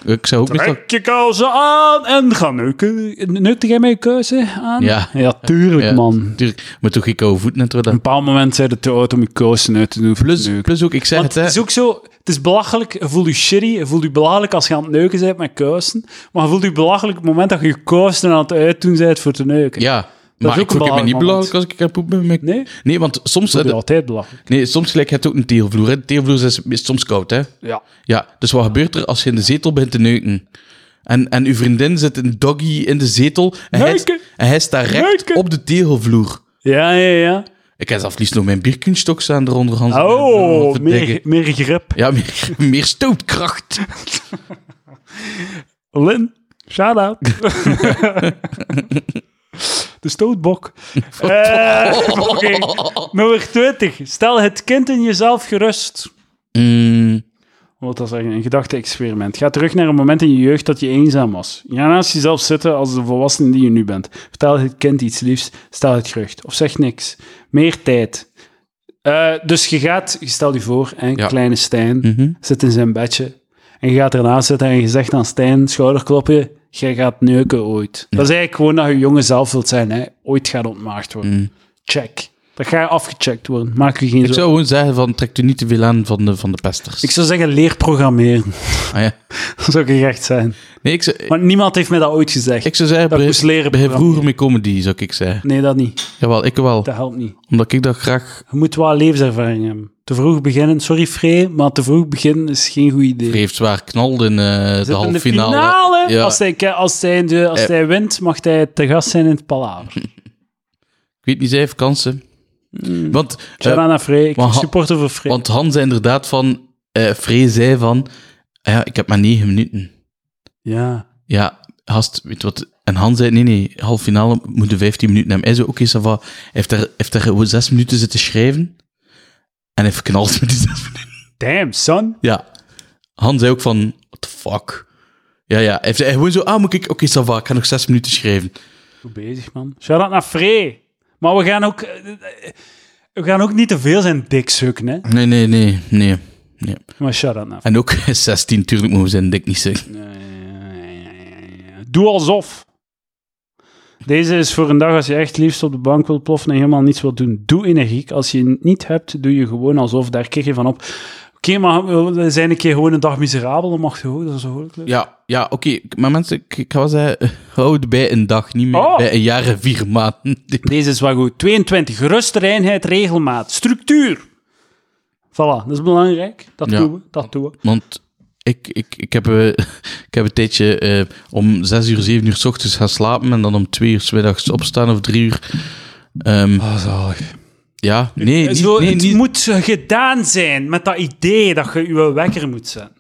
Speaker 2: Ik zou ook meestal...
Speaker 1: Trek je kousen aan en ga neuken. Neukte jij mij je kousen aan?
Speaker 2: Ja.
Speaker 1: Ja, tuurlijk,
Speaker 2: Ja,
Speaker 1: man.
Speaker 2: Tuurlijk, maar toch ik oude voeten en zo.
Speaker 1: Op
Speaker 2: dat-
Speaker 1: een bepaald moment zijn het te oud om je kousen uit te doen. voor
Speaker 2: Plus,
Speaker 1: te neuken.
Speaker 2: plus ook, ik zeg
Speaker 1: Want
Speaker 2: het,
Speaker 1: het
Speaker 2: hè.
Speaker 1: is ook zo, het is belachelijk, je voelt je shitty, je voelt je belachelijk als je aan het neuken bent met kousen, maar je voelt je belachelijk op het moment dat je je kousen aan het uitdoen bent voor te neuken.
Speaker 2: Ja,
Speaker 1: is
Speaker 2: maar
Speaker 1: ook
Speaker 2: ik
Speaker 1: een
Speaker 2: voel me
Speaker 1: belangrijk
Speaker 2: niet
Speaker 1: moment.
Speaker 2: belangrijk als ik aan het poepen ben.
Speaker 1: Nee?
Speaker 2: Nee, want soms...
Speaker 1: Dat
Speaker 2: hè,
Speaker 1: is altijd belachelijk.
Speaker 2: Nee, soms gelijk het ook een tegelvloer. Hè. De tegelvloer is, is soms koud, hè.
Speaker 1: Ja.
Speaker 2: Ja, dus wat gebeurt er als je in de zetel begint te neuken? En, en uw vriendin zit een doggy in de zetel en, hij,
Speaker 1: Neuken!
Speaker 2: en hij staat recht
Speaker 1: Neuken!
Speaker 2: op de tegelvloer.
Speaker 1: Ja, ja,
Speaker 2: Ik heb zelf liefst nog mijn bierkunstok staan eronder. Hans.
Speaker 1: ja. Oh,
Speaker 2: Wat verdikken.
Speaker 1: meer, meer grip.
Speaker 2: Ja, meer, [laughs] meer stootkracht.
Speaker 1: Lin, shout
Speaker 2: [laughs]
Speaker 1: out. [laughs] De stootbok. Eh, [laughs] fucking. Nummer 20. Stel het kind in jezelf gerust.
Speaker 2: Mm,
Speaker 1: Wat dat zeggen, een gedachte-experiment. Ga terug naar een moment in je jeugd dat je eenzaam was. Ga naast jezelf zitten als de volwassene die je nu bent. Vertel het kind iets liefs, stel het gerucht. Of zeg niks. Meer tijd. Eh, dus je gaat, je stel je voor, hè,
Speaker 2: Ja.
Speaker 1: kleine Stijn
Speaker 2: mhm.
Speaker 1: zit in zijn bedje. En je gaat ernaast zitten en je zegt aan Stijn, schouderklopje, jij gaat neuken ooit. Dat is eigenlijk gewoon dat je jongen zelf wilt zijn, hè. Ooit gaat ontmaagd worden. Check. Dat ga je afgecheckt worden. Maak je geen
Speaker 2: Mhm. Ik
Speaker 1: zorgen.
Speaker 2: zou gewoon zeggen: van, trek u niet te veel aan van de, van de pesters.
Speaker 1: Ik zou zeggen, leer programmeren. [laughs]
Speaker 2: Ah, ja.
Speaker 1: Dat zou ik echt zijn.
Speaker 2: Nee, ik zou,
Speaker 1: Maar niemand heeft mij dat ooit gezegd.
Speaker 2: ik zou zeggen:
Speaker 1: dat ik moest
Speaker 2: begin-
Speaker 1: leren
Speaker 2: begin
Speaker 1: programmeren.
Speaker 2: vroeger met comedy, zou ik zeggen.
Speaker 1: Nee, dat niet.
Speaker 2: Jawel, ik wel.
Speaker 1: Dat helpt niet.
Speaker 2: Omdat ik dat graag.
Speaker 1: Je moet wel levenservaring hebben. Te vroeg beginnen, sorry Free, maar te vroeg beginnen is geen goed idee.
Speaker 2: Heeft zwaar knalde in eh, de
Speaker 1: Zit in
Speaker 2: halve
Speaker 1: de
Speaker 2: finale.
Speaker 1: finale.
Speaker 2: Ja.
Speaker 1: Als, hij, als, hij, de- als
Speaker 2: Eh.
Speaker 1: hij wint, mag hij te gast zijn in het palaver.
Speaker 2: Ik weet niet, zij heeft kansen.
Speaker 1: Hmm.
Speaker 2: Want, eh,
Speaker 1: Shout-out naar Frey. Ik
Speaker 2: maar
Speaker 1: ben
Speaker 2: ha-
Speaker 1: supporter voor Frey.
Speaker 2: want Hans zei inderdaad van... eh Free zei van... "Ah ja, ik heb maar negen minuten.
Speaker 1: ja.
Speaker 2: Ja, gast, weet je wat... En Hans zei, nee, nee, half finale moeten 15 minuten hebben. Hij zei, oké, ça va. Hij heeft daar, heeft daar gewoon zes minuten zitten schrijven. En hij verknalt met die zes minuten.
Speaker 1: Damn, son.
Speaker 2: Ja. Hans zei ook van, what the fuck. Ja, ja. Hij heeft hij gewoon zo, ah, moet ik... Oké, ça va, ik ga nog zes minuten schrijven.
Speaker 1: Goed bezig, man. Shout-out naar Frey. Maar we gaan ook... eh, eh, We gaan ook niet te veel zijn dik sukken, hè.
Speaker 2: Nee, nee, nee, nee. nee.
Speaker 1: Maar shout-out naar
Speaker 2: En ook [laughs] 16, tuurlijk mogen we zijn dik niet zeggen.
Speaker 1: Frey. Eh, Doe alsof. Deze is voor een dag als je echt liefst op de bank wilt ploffen en helemaal niets wilt doen. Doe energiek. Als je het niet hebt, doe je gewoon alsof. Daar kijk je van op. Oké, maar we zijn een keer gewoon een dag miserabel. Dan mag je ook. Dat is ook leuk.
Speaker 2: Ja, ja oké. Maar mensen, ik, ik ga wel zeggen, eh, houd bij een dag, niet meer
Speaker 1: Oh.
Speaker 2: bij een jaar en vier maanden. [laughs]
Speaker 1: Deze is wel goed. 22. Rust, reinheid, regelmaat. Structuur. Voilà, dat is belangrijk. Dat
Speaker 2: Ja.
Speaker 1: doen we. Dat doen we.
Speaker 2: Want ik, ik, ik, heb, eh, [laughs] ik heb een tijdje eh, om 6 uur, 7 uur s ochtends gaan slapen en dan om 2 uur s middags opstaan of 3 uur. Ehm, ja, nee, niet,
Speaker 1: Zo,
Speaker 2: nee,
Speaker 1: het
Speaker 2: niet-
Speaker 1: moet gedaan zijn met dat idee dat je je wekker moet zetten.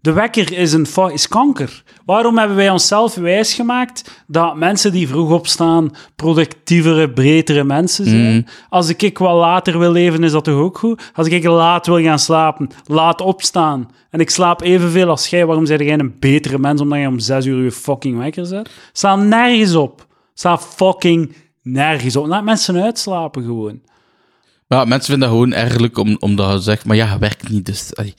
Speaker 1: De wekker is, een fa- is kanker. Waarom hebben wij onszelf wijsgemaakt dat mensen die vroeg opstaan productievere, bredere mensen zijn?
Speaker 2: Mhm.
Speaker 1: Als ik, ik wat later wil leven, is dat toch ook goed? Als ik laat wil gaan slapen, laat opstaan. En ik slaap evenveel als jij. Waarom zijn jij een betere mens omdat je om zes uur je fucking wekker zet? Sta nergens op. Sta fucking nergens op. Laat mensen uitslapen gewoon.
Speaker 2: Ja, mensen vinden dat gewoon ergerlijk om, omdat je zegt, maar ja, je werkt niet, dus... allee.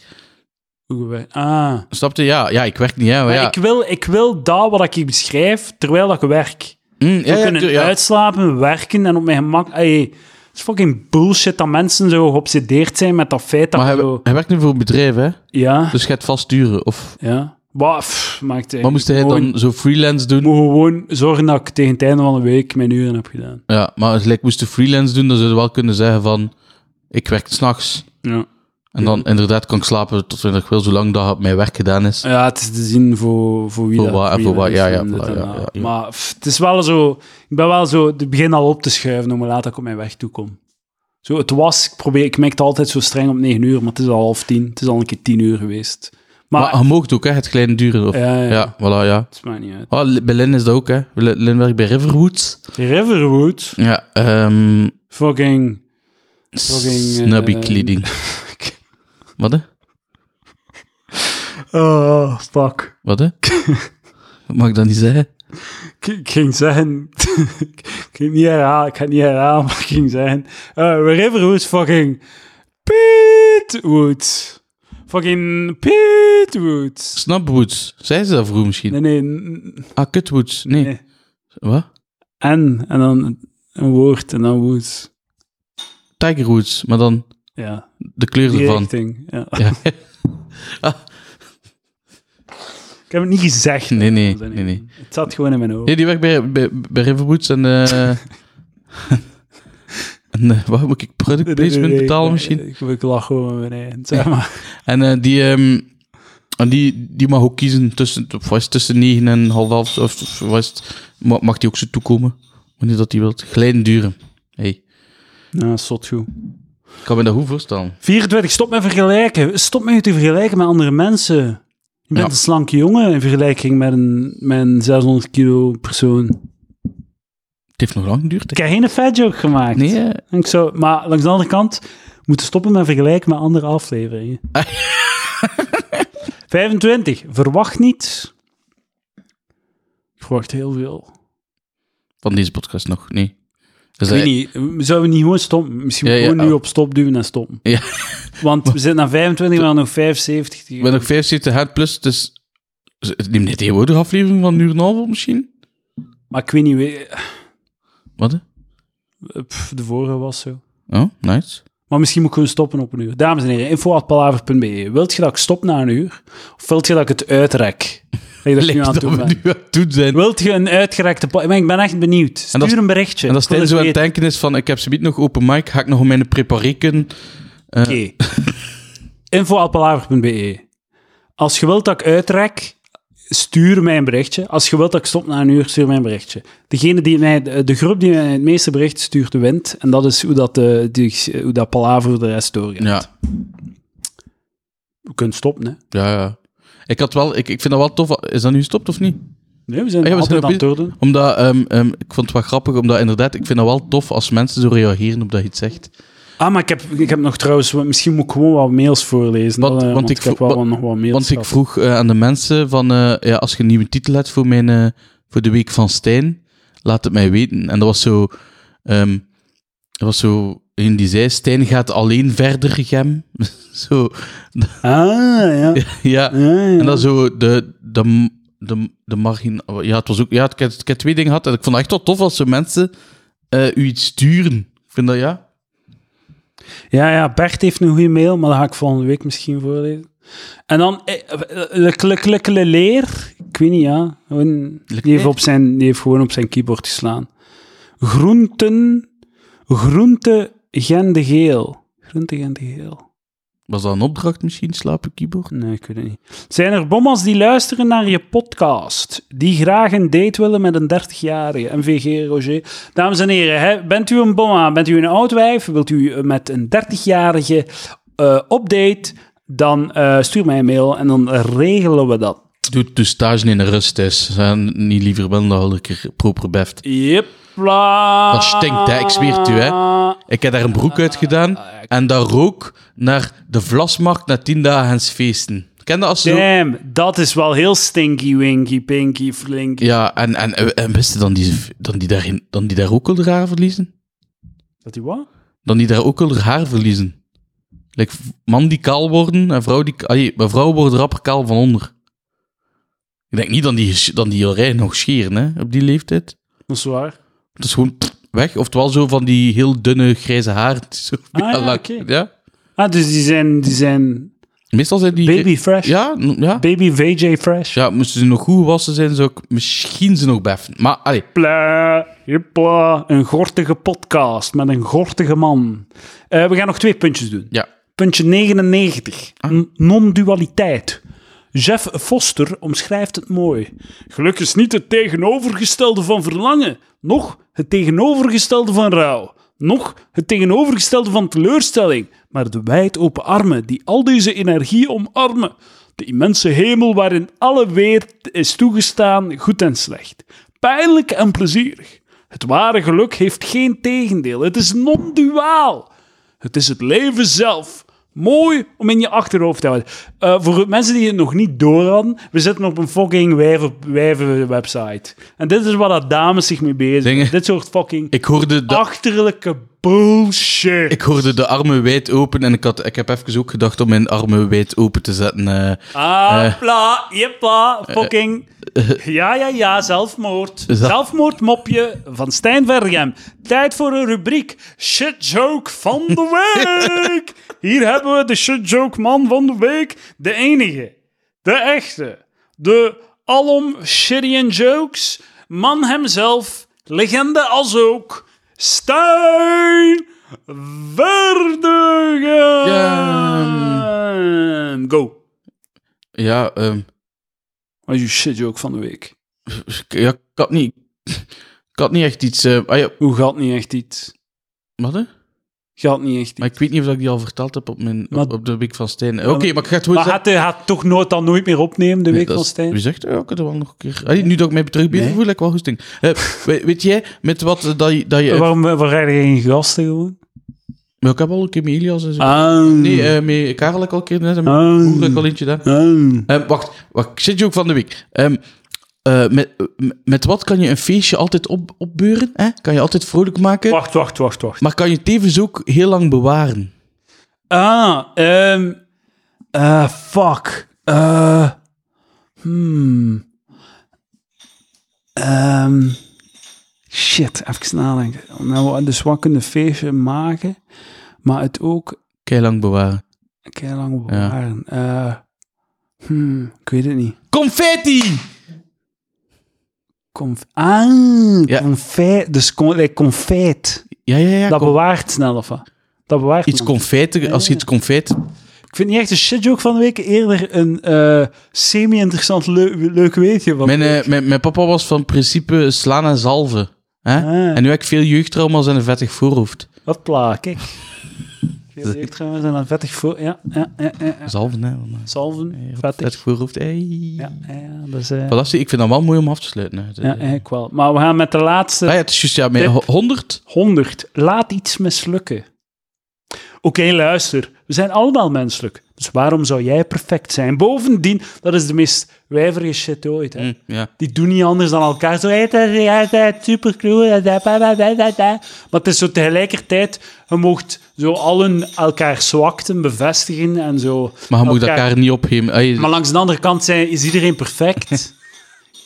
Speaker 1: Hoe wij- Ah.
Speaker 2: Snap je? Ja, ja, ik werk niet, hè, maar
Speaker 1: Maar
Speaker 2: ja.
Speaker 1: ik, wil, ik wil dat wat ik beschrijf terwijl ik werk.
Speaker 2: Mm, ja,
Speaker 1: We
Speaker 2: ja,
Speaker 1: kunnen
Speaker 2: tuur- ja.
Speaker 1: uitslapen, werken en op mijn gemak. Ey, het is fucking bullshit dat mensen zo geobsedeerd zijn met dat feit dat
Speaker 2: Maar hij,
Speaker 1: zo...
Speaker 2: hij werkt nu voor een bedrijf, hè?
Speaker 1: Ja,
Speaker 2: Dus je gaat vastduren. Of,
Speaker 1: ja. Wat pff, maakt eigenlijk
Speaker 2: maar moest hij
Speaker 1: gewoon-
Speaker 2: dan zo freelance
Speaker 1: Ik
Speaker 2: doen?
Speaker 1: moet gewoon zorgen dat ik tegen het einde van de week mijn uren heb gedaan.
Speaker 2: Ja, maar als ik moest hij freelance doen, dan zou je wel kunnen zeggen van... Ik werk s'nachts.
Speaker 1: Ja,
Speaker 2: En dan inderdaad kan ik slapen tot wanneer ik wil, zolang dat mijn werk gedaan is.
Speaker 1: ja het is te zien voor, voor wie
Speaker 2: Voor
Speaker 1: dat...
Speaker 2: wat en
Speaker 1: wie
Speaker 2: voor
Speaker 1: dat
Speaker 2: wat,
Speaker 1: is
Speaker 2: ja, ja,
Speaker 1: en dit
Speaker 2: voilà,
Speaker 1: en
Speaker 2: ja,
Speaker 1: dat.
Speaker 2: ja, ja.
Speaker 1: Maar pff, het is wel zo... Ik ben wel zo... Ik begin al op te schuiven hoe laat ik op mijn weg toe kom. Zo, het was... Ik, probeer, ik merk het altijd zo streng op 9 uur, maar het is al half tien. Het is al een keer tien uur geweest. Maar...
Speaker 2: Maar je mag ook, hè? Het kleine duren. Of,
Speaker 1: ja, ja,
Speaker 2: ja, voilà, ja.
Speaker 1: Het maakt niet uit.
Speaker 2: Oh, Li- bij Lin is dat ook, hè? Lin Lin werkt bij Riverwoods.
Speaker 1: Riverwood.
Speaker 2: Ja, ehm...
Speaker 1: Fucking. Fucking, eh,
Speaker 2: Snubby kleding. Wat, hè?
Speaker 1: Oh, fuck.
Speaker 2: Wat,
Speaker 1: [laughs]
Speaker 2: hè? Mag ik dat niet zeggen?
Speaker 1: Ik, ik ging zeggen. ik [laughs] ging niet herhalen, ik ga het niet herhalen, maar ik ging zeggen. eh Riverwood fucking. Pietwood. Fucking Pietwood.
Speaker 2: Snapwoods. Zei ze dat vroeger misschien?
Speaker 1: Nee, nee. n-
Speaker 2: Ah, Kutwoods. Nee.
Speaker 1: Nee.
Speaker 2: Wat?
Speaker 1: En, en dan een woord en dan wood.
Speaker 2: Tigerwoods, maar dan
Speaker 1: Ja,
Speaker 2: de kleur
Speaker 1: die
Speaker 2: ervan.
Speaker 1: richting. [laughs] Ja.
Speaker 2: Ja.
Speaker 1: Ik heb het niet gezegd.
Speaker 2: Nee, nee,
Speaker 1: dames en
Speaker 2: nee, nee.
Speaker 1: heren. Het zat gewoon in mijn ogen.
Speaker 2: Nee, die werkt bij, bij, bij Riverwoods en...
Speaker 1: [laughs]
Speaker 2: eh en eh, wat moet ik? Product
Speaker 1: Nee, nee,
Speaker 2: placement
Speaker 1: nee,
Speaker 2: betalen
Speaker 1: nee,
Speaker 2: misschien?
Speaker 1: Ik, ik lach gewoon met mijn eigen, zeg maar.
Speaker 2: En eh, die, ehm, en die, die mag ook kiezen tussen, of was het tussen 9 en half elf. Of, of was het- ma- mag die ook zo toekomen? Wanneer dat die wilt. Glijden duren. Hey,
Speaker 1: Nou, zot goed.
Speaker 2: ik kan me dat goed voorstellen.
Speaker 1: 24, stop met vergelijken. Stop met je te vergelijken met andere mensen. Je bent
Speaker 2: Ja.
Speaker 1: een slanke jongen in vergelijking met een, met een 600 kilo persoon.
Speaker 2: Het heeft nog lang geduurd. hè?
Speaker 1: Ik heb geen fat joke gemaakt.
Speaker 2: Nee, eh,
Speaker 1: En Ik zou, maar langs de andere kant we moeten stoppen met vergelijken met andere
Speaker 2: [laughs]
Speaker 1: afleveringen. 25, verwacht niet. Ik verwacht heel veel.
Speaker 2: van deze podcast nog, nee. Dus
Speaker 1: Ik weet
Speaker 2: hij-
Speaker 1: niet, zouden we niet gewoon stoppen? Misschien
Speaker 2: Ja, ja,
Speaker 1: gewoon nu
Speaker 2: oh.
Speaker 1: op stop duwen en stoppen.
Speaker 2: Ja.
Speaker 1: Want we zitten aan
Speaker 2: [laughs]
Speaker 1: 25, we hebben nog 75. te
Speaker 2: Ik
Speaker 1: gaan.
Speaker 2: ben nog 75 hard plus, dus... Neem net tegenwoordig aflevering van een uur en een half op misschien?
Speaker 1: Maar ik weet niet, we-
Speaker 2: Wat? hè?
Speaker 1: Pff, de vorige was zo.
Speaker 2: Oh, nice.
Speaker 1: Maar misschien moet ik gewoon stoppen op een uur. Dames en heren, info.palaver.be. Wilt je dat ik stop na een uur? Of wilt je dat ik het uitrek? Dat je dat ik nu
Speaker 2: Lijkt
Speaker 1: aan het
Speaker 2: dat
Speaker 1: doen
Speaker 2: we
Speaker 1: ben.
Speaker 2: nu aan het doen zijn.
Speaker 1: Wilt je een uitgerekte... po- Ik ben- ik ben echt benieuwd.
Speaker 2: En dat is-
Speaker 1: Stuur een berichtje.
Speaker 2: En als
Speaker 1: Ik wil
Speaker 2: Stijn zo aan
Speaker 1: het
Speaker 2: het
Speaker 1: weten.
Speaker 2: denken is van, ik heb ze niet nog open mic, ga ik nog om mijn preparé kunnen?
Speaker 1: Oké. info.palaver.be. Als je wilt dat ik uitrek, stuur mij een berichtje. Als je wilt dat ik stop na een uur, stuur mij een berichtje. Degene die mij, de de groep die mij het meeste bericht stuurt, wint. En dat is hoe dat, de, die, hoe dat Palaver de rest doorgaat.
Speaker 2: Ja,
Speaker 1: We kunnen stoppen, hè.
Speaker 2: ja, ja. Ik had wel, ik, ik vind dat wel tof. Is dat nu gestopt of niet?
Speaker 1: Nee, we zijn
Speaker 2: Ah, ja, we
Speaker 1: altijd
Speaker 2: zijn
Speaker 1: aan het
Speaker 2: op-
Speaker 1: doordoen.
Speaker 2: Omdat, ehm, ehm, ik vond het wel grappig, omdat inderdaad, ik vind dat wel tof als mensen zo reageren op dat je iets zegt.
Speaker 1: Ah, maar ik heb, ik heb nog trouwens... Misschien moet ik gewoon wat mails voorlezen.
Speaker 2: Want-
Speaker 1: dan, eh,
Speaker 2: want
Speaker 1: want,
Speaker 2: ik
Speaker 1: ik heb
Speaker 2: vro-
Speaker 1: wel
Speaker 2: wa-
Speaker 1: nog wat mails
Speaker 2: Want ik
Speaker 1: gehad.
Speaker 2: vroeg eh, aan de mensen van, eh, ja, als je een nieuwe titel hebt voor, mijn, eh, voor de week van Stijn, laat het mij weten. En dat was zo, ehm er was zo een die zei, Stijn gaat alleen verder, Gem. [laughs] zo,
Speaker 1: Ah, ja.
Speaker 2: [laughs] ja.
Speaker 1: Ah, ja.
Speaker 2: En dan zo de, de, de, de margin... Ja, het was ook... Ja, ik heb, ik heb twee dingen gehad. En ik vond het echt wel tof als zo mensen eh, u iets sturen. Ik vind dat, ja...
Speaker 1: ja, ja, Bert heeft een goede mail, maar dat ga ik volgende week misschien voorlezen. En dan... eh, eh, Lek- Lek- Lek- Lek- leer. Ik weet niet, ja. Gewoon- Die heeft,
Speaker 2: Leer.
Speaker 1: op zijn, die heeft gewoon op zijn keyboard geslaan. Groenten... Groente Gende Geel. Groente Gende Geel.
Speaker 2: Was dat een opdracht misschien, slapen keyboard?
Speaker 1: Nee, ik weet het niet. Zijn er bommers die luisteren naar je podcast? Die graag een date willen met een 30-jarige? MVG Roger. Dames en heren, hè, bent u een bomma? Bent u een oud wijf? Wilt u eh, met een 30-jarige eh, op date? dan eh, stuur mij een mail en dan regelen we dat.
Speaker 2: Doe de stage in de rust is. En niet liever wel dan een keer proper beft.
Speaker 1: Jepla.
Speaker 2: Dat stinkt, hè. Ik zweer het u, hè. Ik heb daar een broek uit gedaan en dat rook naar de vlasmarkt na tien dagens feesten. Ken dat als zo?
Speaker 1: Damn, dat is wel heel stinky, winky, pinky, flinky.
Speaker 2: Ja, en, en, en wist je dan die, dan, die daar, dan die daar ook al haar verliezen?
Speaker 1: Dat die wat?
Speaker 2: Dan die daar ook al haar verliezen? Like, man die kaal worden en vrouw die... Ay, mijn vrouw wordt rapper kaal van onder. Ik denk niet dat die, ges- dat die al rij nog scheren, hè, op die leeftijd.
Speaker 1: Dat is waar.
Speaker 2: Het is gewoon pff, weg. Oftewel zo van die heel dunne grijze haar. [laughs] Het is Zo,
Speaker 1: Ah, ja,
Speaker 2: lak.
Speaker 1: oké.
Speaker 2: ja.
Speaker 1: Ah, dus die zijn, die zijn
Speaker 2: Meestal zijn die...
Speaker 1: baby fresh.
Speaker 2: Ja, n- ja.
Speaker 1: Baby VJ fresh.
Speaker 2: Ja, moesten ze nog goed wassen zijn, zou ik misschien ze nog beffen. Maar, allee,
Speaker 1: Jepla, jepla. Een gortige podcast met een gortige man. Eh, we gaan nog twee puntjes doen.
Speaker 2: ja.
Speaker 1: Puntje 99. N- Non-dualiteit. Jeff Foster omschrijft het mooi. Geluk is niet het tegenovergestelde van verlangen, noch het tegenovergestelde van rouw, noch het tegenovergestelde van teleurstelling, maar de wijdopen armen die al deze energie omarmen. De immense hemel waarin alle weer is toegestaan, goed en slecht, pijnlijk en plezierig. Het ware geluk heeft geen tegendeel, het is non-duaal. Het is het leven zelf. Mooi om in je achterhoofd te houden. Eh, voor mensen die het nog niet door hadden, we zitten op een fucking wijven, wijven website. En dit is waar dat dames zich mee bezig
Speaker 2: Dingen.
Speaker 1: Dit soort fucking
Speaker 2: Ik hoorde, de,
Speaker 1: achterlijke bullshit.
Speaker 2: ik hoorde de armen wijd open en ik, had, ik heb even ook gedacht om mijn armen wijd open te zetten. eh.
Speaker 1: ah, pla, jepla, fucking. ja, ja, ja, zelfmoord.
Speaker 2: dat-
Speaker 1: Zelfmoordmopje van Stijn Vergem. Tijd voor een rubriek. Shit joke van de week. Hier hebben we de shit joke man van de week. De enige. De echte. De alom shitty jokes. Man hemzelf. Legende als ook. Stijn Verdegem. Go.
Speaker 2: ja, ehm,
Speaker 1: Wat is je shit joke van de week?
Speaker 2: Dus ik- ja, ik had niet... Ik had niet echt iets... eh, ah ja,
Speaker 1: Hoe gaat niet echt iets?
Speaker 2: wat hè?
Speaker 1: Gaat niet echt iets.
Speaker 2: Maar ik weet niet of ik die al verteld heb op, mijn,
Speaker 1: Maar-
Speaker 2: op, op de week van Stijn. Oké, maar ik ga het gewoon
Speaker 1: Maar
Speaker 2: zeggen.
Speaker 1: gaat hij gaat toch nooit dan nooit meer opnemen, de week
Speaker 2: Nee,
Speaker 1: van
Speaker 2: dat is-
Speaker 1: Stijn?
Speaker 2: Wie zegt, ja, ik heb er wel nog een keer... Ah, nu dat ik mij terugbied,
Speaker 1: Nee.
Speaker 2: voel ik wel goed sting. Eh, [laughs] weet, weet jij, met wat eh, dat je... Dat je
Speaker 1: Waarom, waarom rijden geen gasten gewoon?
Speaker 2: Maar ik heb al een keer met Elias en zo.
Speaker 1: Ah.
Speaker 2: Nee, eh met Karel heb ik al een keer net. en met
Speaker 1: Ah.
Speaker 2: Roer heb ik al eentje gedaan. Ehm, wacht, wacht, shit joke van de week. Ehm, eh, met, eh, met wat kan je een feestje altijd op, opbeuren? Hè? Kan je altijd vrolijk maken,
Speaker 1: Wacht, wacht, wacht, wacht.
Speaker 2: maar kan je tevens ook heel lang bewaren?
Speaker 1: Ah, ehm. eh, fuck. Eh. hmm. Ehm. shit, even nadenken. Nou, dus wat kunnen feestje maken, maar het ook
Speaker 2: Kei lang bewaren.
Speaker 1: kei lang bewaren. Eh, hmm, ik weet het niet.
Speaker 2: Confetti!
Speaker 1: Conf ah,
Speaker 2: Ja.
Speaker 1: confet. Dus con like confet.
Speaker 2: Ja, ja, ja.
Speaker 1: dat
Speaker 2: kom-
Speaker 1: bewaart snel, of wat? Dat bewaart
Speaker 2: iets
Speaker 1: snel.
Speaker 2: confeiten, als je iets confeit...
Speaker 1: Ik vind niet echt een shitjoke van de week. Eerder een eh, semi-interessant leu- leuk weetje. Van
Speaker 2: Mijn, eh, mijn, mijn papa was van principe slaan en zalven. Hè?
Speaker 1: Ah.
Speaker 2: En nu heb ik veel jeugdtrauma's en een vettig voorhoofd.
Speaker 1: Hopla,
Speaker 2: [laughs]
Speaker 1: kijk. Veel jeugdtrauma's en dan vettig voor... Ja, ja, ja. ja, ja.
Speaker 2: Zalven, hè. eh, maar-
Speaker 1: Salven, vettig.
Speaker 2: Vettig voorhoofd, hey.
Speaker 1: Ja, ja, ja, dat is... eh,
Speaker 2: Voilà, zie, ik vind dat wel mooi om af te sluiten. Hè. Eh,
Speaker 1: ja, eigenlijk wel. Maar we gaan met de laatste
Speaker 2: Ah ja, het is juist, ja, met
Speaker 1: Tip.
Speaker 2: ho- 100.
Speaker 1: 100. Laat iets mislukken. Oké, luister. We zijn allemaal menselijk. Dus waarom zou jij perfect zijn? Bovendien, dat is de meest wijverige shit ooit. Hè?
Speaker 2: Hm, ja.
Speaker 1: Die doen niet anders dan elkaar. Zo, hey, dat is- ja, dat is supercool. dat is- da, da, da, da, da. Maar het is zo tegelijkertijd, je mocht zo allen elkaar zwakten bevestigen en zo.
Speaker 2: Maar je moet elkaar niet ophemen. Ah, je-
Speaker 1: Maar langs de andere kant zijn, is iedereen
Speaker 2: [laughs]
Speaker 1: perfect.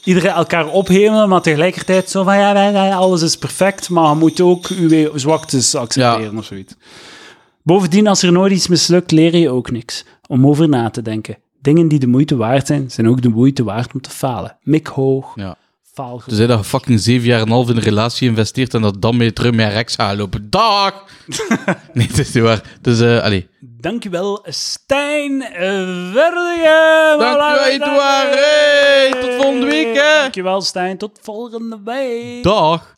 Speaker 1: iedereen elkaar ophemelen, maar tegelijkertijd zo van ja, wij- wij- alles is perfect, maar je moet ook uw e- zwaktes accepteren
Speaker 2: Ja.
Speaker 1: of zoiets. Bovendien, als er nooit iets mislukt, leer je ook niks. Om over na te denken. Dingen die de moeite waard zijn, zijn ook de moeite waard om te falen. Mik hoog,
Speaker 2: ja.
Speaker 1: faal goed.
Speaker 2: Dus hij dat je fucking zeven jaar en een half in een relatie investeert en dat dan mee terug met rechts gaat lopen. Dag!
Speaker 1: [laughs]
Speaker 2: nee, het is niet waar. Dus, eh allee.
Speaker 1: Dankjewel, Stijn Verdige.
Speaker 2: Dankjewel, Edouard. Hey, tot volgende week, hè.
Speaker 1: Dankjewel, Stijn. Tot volgende week.
Speaker 2: Dag!